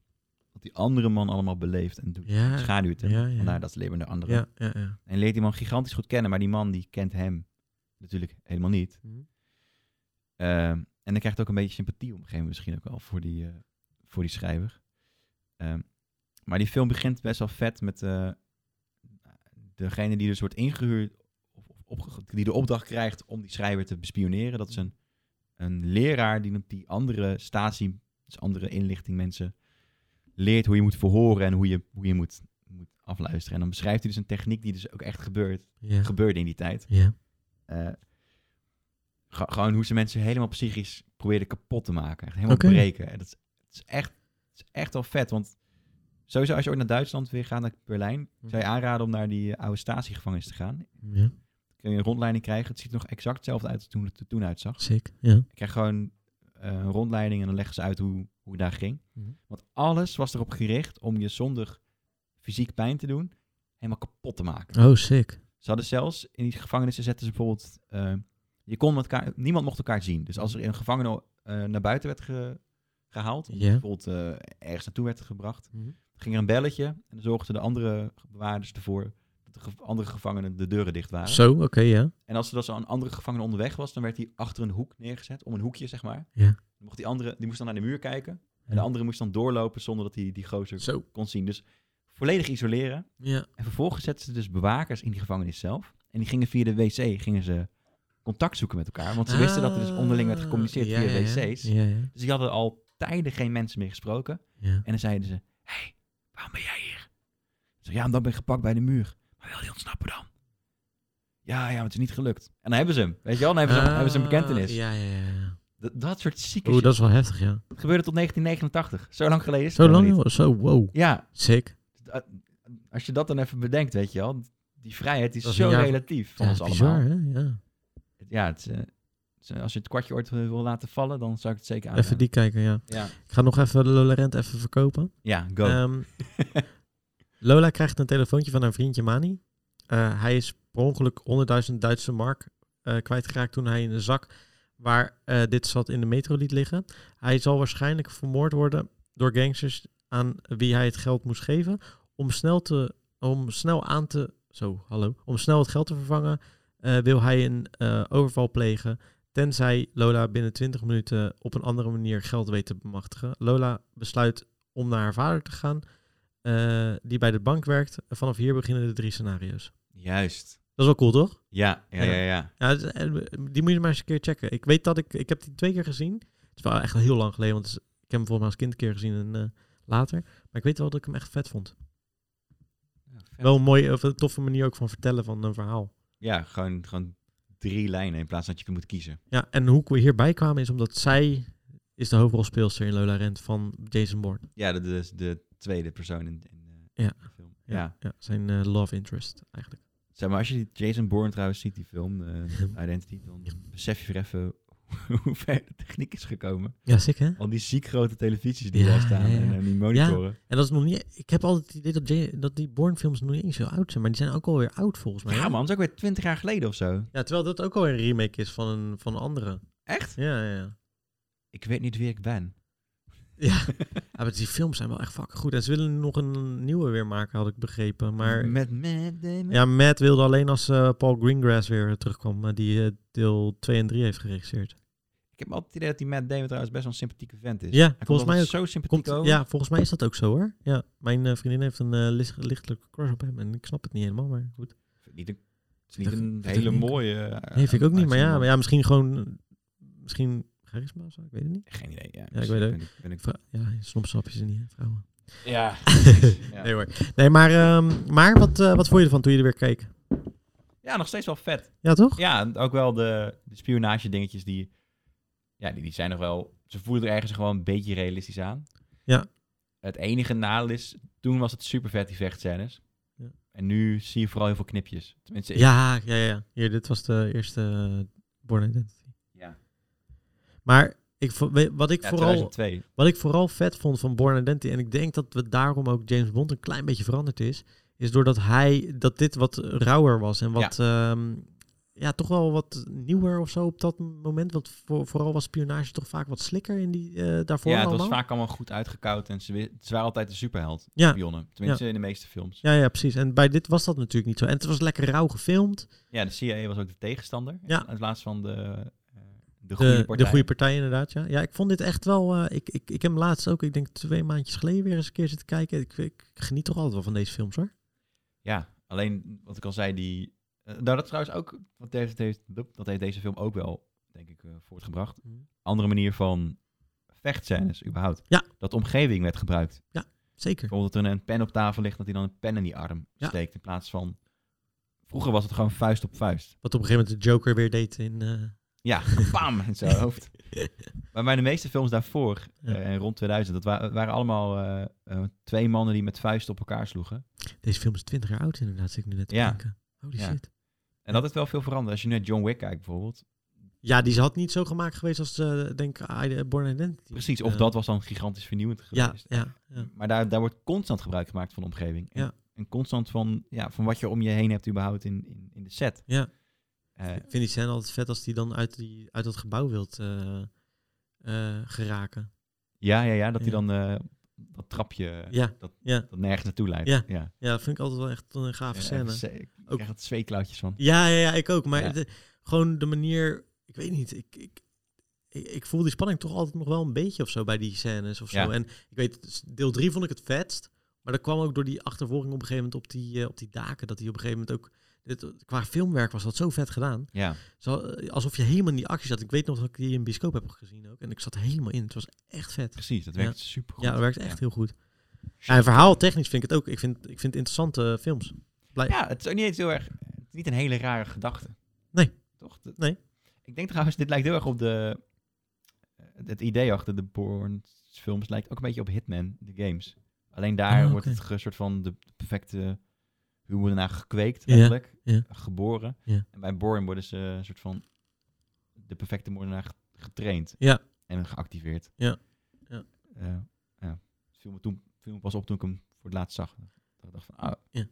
wat die andere man allemaal beleeft en doet. Ja. Schaduwt hem. Ja, ja. Vandaar dat leven de andere. Ja, ja, ja. En leert die man gigantisch goed kennen, maar die man die kent hem natuurlijk helemaal niet. Mhm. Ehm, en dan krijgt hij ook een beetje sympathie op een gegeven moment misschien ook al voor die, eh, voor die schrijver. Ehm, maar die film begint best wel vet met eh, degene die dus wordt ingehuurd, of, of opge- die de opdracht krijgt om die schrijver te bespioneren. Dat is een, een leraar die, die andere statie, dus andere inlichting mensen, leert hoe je moet verhoren en hoe je, hoe je moet, moet afluisteren. En dan beschrijft hij dus een techniek die dus ook echt gebeurt, Ja. gebeurde in die tijd. ja. Eh, ge- gewoon hoe ze mensen helemaal psychisch probeerden kapot te maken. Echt helemaal Oké. breken. En dat is, het is echt, het is echt wel vet. Want sowieso als je ooit naar Duitsland weer gaat, naar Berlijn... Hm. zou je aanraden om naar die eh, oude statiegevangenis te gaan. Ja. Kun je een rondleiding krijgen. Het ziet er nog exact hetzelfde uit als toen het er toen uitzag. Sick. Ja. Ik krijg gewoon eh, een rondleiding en dan leggen ze uit hoe, hoe het daar ging. Mhm. Want alles was erop gericht om je zonder fysiek pijn te doen... helemaal kapot te maken. Oh, sick. Ze hadden zelfs in die gevangenissen zetten ze bijvoorbeeld. eh, je kon elkaar, niemand mocht elkaar zien. Dus als er een gevangene eh, naar buiten werd ge- gehaald, of Mhm. Ja. bijvoorbeeld eh, ergens naartoe werd gebracht, Mhm. ging er een belletje en dan zorgden de andere bewaarders ervoor dat de ge- andere gevangenen de deuren dicht waren. Zo, oké, ja. En als er dus een andere gevangene onderweg was, dan werd hij achter een hoek neergezet, om een hoekje zeg maar. Ja. Dan mocht die andere, die moest dan naar de muur kijken en de Ja. andere moest dan doorlopen zonder dat hij die gozer Zo. kon zien. Dus volledig isoleren. Ja. En vervolgens zetten ze dus bewakers in die gevangenis zelf. En die gingen via de wc gingen ze contact zoeken met elkaar. Want ze wisten dat er dus onderling werd gecommuniceerd Ah, ja, via ja, ja. wc's. Ja, ja. Dus die hadden al tijden geen mensen meer gesproken. ja. En dan zeiden ze, hé, hey, waarom ben jij hier? Ik Zeg, ja, omdat ik ben gepakt bij de muur. Maar wil die ontsnappen dan? Ja, ja, maar het is niet gelukt. En dan hebben ze hem. Weet je wel, dan hebben ze, hem- Ah, hebben ze een bekentenis. Ja, ja, ja, ja. Dat- Dat soort zieke Oeh, shit. dat is wel heftig, ja. Dat gebeurde tot 1989. Zo lang geleden is het Zo helemaal lang, niet. joh. Zo, wow. Ja, Sick. als je dat dan even bedenkt, weet je wel, die vrijheid is Dat is zo een jaar- relatief van Ja, ons bizar, allemaal. hè? Ja. Ja, het, is, eh, het is, eh, als je het kwartje ooit wil wil laten vallen, dan zou ik het zeker aan. Even die kijken, ja. Ja, Ik ga nog even Lola Rent even verkopen. ja go. Ehm, Lola krijgt een telefoontje van haar vriendje Mani. Eh, hij is per ongeluk 100.000 Duitse mark eh, kwijtgeraakt toen hij in een zak waar eh, dit zat in de metro liet liggen. Hij zal waarschijnlijk vermoord worden door gangsters aan wie hij het geld moest geven. Om snel, te, om snel aan te... Zo, hallo. Om snel het geld te vervangen eh, wil hij een eh, overval plegen. Tenzij Lola binnen 20 minuten op een andere manier geld weet te bemachtigen. Lola besluit om naar haar vader te gaan, eh, die bij de bank werkt. Vanaf hier beginnen de drie scenario's. Juist. Dat is wel cool, toch? Ja, ja, ja, Ja. ja. Ja, het is- eh, die moet je maar eens een keer checken. Ik weet dat ik, ik heb die twee keer gezien. Het is wel echt heel lang geleden, want het is- ik heb hem volgens mij als kind een keer gezien en eh, later. Maar ik weet wel dat ik hem echt vet vond. Wel een mooie, of een toffe manier ook van vertellen van een verhaal. Ja, gewoon, gewoon drie lijnen in plaats van dat je moet kiezen. Ja, en hoe we hierbij kwamen is omdat zij is de hoofdrolspeelster in Lola Rent van Jason Bourne. Ja, dat is de tweede persoon in, in, eh, Ja. de film. Ja. Ja, ja zijn eh, love interest eigenlijk. Zeg maar, als je die Jason Bourne trouwens ziet, die film, eh, Identity, dan besef je weer even hoe ver de techniek is gekomen. Ja, sick hè? Al die ziek grote televisies die Ja, daar staan ja, ja. en eh, die monitoren. En dat is nog niet. Ik heb altijd het idee dat, J- dat die Bourne-films nog niet eens zo oud zijn, maar die zijn ook alweer oud volgens Ja, mij. hè? man, dat is ook weer twintig jaar geleden of zo. Ja, terwijl dat ook alweer een remake is van een, van een andere. Echt? Ja, ja, ja. Ik weet niet wie ik ben. Ja. Ja, maar die films zijn wel echt fucking goed. En ze willen nog een nieuwe weer maken, had ik begrepen. Maar Met Matt Damon? ja, Matt wilde alleen als eh, Paul Greengrass weer terugkwam, eh, die eh, deel 2 en 3 heeft geregisseerd. Ik heb altijd het idee dat die Matt Damon trouwens best wel een sympathieke vent is. Ja, Hij komt volgens mij altijd zo sympathiek Komt, over. ja, volgens mij is dat ook zo hoor. Ja, mijn eh, vriendin heeft een eh, lis- lichtelijke crush op hem en ik snap het niet helemaal, maar goed. Ik vind het Niet een, het is niet een ik- hele ik- mooie... eh, Nee, vind ik ook niet, maar ja, uitzending. maar ja misschien gewoon, eh, misschien charisma of zo, ik weet het niet. Geen idee, ja. Ja, ik weet het Ben ben ik, Vrou- ja, soms snap je ze niet, hè, vrouwen. ja. Ja. Nee hoor. Nee, maar, ehm, maar wat, eh, wat vond je ervan toen je er weer keek? ja, nog steeds wel vet. Ja, toch? Ja, en ook wel de, de spionage dingetjes die, ja, die, die zijn nog wel, ze voelen er ergens gewoon een beetje realistisch aan. Ja. Het enige nadeel is, toen was het super vet die vechtscènes. Ja. En nu zie je vooral heel veel knipjes. Tenminste, ik- Ja, ja, ja. Hier, dit was de eerste eh, Born Identity. ja. Maar ik, vo- weet- wat, ik Ja, vooral, 2002. wat ik vooral vet vond van Born Identity, en ik denk dat we daarom ook James Bond een klein beetje veranderd is, is doordat hij, dat dit wat rauwer was en wat, ja, ja toch wel wat nieuwer of zo op dat moment. Want voor- vooral was spionage toch vaak wat slikker in die, eh, daarvoor Ja, het was allemaal. vaak allemaal goed uitgekoud en ze, wi- ze waren altijd de superheld, de Ja. spionnen. Tenminste, in de meeste films. Ja, ja, precies. En bij dit was dat natuurlijk niet zo. En het was lekker rauw gefilmd. Ja, de CIA was ook de tegenstander. Ja. In plaats van de, eh, de goede De, partij. de goede partij, inderdaad. Ja. ja, ik vond dit echt wel. eh, ik, ik, ik heb hem laatst ook, ik denk twee maandjes geleden, weer eens een keer zitten kijken. Ik, ik geniet toch altijd wel van deze films hoor. Ja, alleen wat ik al zei, die. eh, nou, dat is trouwens ook. Wat heeft, heeft, dat heeft deze film ook wel, denk ik, eh, voortgebracht. Mhm. Andere manier van vechtscènes, überhaupt. Ja. Dat de omgeving werd gebruikt. Zeker. Bijvoorbeeld dat er een pen op tafel ligt, dat hij dan een pen in die arm Ja. steekt. In plaats van. Vroeger was het gewoon vuist op vuist. Wat op een gegeven moment de Joker weer deed in. eh, Ja, bam, in zijn hoofd. Maar bij de meeste films daarvoor, Ja. eh, en rond 2000, dat wa- waren allemaal eh, eh, twee mannen die met vuisten op elkaar sloegen. deze film is 20 jaar oud, inderdaad, zit ik nu net te Ja. denken. Holy Ja. shit. En dat is wel veel veranderd. Als je naar John Wick kijkt bijvoorbeeld. Ja, die had niet zo gemaakt geweest als, eh, denk ik, I- Born Identity. Precies, of Eh, dat was dan gigantisch vernieuwend Ja, geweest. ja, ja. Maar daar, daar wordt constant gebruik gemaakt van de omgeving. En, Ja. en constant van, ja, van wat je om je heen hebt überhaupt in, in, in de set. Ja. Eh, Ik vind die scène altijd vet als die dan uit, die, uit dat gebouw wilt eh, eh, geraken. ja, ja, ja, dat hij Ja. dan eh, dat trapje Ja, dat, ja. dat nergens naartoe leidt. Ja. ja. Ja, dat vind ik altijd wel echt een gave Ja, scène. echt, eh, Ik Ook- krijg het zweeklauwtjes van. Ja, ja, ja, ik ook. Maar Ja. de- gewoon de manier, ik weet niet, ik, ik, ik, ik voel die spanning toch altijd nog wel een beetje of zo bij die scènes of zo. Ja. En ik weet, deel 3 vond ik het vetst, maar dat kwam ook door die achtervolging op een gegeven moment op die, eh, op die daken, dat die op een gegeven moment ook, dit, qua filmwerk was dat zo vet gedaan. Ja. Zo, eh, alsof je helemaal in die actie zat. Ik weet nog dat ik die in bioscoop heb gezien ook en ik zat er helemaal in. Het was echt vet. Precies, dat werkt super goed. Ja, dat werkt echt heel goed. Ja, en verhaal technisch vind ik het ook. Ik vind, ik vind het interessante eh, films. Ja, het is ook niet eens heel erg. Het is niet een hele rare gedachte. Nee. Toch? Dat- Nee. Ik denk trouwens, dit lijkt heel erg op de. eh, Het idee achter de Bourne-films lijkt ook een beetje op Hitman, de games. Alleen daar Ah, wordt oké. het ge- soort van de perfecte humor daarna gekweekt, Ja, eigenlijk. ja. Geboren. Ja. En bij Bourne worden ze een soort van de perfecte moordenaar ge- getraind. Ja. En geactiveerd. Ja. Ja. Eh, ja. Het viel me, toen, viel me pas op toen ik hem voor het laatst zag. Dat ik dacht van, ah, Ja.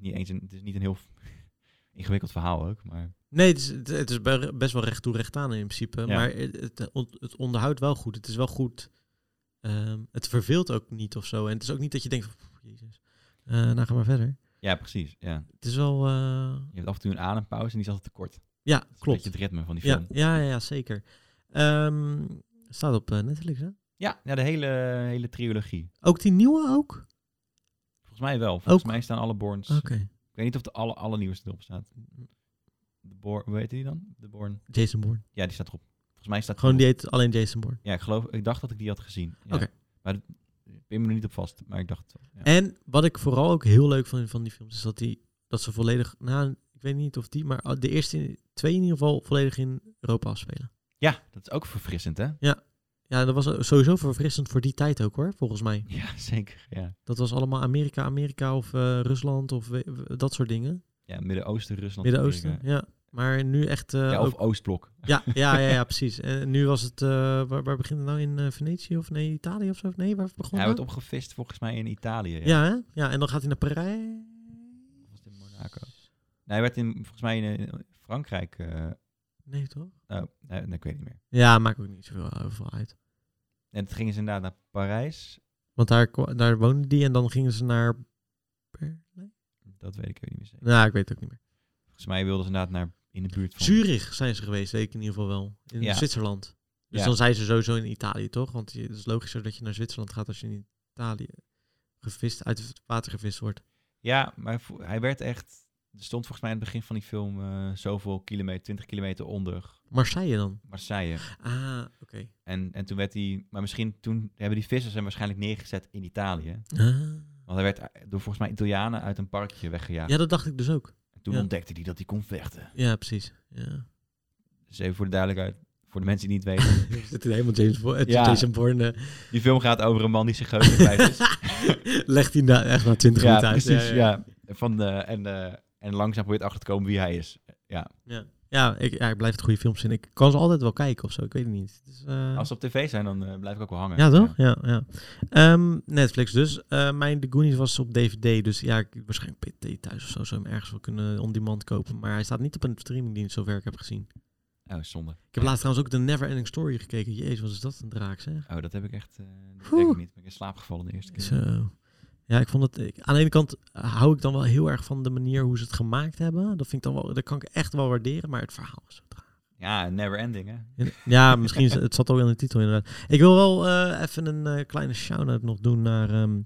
niet eens een, het is niet een heel ingewikkeld verhaal ook, maar Nee, het is, het- het is be- best wel recht toe recht aan in principe. Maar het, het on- het onderhoudt wel goed. Het is wel goed. ehm, het verveelt ook niet of zo. En het is ook niet dat je denkt van, "Pff, jezus, Eh nou ga maar verder. ja, precies. Ja. Het is wel... eh, Je hebt af en toe een adempauze en die is altijd te kort. Dat ja, is klopt. Een beetje het ritme van die Ja, film. Ja, ja, ja, ja, zeker. Ehm, staat op eh, Netflix, hè? ja, de hele, hele trilogie. Ook die nieuwe ook? Volgens mij wel. Volgens Ook? mij staan alle Borns. Oké. Ik weet niet of de alle, allernieuwste erop staat. De Born, hoe heet die dan? De Born. Jason Bourne. Ja, die staat erop. Volgens mij staat Gewoon die erop. heet alleen Jason Bourne. Ja, ik geloof, ik dacht dat ik die had gezien. Ja. Oké. Maar dat- ik ben me er niet op vast, maar ik dacht het wel. Ja. En wat ik vooral ook heel leuk vond van die films is dat, die, dat ze volledig, nou, ik weet niet of die, maar ah, de eerste twee in ieder geval volledig in Europa afspelen. ja, dat is ook verfrissend, hè? Ja, dat was eh, sowieso verfrissend voor die tijd ook hoor, volgens mij. Ja, zeker. Ja, Dat was allemaal Amerika, Amerika of eh, Rusland of we- we- dat soort dingen. ja Midden-Oosten, Rusland. Midden-Oosten, Amerika. ja. Maar nu echt... eh, ja, ook- of Oostblok. Ja, ja, ja, ja, precies. En nu was het, eh, waar, waar begint het nou in eh, Venetië of nee, Italië of zo? Nee, waar begon Hij het? wordt opgevist volgens mij in Italië. Ja. Mhm. Ja, hè? ja, en dan gaat hij naar Parijs. Was het in Monaco? Nee, hij werd in, volgens mij in, eh, Frankrijk. eh Nee, toch? oh, nee, nee, ik weet niet meer. Ja, maakt ook niet zoveel overal uit. En het gingen ze inderdaad naar Parijs. Want daar, kwa- daar woonde die en dan gingen ze naar... Per- nee? Dat weet ik even niet meer zeker. Nou, ik weet het ook niet meer. Volgens mij wilden ze inderdaad naar in de buurt van. Zurich zijn ze geweest, weet ik in ieder geval wel. In Ja. Zwitserland. Dus Ja. dan zijn ze sowieso in Italië, toch? Want je- het is logischer dat je naar Zwitserland gaat als je in Italië gevist, uit het water gevist wordt. Ja, maar vo- hij werd echt. Er stond volgens mij aan het begin van die film eh, zoveel kilometer, 20 kilometer onder Marseille dan? Marseille. Ah, oké. En, en toen werd hij. Maar misschien toen hebben die vissers hem waarschijnlijk neergezet in Italië. Ah. Want hij werd eh, door volgens mij Italianen uit een parkje weggejaagd. Ja, dat dacht ik dus ook. en toen ja. ontdekte hij dat hij kon vechten. Ja, precies. Ja. Dus even voor de duidelijkheid, voor de mensen die het niet weten. Er zit hier helemaal James Bo- eh, Ja. Jason Bourne. eh, die film gaat over een man die zich geheugen kwijt is. legt hij na, echt na 20 ja, minuten uit. precies. Ja, Van, eh, en, eh, en langzaam probeert achter te komen wie hij is. Ja. Ja, ik, ja, ik blijf het goede films zien. Ik kan ze altijd wel kijken of zo. Ik weet het niet. Dus, eh, Als ze op tv zijn, dan eh, blijf ik ook wel hangen. ja, toch? Ja, ja. Ehm, Netflix dus. Eh, mijn The Goonies was op DVD. Dus ja, ik, waarschijnlijk PT thuis of zo. Zou hem ergens wel kunnen on demand kopen. Maar hij staat niet op een streamingdienst, zover ik heb gezien. Ja. Oh, zonde. Ik heb laatst trouwens ook de Never Ending Story gekeken. Jezus, wat is dat een draak, zeg. Oh, dat heb ik echt. eh dat Oeh. denk ik niet. Ik ben in slaap gevallen de eerste keer. Zo. eh, Ja, ik vond het. ik- aan de ene kant hou ik dan wel heel erg van de manier hoe ze het gemaakt hebben. Dat vind ik dan wel. Dat kan ik echt wel waarderen. Maar het verhaal is zo traag. Ja, never ending, hè? Ja, misschien. is- het zat al in de titel inderdaad. Ik wil wel eh, even een eh, kleine shout-out nog doen naar ehm,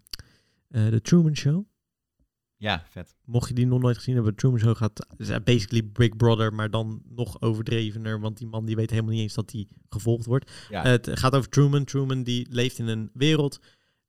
eh, de Truman Show. Ja, vet. Mocht je die nog nooit gezien hebben, de Truman Show gaat is eh, basically Big Brother, maar dan nog overdrevener, want die man die weet helemaal niet eens dat hij gevolgd wordt. Ja, Eh, het gaat over Truman. Truman die leeft in een wereld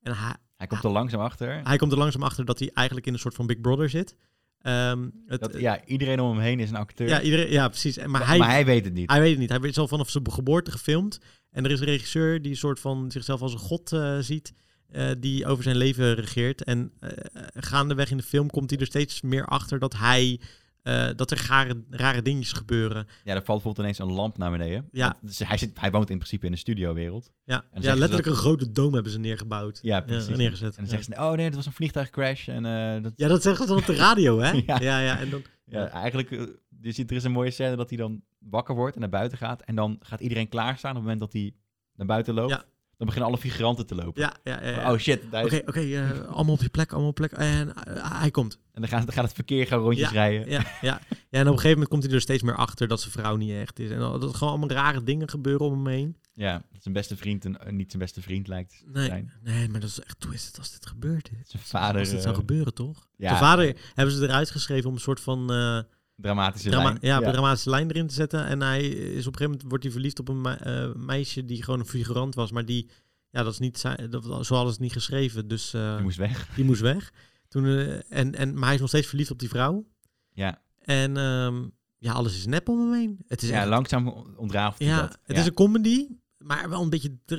en hij, hij komt er langzaam achter. hij komt er langzaam achter dat hij eigenlijk in een soort van Big Brother zit. Ehm, het, Dat, ja, iedereen om hem heen is een acteur. ja, iedereen, ja, precies. En- Maar, maar, hij, hij, weet het niet. weet het niet. Hij is al vanaf zijn geboorte gefilmd. En er is een regisseur die een soort van zichzelf als een god eh, ziet. eh, die over zijn leven regeert. En eh, gaandeweg in de film komt hij er steeds meer achter dat hij. eh, dat er rare, rare dingetjes gebeuren. Ja, er valt bijvoorbeeld ineens een lamp naar beneden. Ja. Want- Dus hij, zit, hij woont in principe in de studiowereld. Ja, ja zeggen ze letterlijk een grote dome hebben ze neergebouwd. Ja, precies. neergezet. En dan ja. zeggen ze, oh nee, dat was een vliegtuigcrash. En eh, dat, Ja, dat zeggen ze dan op de radio, hè? Ja. ja. ja, en dan, ja, eigenlijk, eh, je ziet, er is een mooie scène dat hij dan wakker wordt en naar buiten gaat. En dan gaat iedereen klaarstaan op het moment dat hij naar buiten loopt. Ja. Dan beginnen alle figuranten te lopen. ja, ja, ja, ja. Oh shit, daar is- Oké, oké, eh, allemaal op je plek, allemaal op je plek. En eh, hij komt. en dan gaat, dan gaat het verkeer gaan rondjes rijden. Ja, ja. ja, en op een gegeven moment komt hij er steeds meer achter dat zijn vrouw niet echt is. En dat er gewoon allemaal rare dingen gebeuren om hem heen. Ja, dat zijn beste vriend en eh, niet zijn beste vriend lijkt te Nee, zijn. nee maar dat is echt twisted als dit gebeurt. Dit. Zijn vader... als dit zou eh, gebeuren, toch? ja. Zijn vader hebben ze eruit geschreven om een soort van eh, dramatische drama- lijn. ja, dramatische lijn erin te zetten. En hij is op een gegeven moment wordt hij verliefd op een me- eh, meisje die gewoon een figurant was, maar die... Ja, dat is niet, zijn- dat, zo hadden ze het niet geschreven, dus eh, Die moest weg. die moest weg. Toen, eh, en, en, maar hij is nog steeds verliefd op die vrouw. Ja, En ehm, ja, alles is nep om hem heen. Het is ja echt langzaam ontrafelt hij Ja, dat. het is een comedy, maar wel een beetje. dr-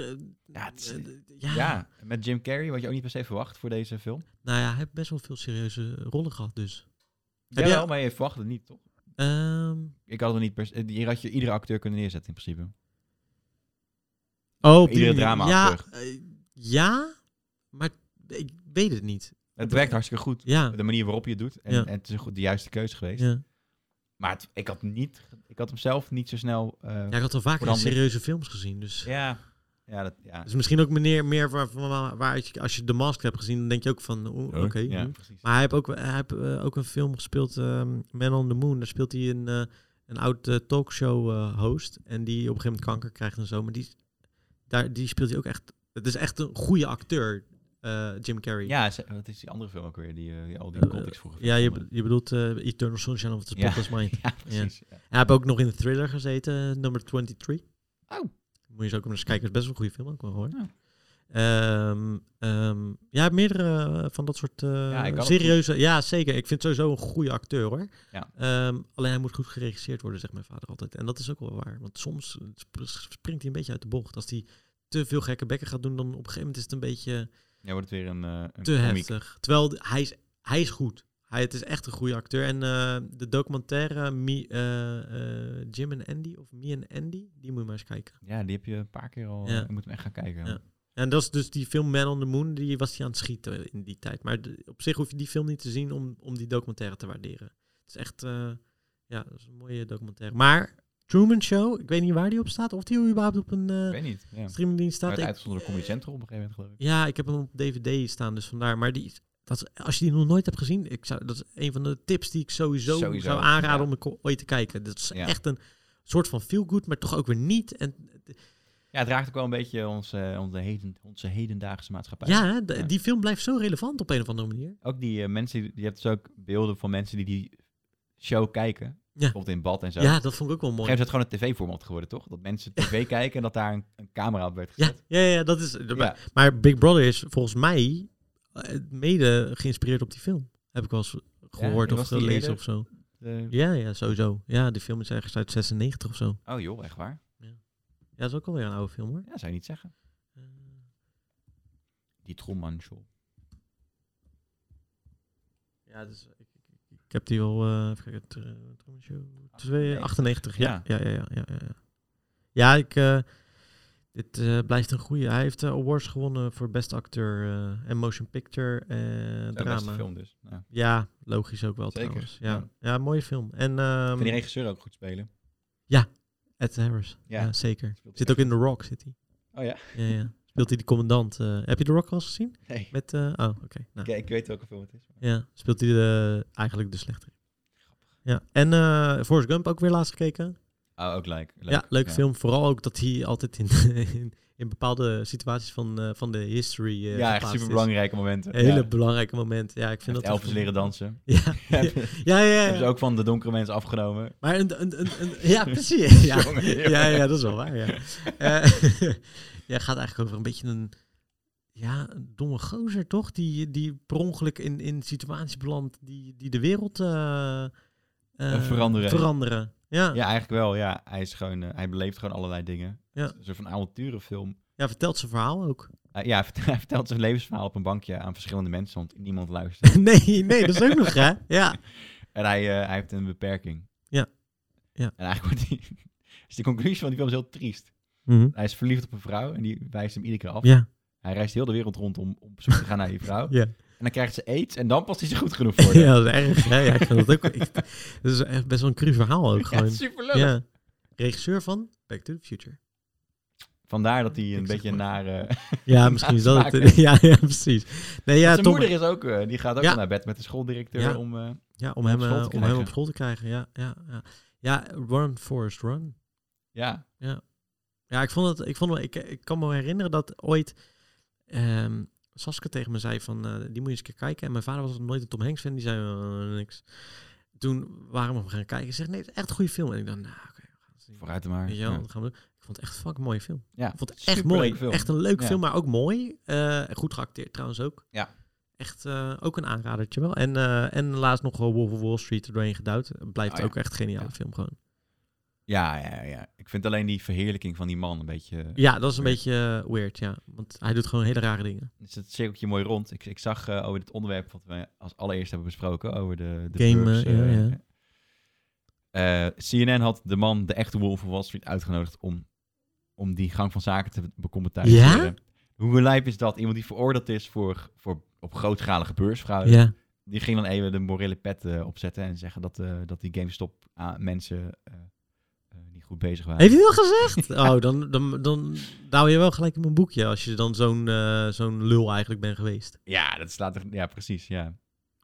Ja, het is- eh, d- ja. ja. Ja, met Jim Carrey, wat je ook niet per se verwacht voor deze film. nou ja, hij heeft best wel veel serieuze rollen gehad, dus. Ja, je- wel, maar je verwacht het niet, toch? Ehm, Ik had er niet per se... Hier had je iedere acteur kunnen neerzetten, in principe. oh, op die Iedere manier. drama Ja, acteur. eh, ja, maar ik weet het niet. Het werkt hartstikke goed. Ja, De manier waarop je het doet. En, Ja. en het is goed de juiste keuze geweest. ja. Maar het- ik, had niet, ik had hem zelf niet zo snel... eh, ja ik had al vaker Vooral in serieuze films gezien, dus. ja. Ja, dat, ja. Dus misschien ook meer, meer waar, van waar, waar je- als je de mask hebt gezien, dan denk je ook van, oh, oké. ja, hm. precies. Maar hij heeft ook, hij heeft, eh, ook een film gespeeld, ehm, Man on the Moon. Daar speelt hij een, eh, een oud eh, talkshow eh, host. En die op een gegeven moment kanker krijgt en zo. Maar die, daar, die speelt hij ook echt... Het is echt een goede acteur, eh, Jim Carrey. Ja, ze- wat is die andere film ook weer? Die, eh, die al die Eh, context vroeger. Ja, je, be- je bedoelt eh, Eternal Sunshine of the Ja. Spotless Mind. Ja, precies. Ja. Hij heeft ook nog in de thriller gezeten, eh, nummer 23. Oh. Moet je eens ook eens kijken, is best wel een goede film ook wel hoor. Ja. Ehm, ehm, ja, meerdere eh, van dat soort eh, hij kan ook serieuze... Ja, zeker. Ik vind sowieso een goede acteur hoor. Ja. Ehm, alleen hij moet goed geregisseerd worden, zegt mijn vader altijd. En dat is ook wel waar. Want soms eh, sp- springt hij een beetje uit de bocht. Als hij te veel gekke bekken gaat doen, dan op een gegeven moment is het een beetje Ja, wordt het weer een, eh, een te komiek. heftig. Terwijl d- hij is, hij is goed. Hij Hij het is echt een goede acteur. En eh, de documentaire Me, eh, eh, Jim en Andy, of Me en Andy, die moet je maar eens kijken. Ja, die heb je een paar keer al. Ja. Je moet hem echt gaan kijken. Ja. En dat is dus die film Man on the Moon, die was hij aan het schieten in die tijd. Maar de- op zich hoef je die film niet te zien om, om die documentaire te waarderen. Het is echt, eh, ja, dat is een mooie documentaire. Maar Truman Show, ik weet niet waar die op staat, of die überhaupt op een Ik eh weet niet. Ja. streamingdienst Hij staat. werd Ik- uitgezonden door Comedy Central op een gegeven moment, geloof ik. Ja, ik heb hem op DVD staan, dus vandaar. Maar die, dat, is- als je die nog nooit hebt gezien, ik zou, dat is een van de tips die ik sowieso, Sowieso, zou aanraden ja. om ik o- ooit te kijken. Dat is Ja. echt een soort van feel-good, maar toch ook weer niet. En, Ja, het raakt ook wel een beetje onze, onze, heden, onze hedendaagse maatschappij. ja, hè, de- Ja. die film blijft zo relevant op een of andere manier. Ook die eh, mensen, die- je hebt dus ook beelden van mensen die die show kijken. Bijvoorbeeld in bad en zo. Ja, dat vond ik ook wel mooi. Op een gegeven moment is het gewoon een tv-format geworden, toch? Dat mensen tv kijken en dat daar een, een camera op werd Ja, gezet. ja, ja, dat is. Ja. Maar Big Brother is volgens mij eh, mede geïnspireerd op die film. Heb ik wel eens gehoord Ja, of was die gelezen eerder? of zo. Eh, Ja, ja, sowieso. Ja, die film is ergens uit 96 of zo. oh joh, echt waar? Ja, dat is ook alweer een oude film hoor. Ja, zou je niet zeggen. Die Truman Show. Ja, dus ik, ik- ik heb die al. eh even kijken, tr- Truman Show, twee- 98, ja. Ja, ja, ja. Ja, ja, ja. ja ik. eh, dit eh, blijft een goede. Hij heeft eh, awards gewonnen voor beste acteur eh, en motion picture eh Zo'n beste drama. film dus. Ja. Ja, logisch ook wel Zeker, trouwens. Ja. ja. Ja. mooie film. En Vind die ehm regisseur ook goed spelen? Ed Harris. Ja. Ja, zeker. Speelt Zit hij ook in The Rock, zit hij. Oh ja? Ja, ja. Speelt hij de commandant. eh, heb je The Rock al eens gezien? Nee. Met, eh, oh, oké. Nou, Ik, ik weet welke film het is. Ja, speelt hij de, eigenlijk de slechte. Ja, en eh Forrest Gump ook weer laatst gekeken. Oh, ook like. leuk. ja, leuke film. Vooral ook dat hij altijd in, in, in bepaalde situaties van, eh, van de history eh, ja, echt geplaatst is. super belangrijke momenten. Hele ja. belangrijke momenten. Ja, ik vind dat... Elvis leren dansen. Ja, ja, ja. ja, ja. Hebben ze ook van de donkere mensen afgenomen. Maar een, een, een, een- ja, precies. Ja. Jongen, jongen. Ja, ja, dat is wel waar. Ja. Eh, ja, gaat eigenlijk over een beetje een, ja, een domme gozer, toch? Die, die per ongeluk in, in situaties belandt die, die de wereld eh, eh, veranderen. veranderen. Ja. Ja. Ja, eigenlijk wel. Ja, hij, is gewoon, eh, hij beleeft gewoon allerlei dingen. Ja. Het is Een soort van avonturenfilm. vertelt zijn verhaal ook. Eh, ja, hij vert- hij vertelt zijn levensverhaal op een bankje aan verschillende mensen, want niemand luistert. nee, nee, dat is ook nog, hè? Ja. en hij, eh, hij heeft een beperking. Ja. Ja. En eigenlijk wordt hij... is de conclusie van die film is heel triest. Hij is verliefd op een vrouw en die wijst hem iedere keer af. Mhm. Ja, Hij reist heel de wereld rond om om op zoek te gaan naar die vrouw. ja. En dan krijgt ze aids en dan past hij ze goed genoeg voor. ja, dat is erg. Hè? Ja, ik vind dat ook. ik- dat is echt best wel een cru verhaal ook Ja, gewoon. superleuk. Ja. Regisseur van Back to the Future. Vandaar dat hij een Ik zeg beetje maar. naar... eh, Ja, misschien is dat Smaken. het. Ja, ja precies. Nee, ja, zijn Tom, moeder is ook... eh, die gaat ook Ja. al naar bed met de schooldirecteur Ja. om... eh, ja, om, hem, op school eh, te om hem krijgen. op school te krijgen. Ja, ja, ja. ja Run Forest Run. ja, Ja, ik vond het. Ik, vond, het- ik, ik kan me herinneren dat ooit ehm Saskia tegen me zei van eh, die moet je eens een keer kijken. En mijn vader was nooit een Tom Hanks fan. Die zei eh, niks. Toen waren we hem gaan kijken. Ik zeg nee, het is echt een goede film. En ik dacht, nou, oké, we gaan het zien. vooruit er maar. Weet je wel, dat gaan we doen. Ik vond het echt een fucking mooie film. Ja, Ik vond het echt superleuke mooi. film. Echt een leuk Ja. film, maar ook mooi. Eh, goed geacteerd trouwens ook. Ja. Echt eh, ook een aanradertje wel. En, eh, en laatst nog wel Wolf of Wall Street er doorheen geduwd. Eh, Blijft Oh ja. ook echt een geniale Ja. film gewoon. Ja, ja, ja. Ik vind alleen die verheerlijking van die man een beetje... Ja, dat is een Weird. beetje eh, weird, ja. Want hij doet gewoon hele rare dingen. is het cirkeltje mooi rond. Ik, ik zag eh, over dit onderwerp wat we als allereerst hebben besproken, over de, de Game, beurs, eh, eh, ja, ja. eh, CNN had de man, de echte Wolf of Wall Street, uitgenodigd om, om die gang van zaken te becommentaren. Ja? Hoe lijp is dat? Iemand die veroordeeld is voor, voor op grootschalige beursfraude, Ja, die ging dan even de morele pet eh, opzetten en zeggen dat, eh, dat die GameStop aan mensen eh, eh, niet goed bezig waren. Heeft hij dat gezegd? Oh, dan, dan, dan douw je wel gelijk in mijn boekje als je dan zo'n eh, zo'n lul eigenlijk bent geweest. Ja, dat slaat er... Ja, precies, ja.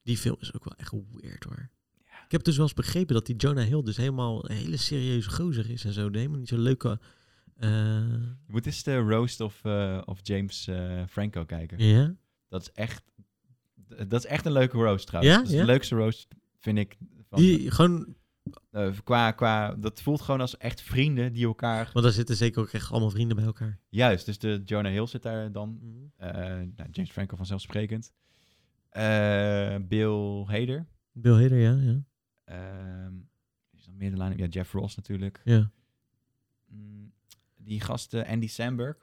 Die film is ook wel echt weird hoor. Ik heb dus wel eens begrepen dat die Jonah Hill dus helemaal een hele serieuze gozer is en zo. Helemaal niet zo'n leuke... eh, Je moet eens de Roast of, eh, of James eh, Franco kijken. ja? Dat is echt... Dat is echt een leuke roast trouwens. Ja? Dat is Ja? de leukste roast, vind ik. Van, Die gewoon, eh, qua, qua, dat voelt gewoon als echt vrienden die elkaar... want daar zitten zeker ook echt allemaal vrienden bij elkaar. Juist, dus de Jonah Hill zit daar dan. eh, nou, James Franco vanzelfsprekend. Eh, Bill Hader. Bill Hader, ja, ja. Ehm, wie is dan meer de line Ja, Jeff Ross natuurlijk. ja. Mm, die gasten, Andy Samberg.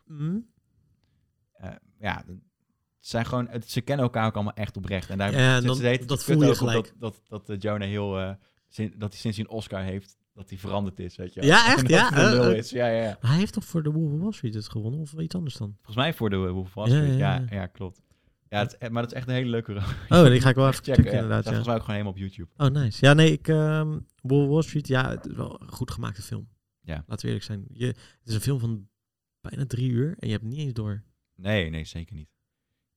Eh, ja, het zijn gewoon, het, ze kennen elkaar ook allemaal echt oprecht. En daar Ja, zitten en dan- ze de hele tijd dat te kut voel je over gelijk. Dat, dat, dat eh, Jonah heel, eh, sin- dat hij sinds hij een Oscar heeft, dat hij veranderd is, weet je wel. Ja, En echt? dat Ja, hij de eh, lul eh. is. Ja, ja, ja. Maar hij heeft toch voor de Wolf of Wall Street het gewonnen? Of iets anders dan? Volgens mij voor de uh, Wolf of Wall Ja, Street. ja, Ja, ja. ja, klopt. Ja, het is e- maar dat is echt een hele leuke check. Oh, die ga ik wel even checken, ja. inderdaad. Dat is Ja. volgens mij ook gewoon helemaal op YouTube. Oh, nice. Ja, nee, ik... ehm Wolf of Wall Street, ja, het is wel een goed gemaakte film. Ja. Laten we eerlijk zijn. Je, het is een film van bijna drie uur en je hebt het niet eens door. Nee, nee, zeker niet.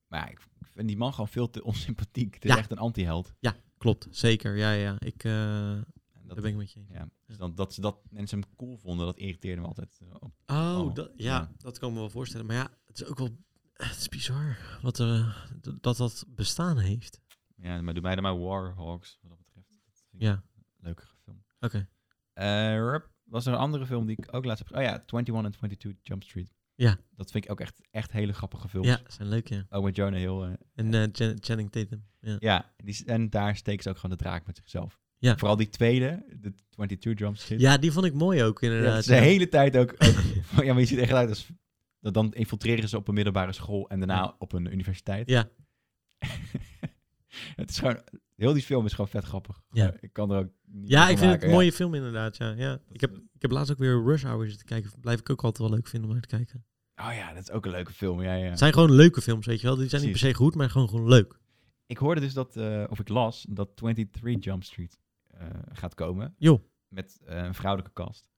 Maar ja, ik ik vind die man gewoon veel te onsympathiek. Het is Ja. echt een anti-held. Klopt, zeker. Ja, ja, ja. Ik, eh, En daar dat- ben ik met je eens. Ja, dus dan, dat, ze dat mensen hem cool vonden, dat irriteerde me altijd. eh, op. Oh, Oh, dat, ja, ja. dat kan ik me wel voorstellen. Maar ja, het is ook wel... Het is bizar wat, eh, d- dat dat bestaan heeft. Ja, maar doe mij dan maar Warhawks, wat dat betreft. Dat vind ik Ja, een leukere film. oké. Eh, rup, was er een andere film die ik ook laatst heb... Oh ja, 21 en 22 Jump Street. Ja. Dat vind ik ook echt, echt hele grappige films. Ja, zijn leuk, ja. Ook met Jonah Hill. eh, En eh, Jan- Channing Tatum. Ja. ja, en die, s- en daar steekt ze ook gewoon de draak met zichzelf. Ja. Vooral die tweede, de 22 Jump Street. ja, die vond ik mooi ook, Ja, dus inderdaad. de hele tijd ook. ook van, ja, maar je ziet echt uit als. dat Dan infiltreren ze op een middelbare school en daarna Ja. op een universiteit. Ja. het is gewoon. Heel die film is gewoon vet grappig. Ja. Ik kan er ook. Niet Ja, van ik vind het maken, een ja. mooie film inderdaad. Ja, ja. Ik, heb, ik heb laatst ook weer Rush Hour zitten kijken. Blijf ik ook altijd wel leuk vinden om naar te kijken. Oh ja, dat is ook een leuke film. Ja, ja. Het zijn gewoon leuke films, weet je wel. Die zijn niet per se Precies. goed, maar gewoon, gewoon leuk. Ik hoorde dus dat. eh, of ik las dat 23 Jump Street eh, gaat komen. Joh. Met eh, een vrouwelijke cast.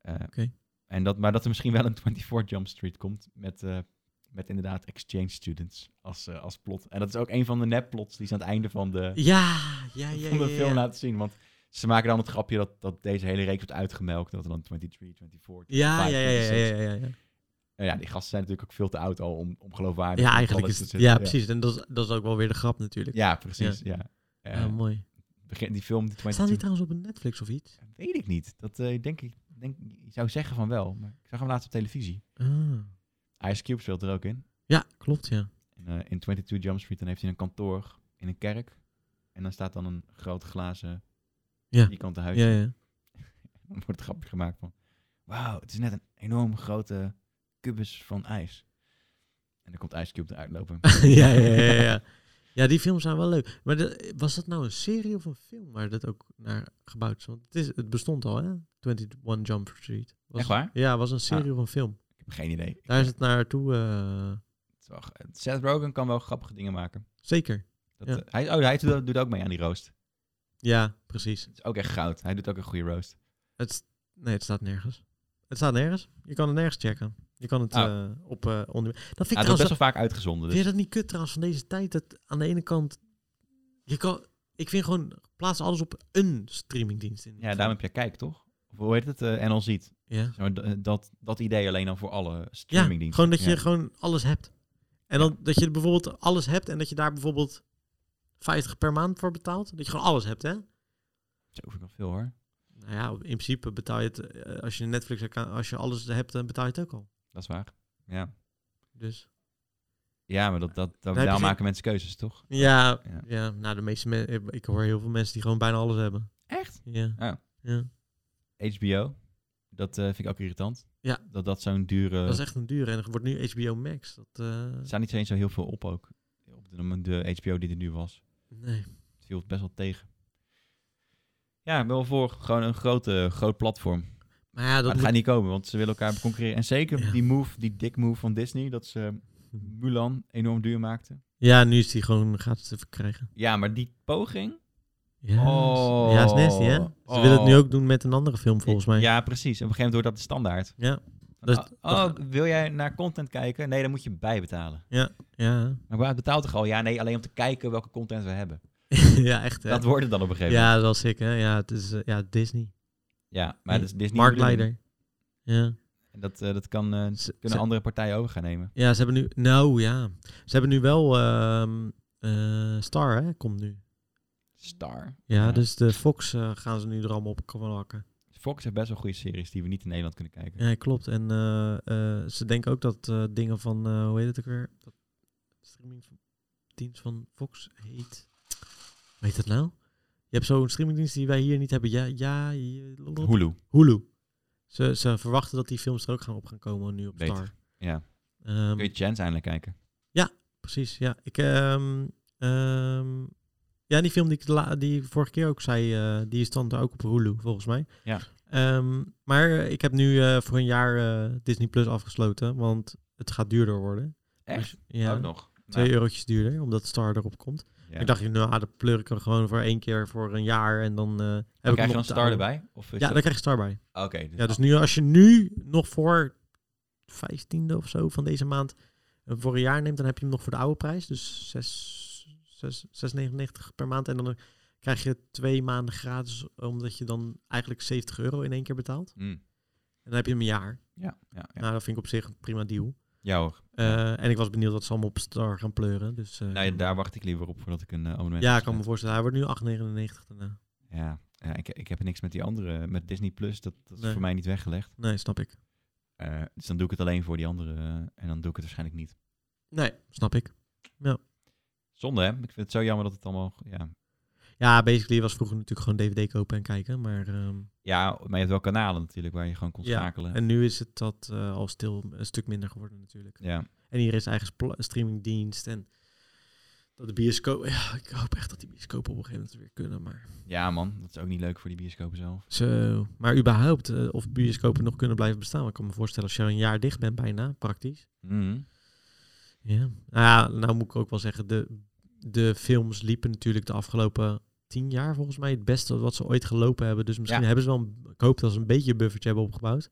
Eh, Oké. En dat, maar dat er misschien wel een 24 Jump Street komt met, eh, met inderdaad exchange students als, eh, als plot. En dat is ook een van de nepplots die ze aan het einde van de, Ja, ja, ja. van de ja, ja. film nou laten zien. Want ze maken dan het grapje dat, dat deze hele reeks wordt uitgemelkt. Dat er dan 23, 24, Ja, 25, ja, ja, ja, 26. ja, ja, ja. Nou ja, die gasten zijn natuurlijk ook veel te oud al om, om geloofwaardig Ja, in eigenlijk is alles het... te zitten. Ja, precies. En dat is, dat is ook wel weer de grap natuurlijk. Ja, precies. Ja. Eh, Ja, mooi. begin, die film, die Staan 22, die trouwens op een Netflix of iets? weet ik niet. Dat eh, denk ik, denk, ik zou zeggen van wel. Maar ik zag hem laatst op televisie. Ah. Ice Cube speelt er ook in. Ja, klopt, ja. En, eh, in 22 Jump Street, dan heeft hij een kantoor in een kerk. En dan staat dan een groot glazen Ja. vierkante huis. Ja, ja. Dan wordt het grapje gemaakt van... Wauw, het is net een enorm grote kubus van ijs. En dan komt Ice Cube eruit lopen. ja, ja, ja, ja. Ja, die films zijn wel leuk. Maar de- was dat nou een serie of een film waar dat ook naar gebouwd is? Want het, is, het bestond al, hè? 21 Jump Street. Was, Echt waar? Ja, was een serie Ah. of een film. Ik heb geen idee. Daar is het naartoe. eh Het is wel g- Seth Rogen kan wel grappige dingen maken. zeker. Dat, Ja. eh, hij, oh, hij doet, doet ook mee aan die roast. Ja, precies. Het is ook echt goud. Hij doet ook een goede roast. Het, s- nee, het staat nergens. Het staat nergens. Je kan het nergens checken. Je kan het Oh. eh, op eh onder. Dat vind Hij ik wordt trouwens. best wel vaak uitgezonden. Vind Dus. je dat niet kut trouwens van deze tijd? Dat aan de ene kant. Je kan, ik vind gewoon. Plaats alles op een streamingdienst in. Ja, daarom heb je kijk, toch? Of hoe heet het? eh, NL Ziet. Ja. Zeg maar, d- eh, dat, dat idee alleen al voor alle Ja, streamingdiensten. gewoon dat je Ja. gewoon alles hebt. En dan dat je bijvoorbeeld alles hebt en dat je daar bijvoorbeeld 50 per maand voor betaalt. Dat je gewoon alles hebt, hè? Zo vind ik wel veel hoor. Nou ja, in principe betaal je het, eh, als je een Netflix account, als je alles hebt, dan betaal je het ook al. Dat is waar. Ja, Dus ja maar dat, dat, dat, heb je daar geen- maken mensen keuzes, toch? ja, ja. Ja. nou de meeste mensen, ik hoor heel veel mensen die gewoon bijna alles hebben. Echt? Ja. Ja. ja. HBO, dat eh, vind ik ook irritant. Ja. Dat dat zo'n dure... Dat is echt een duur en er wordt nu HBO Max. Dat, eh, Er staat niet eens zo heel veel op ook. Op de, de HBO die er nu was. nee. Het viel best wel tegen. Ja, ik ben wel voor gewoon een grote, groot platform. Maar Maar ja, dat dat moet- gaat niet komen, want ze willen elkaar concurreren. En zeker Ja. Hm. die move, die dik move van Disney, dat ze Mulan enorm duur maakte. ja, nu is die gewoon gratis te verkrijgen. Ja, maar die poging... Ja, is- Oh. ja, is nasty, hè? Ze Oh. willen het nu ook doen met een andere film, volgens mij. Ja, precies. En op een gegeven moment wordt dat de standaard. Ja. Van, Dat- oh, oh, wil jij naar content kijken? Nee, dan moet je bijbetalen. Ja, Maar waar betaalt toch al? Ja, nee, alleen om te kijken welke content we hebben. ja echt. Hè? Dat wordt het dan op een gegeven ja, moment. dat was ik, hè? Ja, het is eh, ja, Disney. Ja, maar dat is Disney. Marktleider. Ja. En Dat, eh, dat kan, eh, Ze- kunnen ze- andere partijen over gaan nemen. ja, ze hebben nu... Nou, ja. Ze hebben nu wel... ehm, eh, Star, hè? Komt nu. Star. Ja, Ja. dus de Fox eh, gaan ze nu er allemaal op komen hakken. Fox heeft best wel goede series die we niet in Nederland kunnen kijken. Ja, klopt. En eh, eh, ze denken ook dat eh, dingen van... eh, hoe heet het ook weer? Dat streamingdienst van Fox heet... Hoe heet dat nou? Je hebt zo'n streamingdienst die wij hier niet hebben. Ja, ja... je- Hulu. Hulu. Ze, ze verwachten dat die films er ook gaan op gaan komen nu op Beter. Star. Ja. Ehm, Kun je Chance eindelijk kijken? precies. Ja, ik, ehm, ehm, ja die film die ik de la- die vorige keer ook zei, eh, die is dan ook op Hulu, volgens mij. Ja. Ehm, maar ik heb nu eh, voor een jaar eh, Disney Plus afgesloten, want het gaat duurder worden. Echt? Dus, ja, Ook nog. twee Nou, eurotjes duurder, omdat Star erop komt. ja. Ik dacht, nou, ah, dat pleur ik er gewoon voor één keer voor een jaar en dan eh heb Dan ik hem krijg je op dan de oude- Star erbij? Of is Ja, dat- daar krijg je Star bij. Oké. dus, Ja, dus nu, als je nu nog voor 15e of zo van deze maand eh, voor een jaar neemt, dan heb je hem nog voor de oude prijs. Dus 6 6 6,99 per maand. En dan eh, krijg je twee maanden gratis, omdat je dan eigenlijk 70 euro in één keer betaalt. Mm. En dan heb je hem een jaar. Ja, ja, ja. Nou, dat vind ik op zich een prima deal. ja hoor. Eh, en ik was benieuwd wat ze allemaal op Star gaan pleuren. Dus, eh, Nou, ja, daar wacht ik liever op voordat ik een eh, abonnement ja, ik kan afsluit. me voorstellen. Hij wordt nu 8,99 daarna. Ja, ja ik, ik heb niks met die andere, met Disney Plus, dat, dat is Nee. voor mij niet weggelegd. Nee, snap ik. Eh, dus dan doe ik het alleen voor die andere eh, en dan doe ik het waarschijnlijk niet. Nee, snap ik. Zonde hè, ik vind het zo jammer dat het allemaal, ja. Ja, basically was vroeger natuurlijk gewoon DVD kopen en kijken. Maar ehm, Ja, maar je hebt wel kanalen natuurlijk waar je gewoon kon Ja, schakelen. En nu is het dat eh, al stil een stuk minder geworden natuurlijk. Ja, En hier is eigen spla- streamingdienst en dat de bioscoop... Ja, ik hoop echt dat die bioscopen op een gegeven moment weer kunnen, maar... ja man, dat is ook niet leuk voor die bioscopen zelf. Zo, maar überhaupt eh, of bioscopen nog kunnen blijven bestaan. Want Ik kan me voorstellen als je al een jaar dicht bent bijna, praktisch. Mm. Ja. Nou ja, nou moet ik ook wel zeggen, de, de films liepen natuurlijk de afgelopen tien jaar volgens mij het beste wat ze ooit gelopen hebben. Dus misschien Ja. hebben ze wel, een, ik hoop dat ze een beetje een buffertje hebben opgebouwd.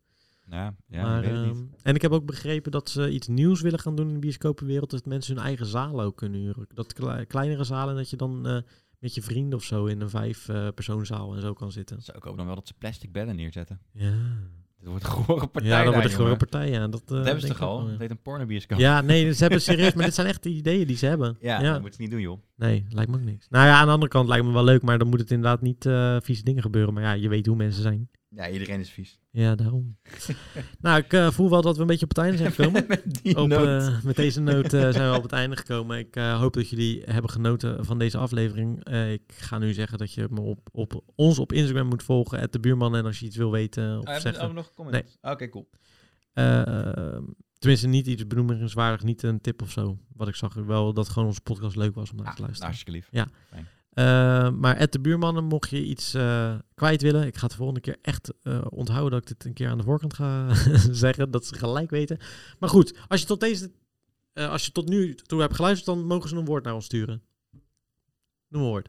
Ja, ja maar, ik weet het ehm, niet. En ik heb ook begrepen dat ze iets nieuws willen gaan doen in de bioscopenwereld. Dat mensen hun eigen zalen ook kunnen huren. Dat kle- kleinere zalen, dat je dan eh, met je vrienden of zo in een vijf eh, persoonzaal en zo kan zitten. Zo, ik hoop dan wel dat ze plastic bedden neerzetten. Ja, Dit wordt een gore partij ja dan daar, wordt het gewoon een jongen. partij. Ja, dat, eh, Dat hebben ze denk toch ik ook al? wel, Dat ja. heet een pornobioscoop. Ja, nee, ze hebben serieus, maar dit zijn echt de ideeën die ze hebben. Ja, Ja. dat moet je niet doen joh. Nee, lijkt me ook niks. Nou ja, aan de andere kant lijkt me wel leuk, maar dan moet het inderdaad niet eh, vieze dingen gebeuren. Maar ja, je weet hoe mensen zijn. Ja, iedereen is vies. Ja, daarom. nou, ik eh, voel wel dat we een beetje op het einde zijn gekomen. Met die Op, noot. eh, met deze noot eh, zijn we op het einde gekomen. Ik eh, hoop dat jullie hebben genoten van deze aflevering. Eh, ik ga nu zeggen dat je me op, op, ons op Instagram moet volgen, @debuurman. En als je iets wil weten of Oh, hebben ze zeggen. ook nog comments? Oké, cool. eh, tenminste, niet iets benoemenswaardig, niet een tip of zo. Wat ik zag wel dat gewoon onze podcast leuk was om naar Ah, te luisteren. hartstikke lief. Eh, maar at de buurmannen, mocht je iets eh, kwijt willen, ik ga het de volgende keer echt eh, onthouden dat ik dit een keer aan de voorkant ga zeggen, dat ze gelijk weten. Maar goed, als je tot deze, eh, als je tot nu toe hebt geluisterd, dan mogen ze een woord naar ons sturen. Noem een woord.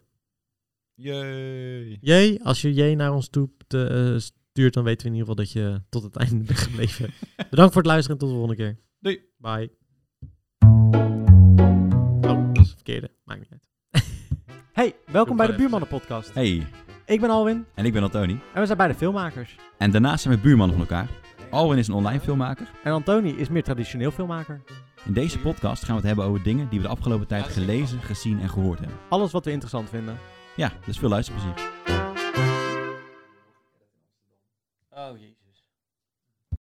Yay. J, als je J naar ons toe te, eh, stuurt, dan weten we in ieder geval dat je tot het einde bent gebleven. Bedankt voor het luisteren en tot de volgende keer. Doei. Bye. Oh, dat is het verkeerde. Maakt niet uit. Hey, welkom bij de Buurmannen Podcast. Hey, Ik ben Alwin en ik ben Antoni. en we zijn beide filmmakers. En daarnaast zijn we buurmannen van elkaar. Alwin is een online filmmaker. En Antoni is meer traditioneel filmmaker. In deze podcast gaan we het hebben over dingen die we de afgelopen tijd gelezen, gezien en gehoord hebben. Alles wat we interessant vinden. Ja, dus veel luisterplezier.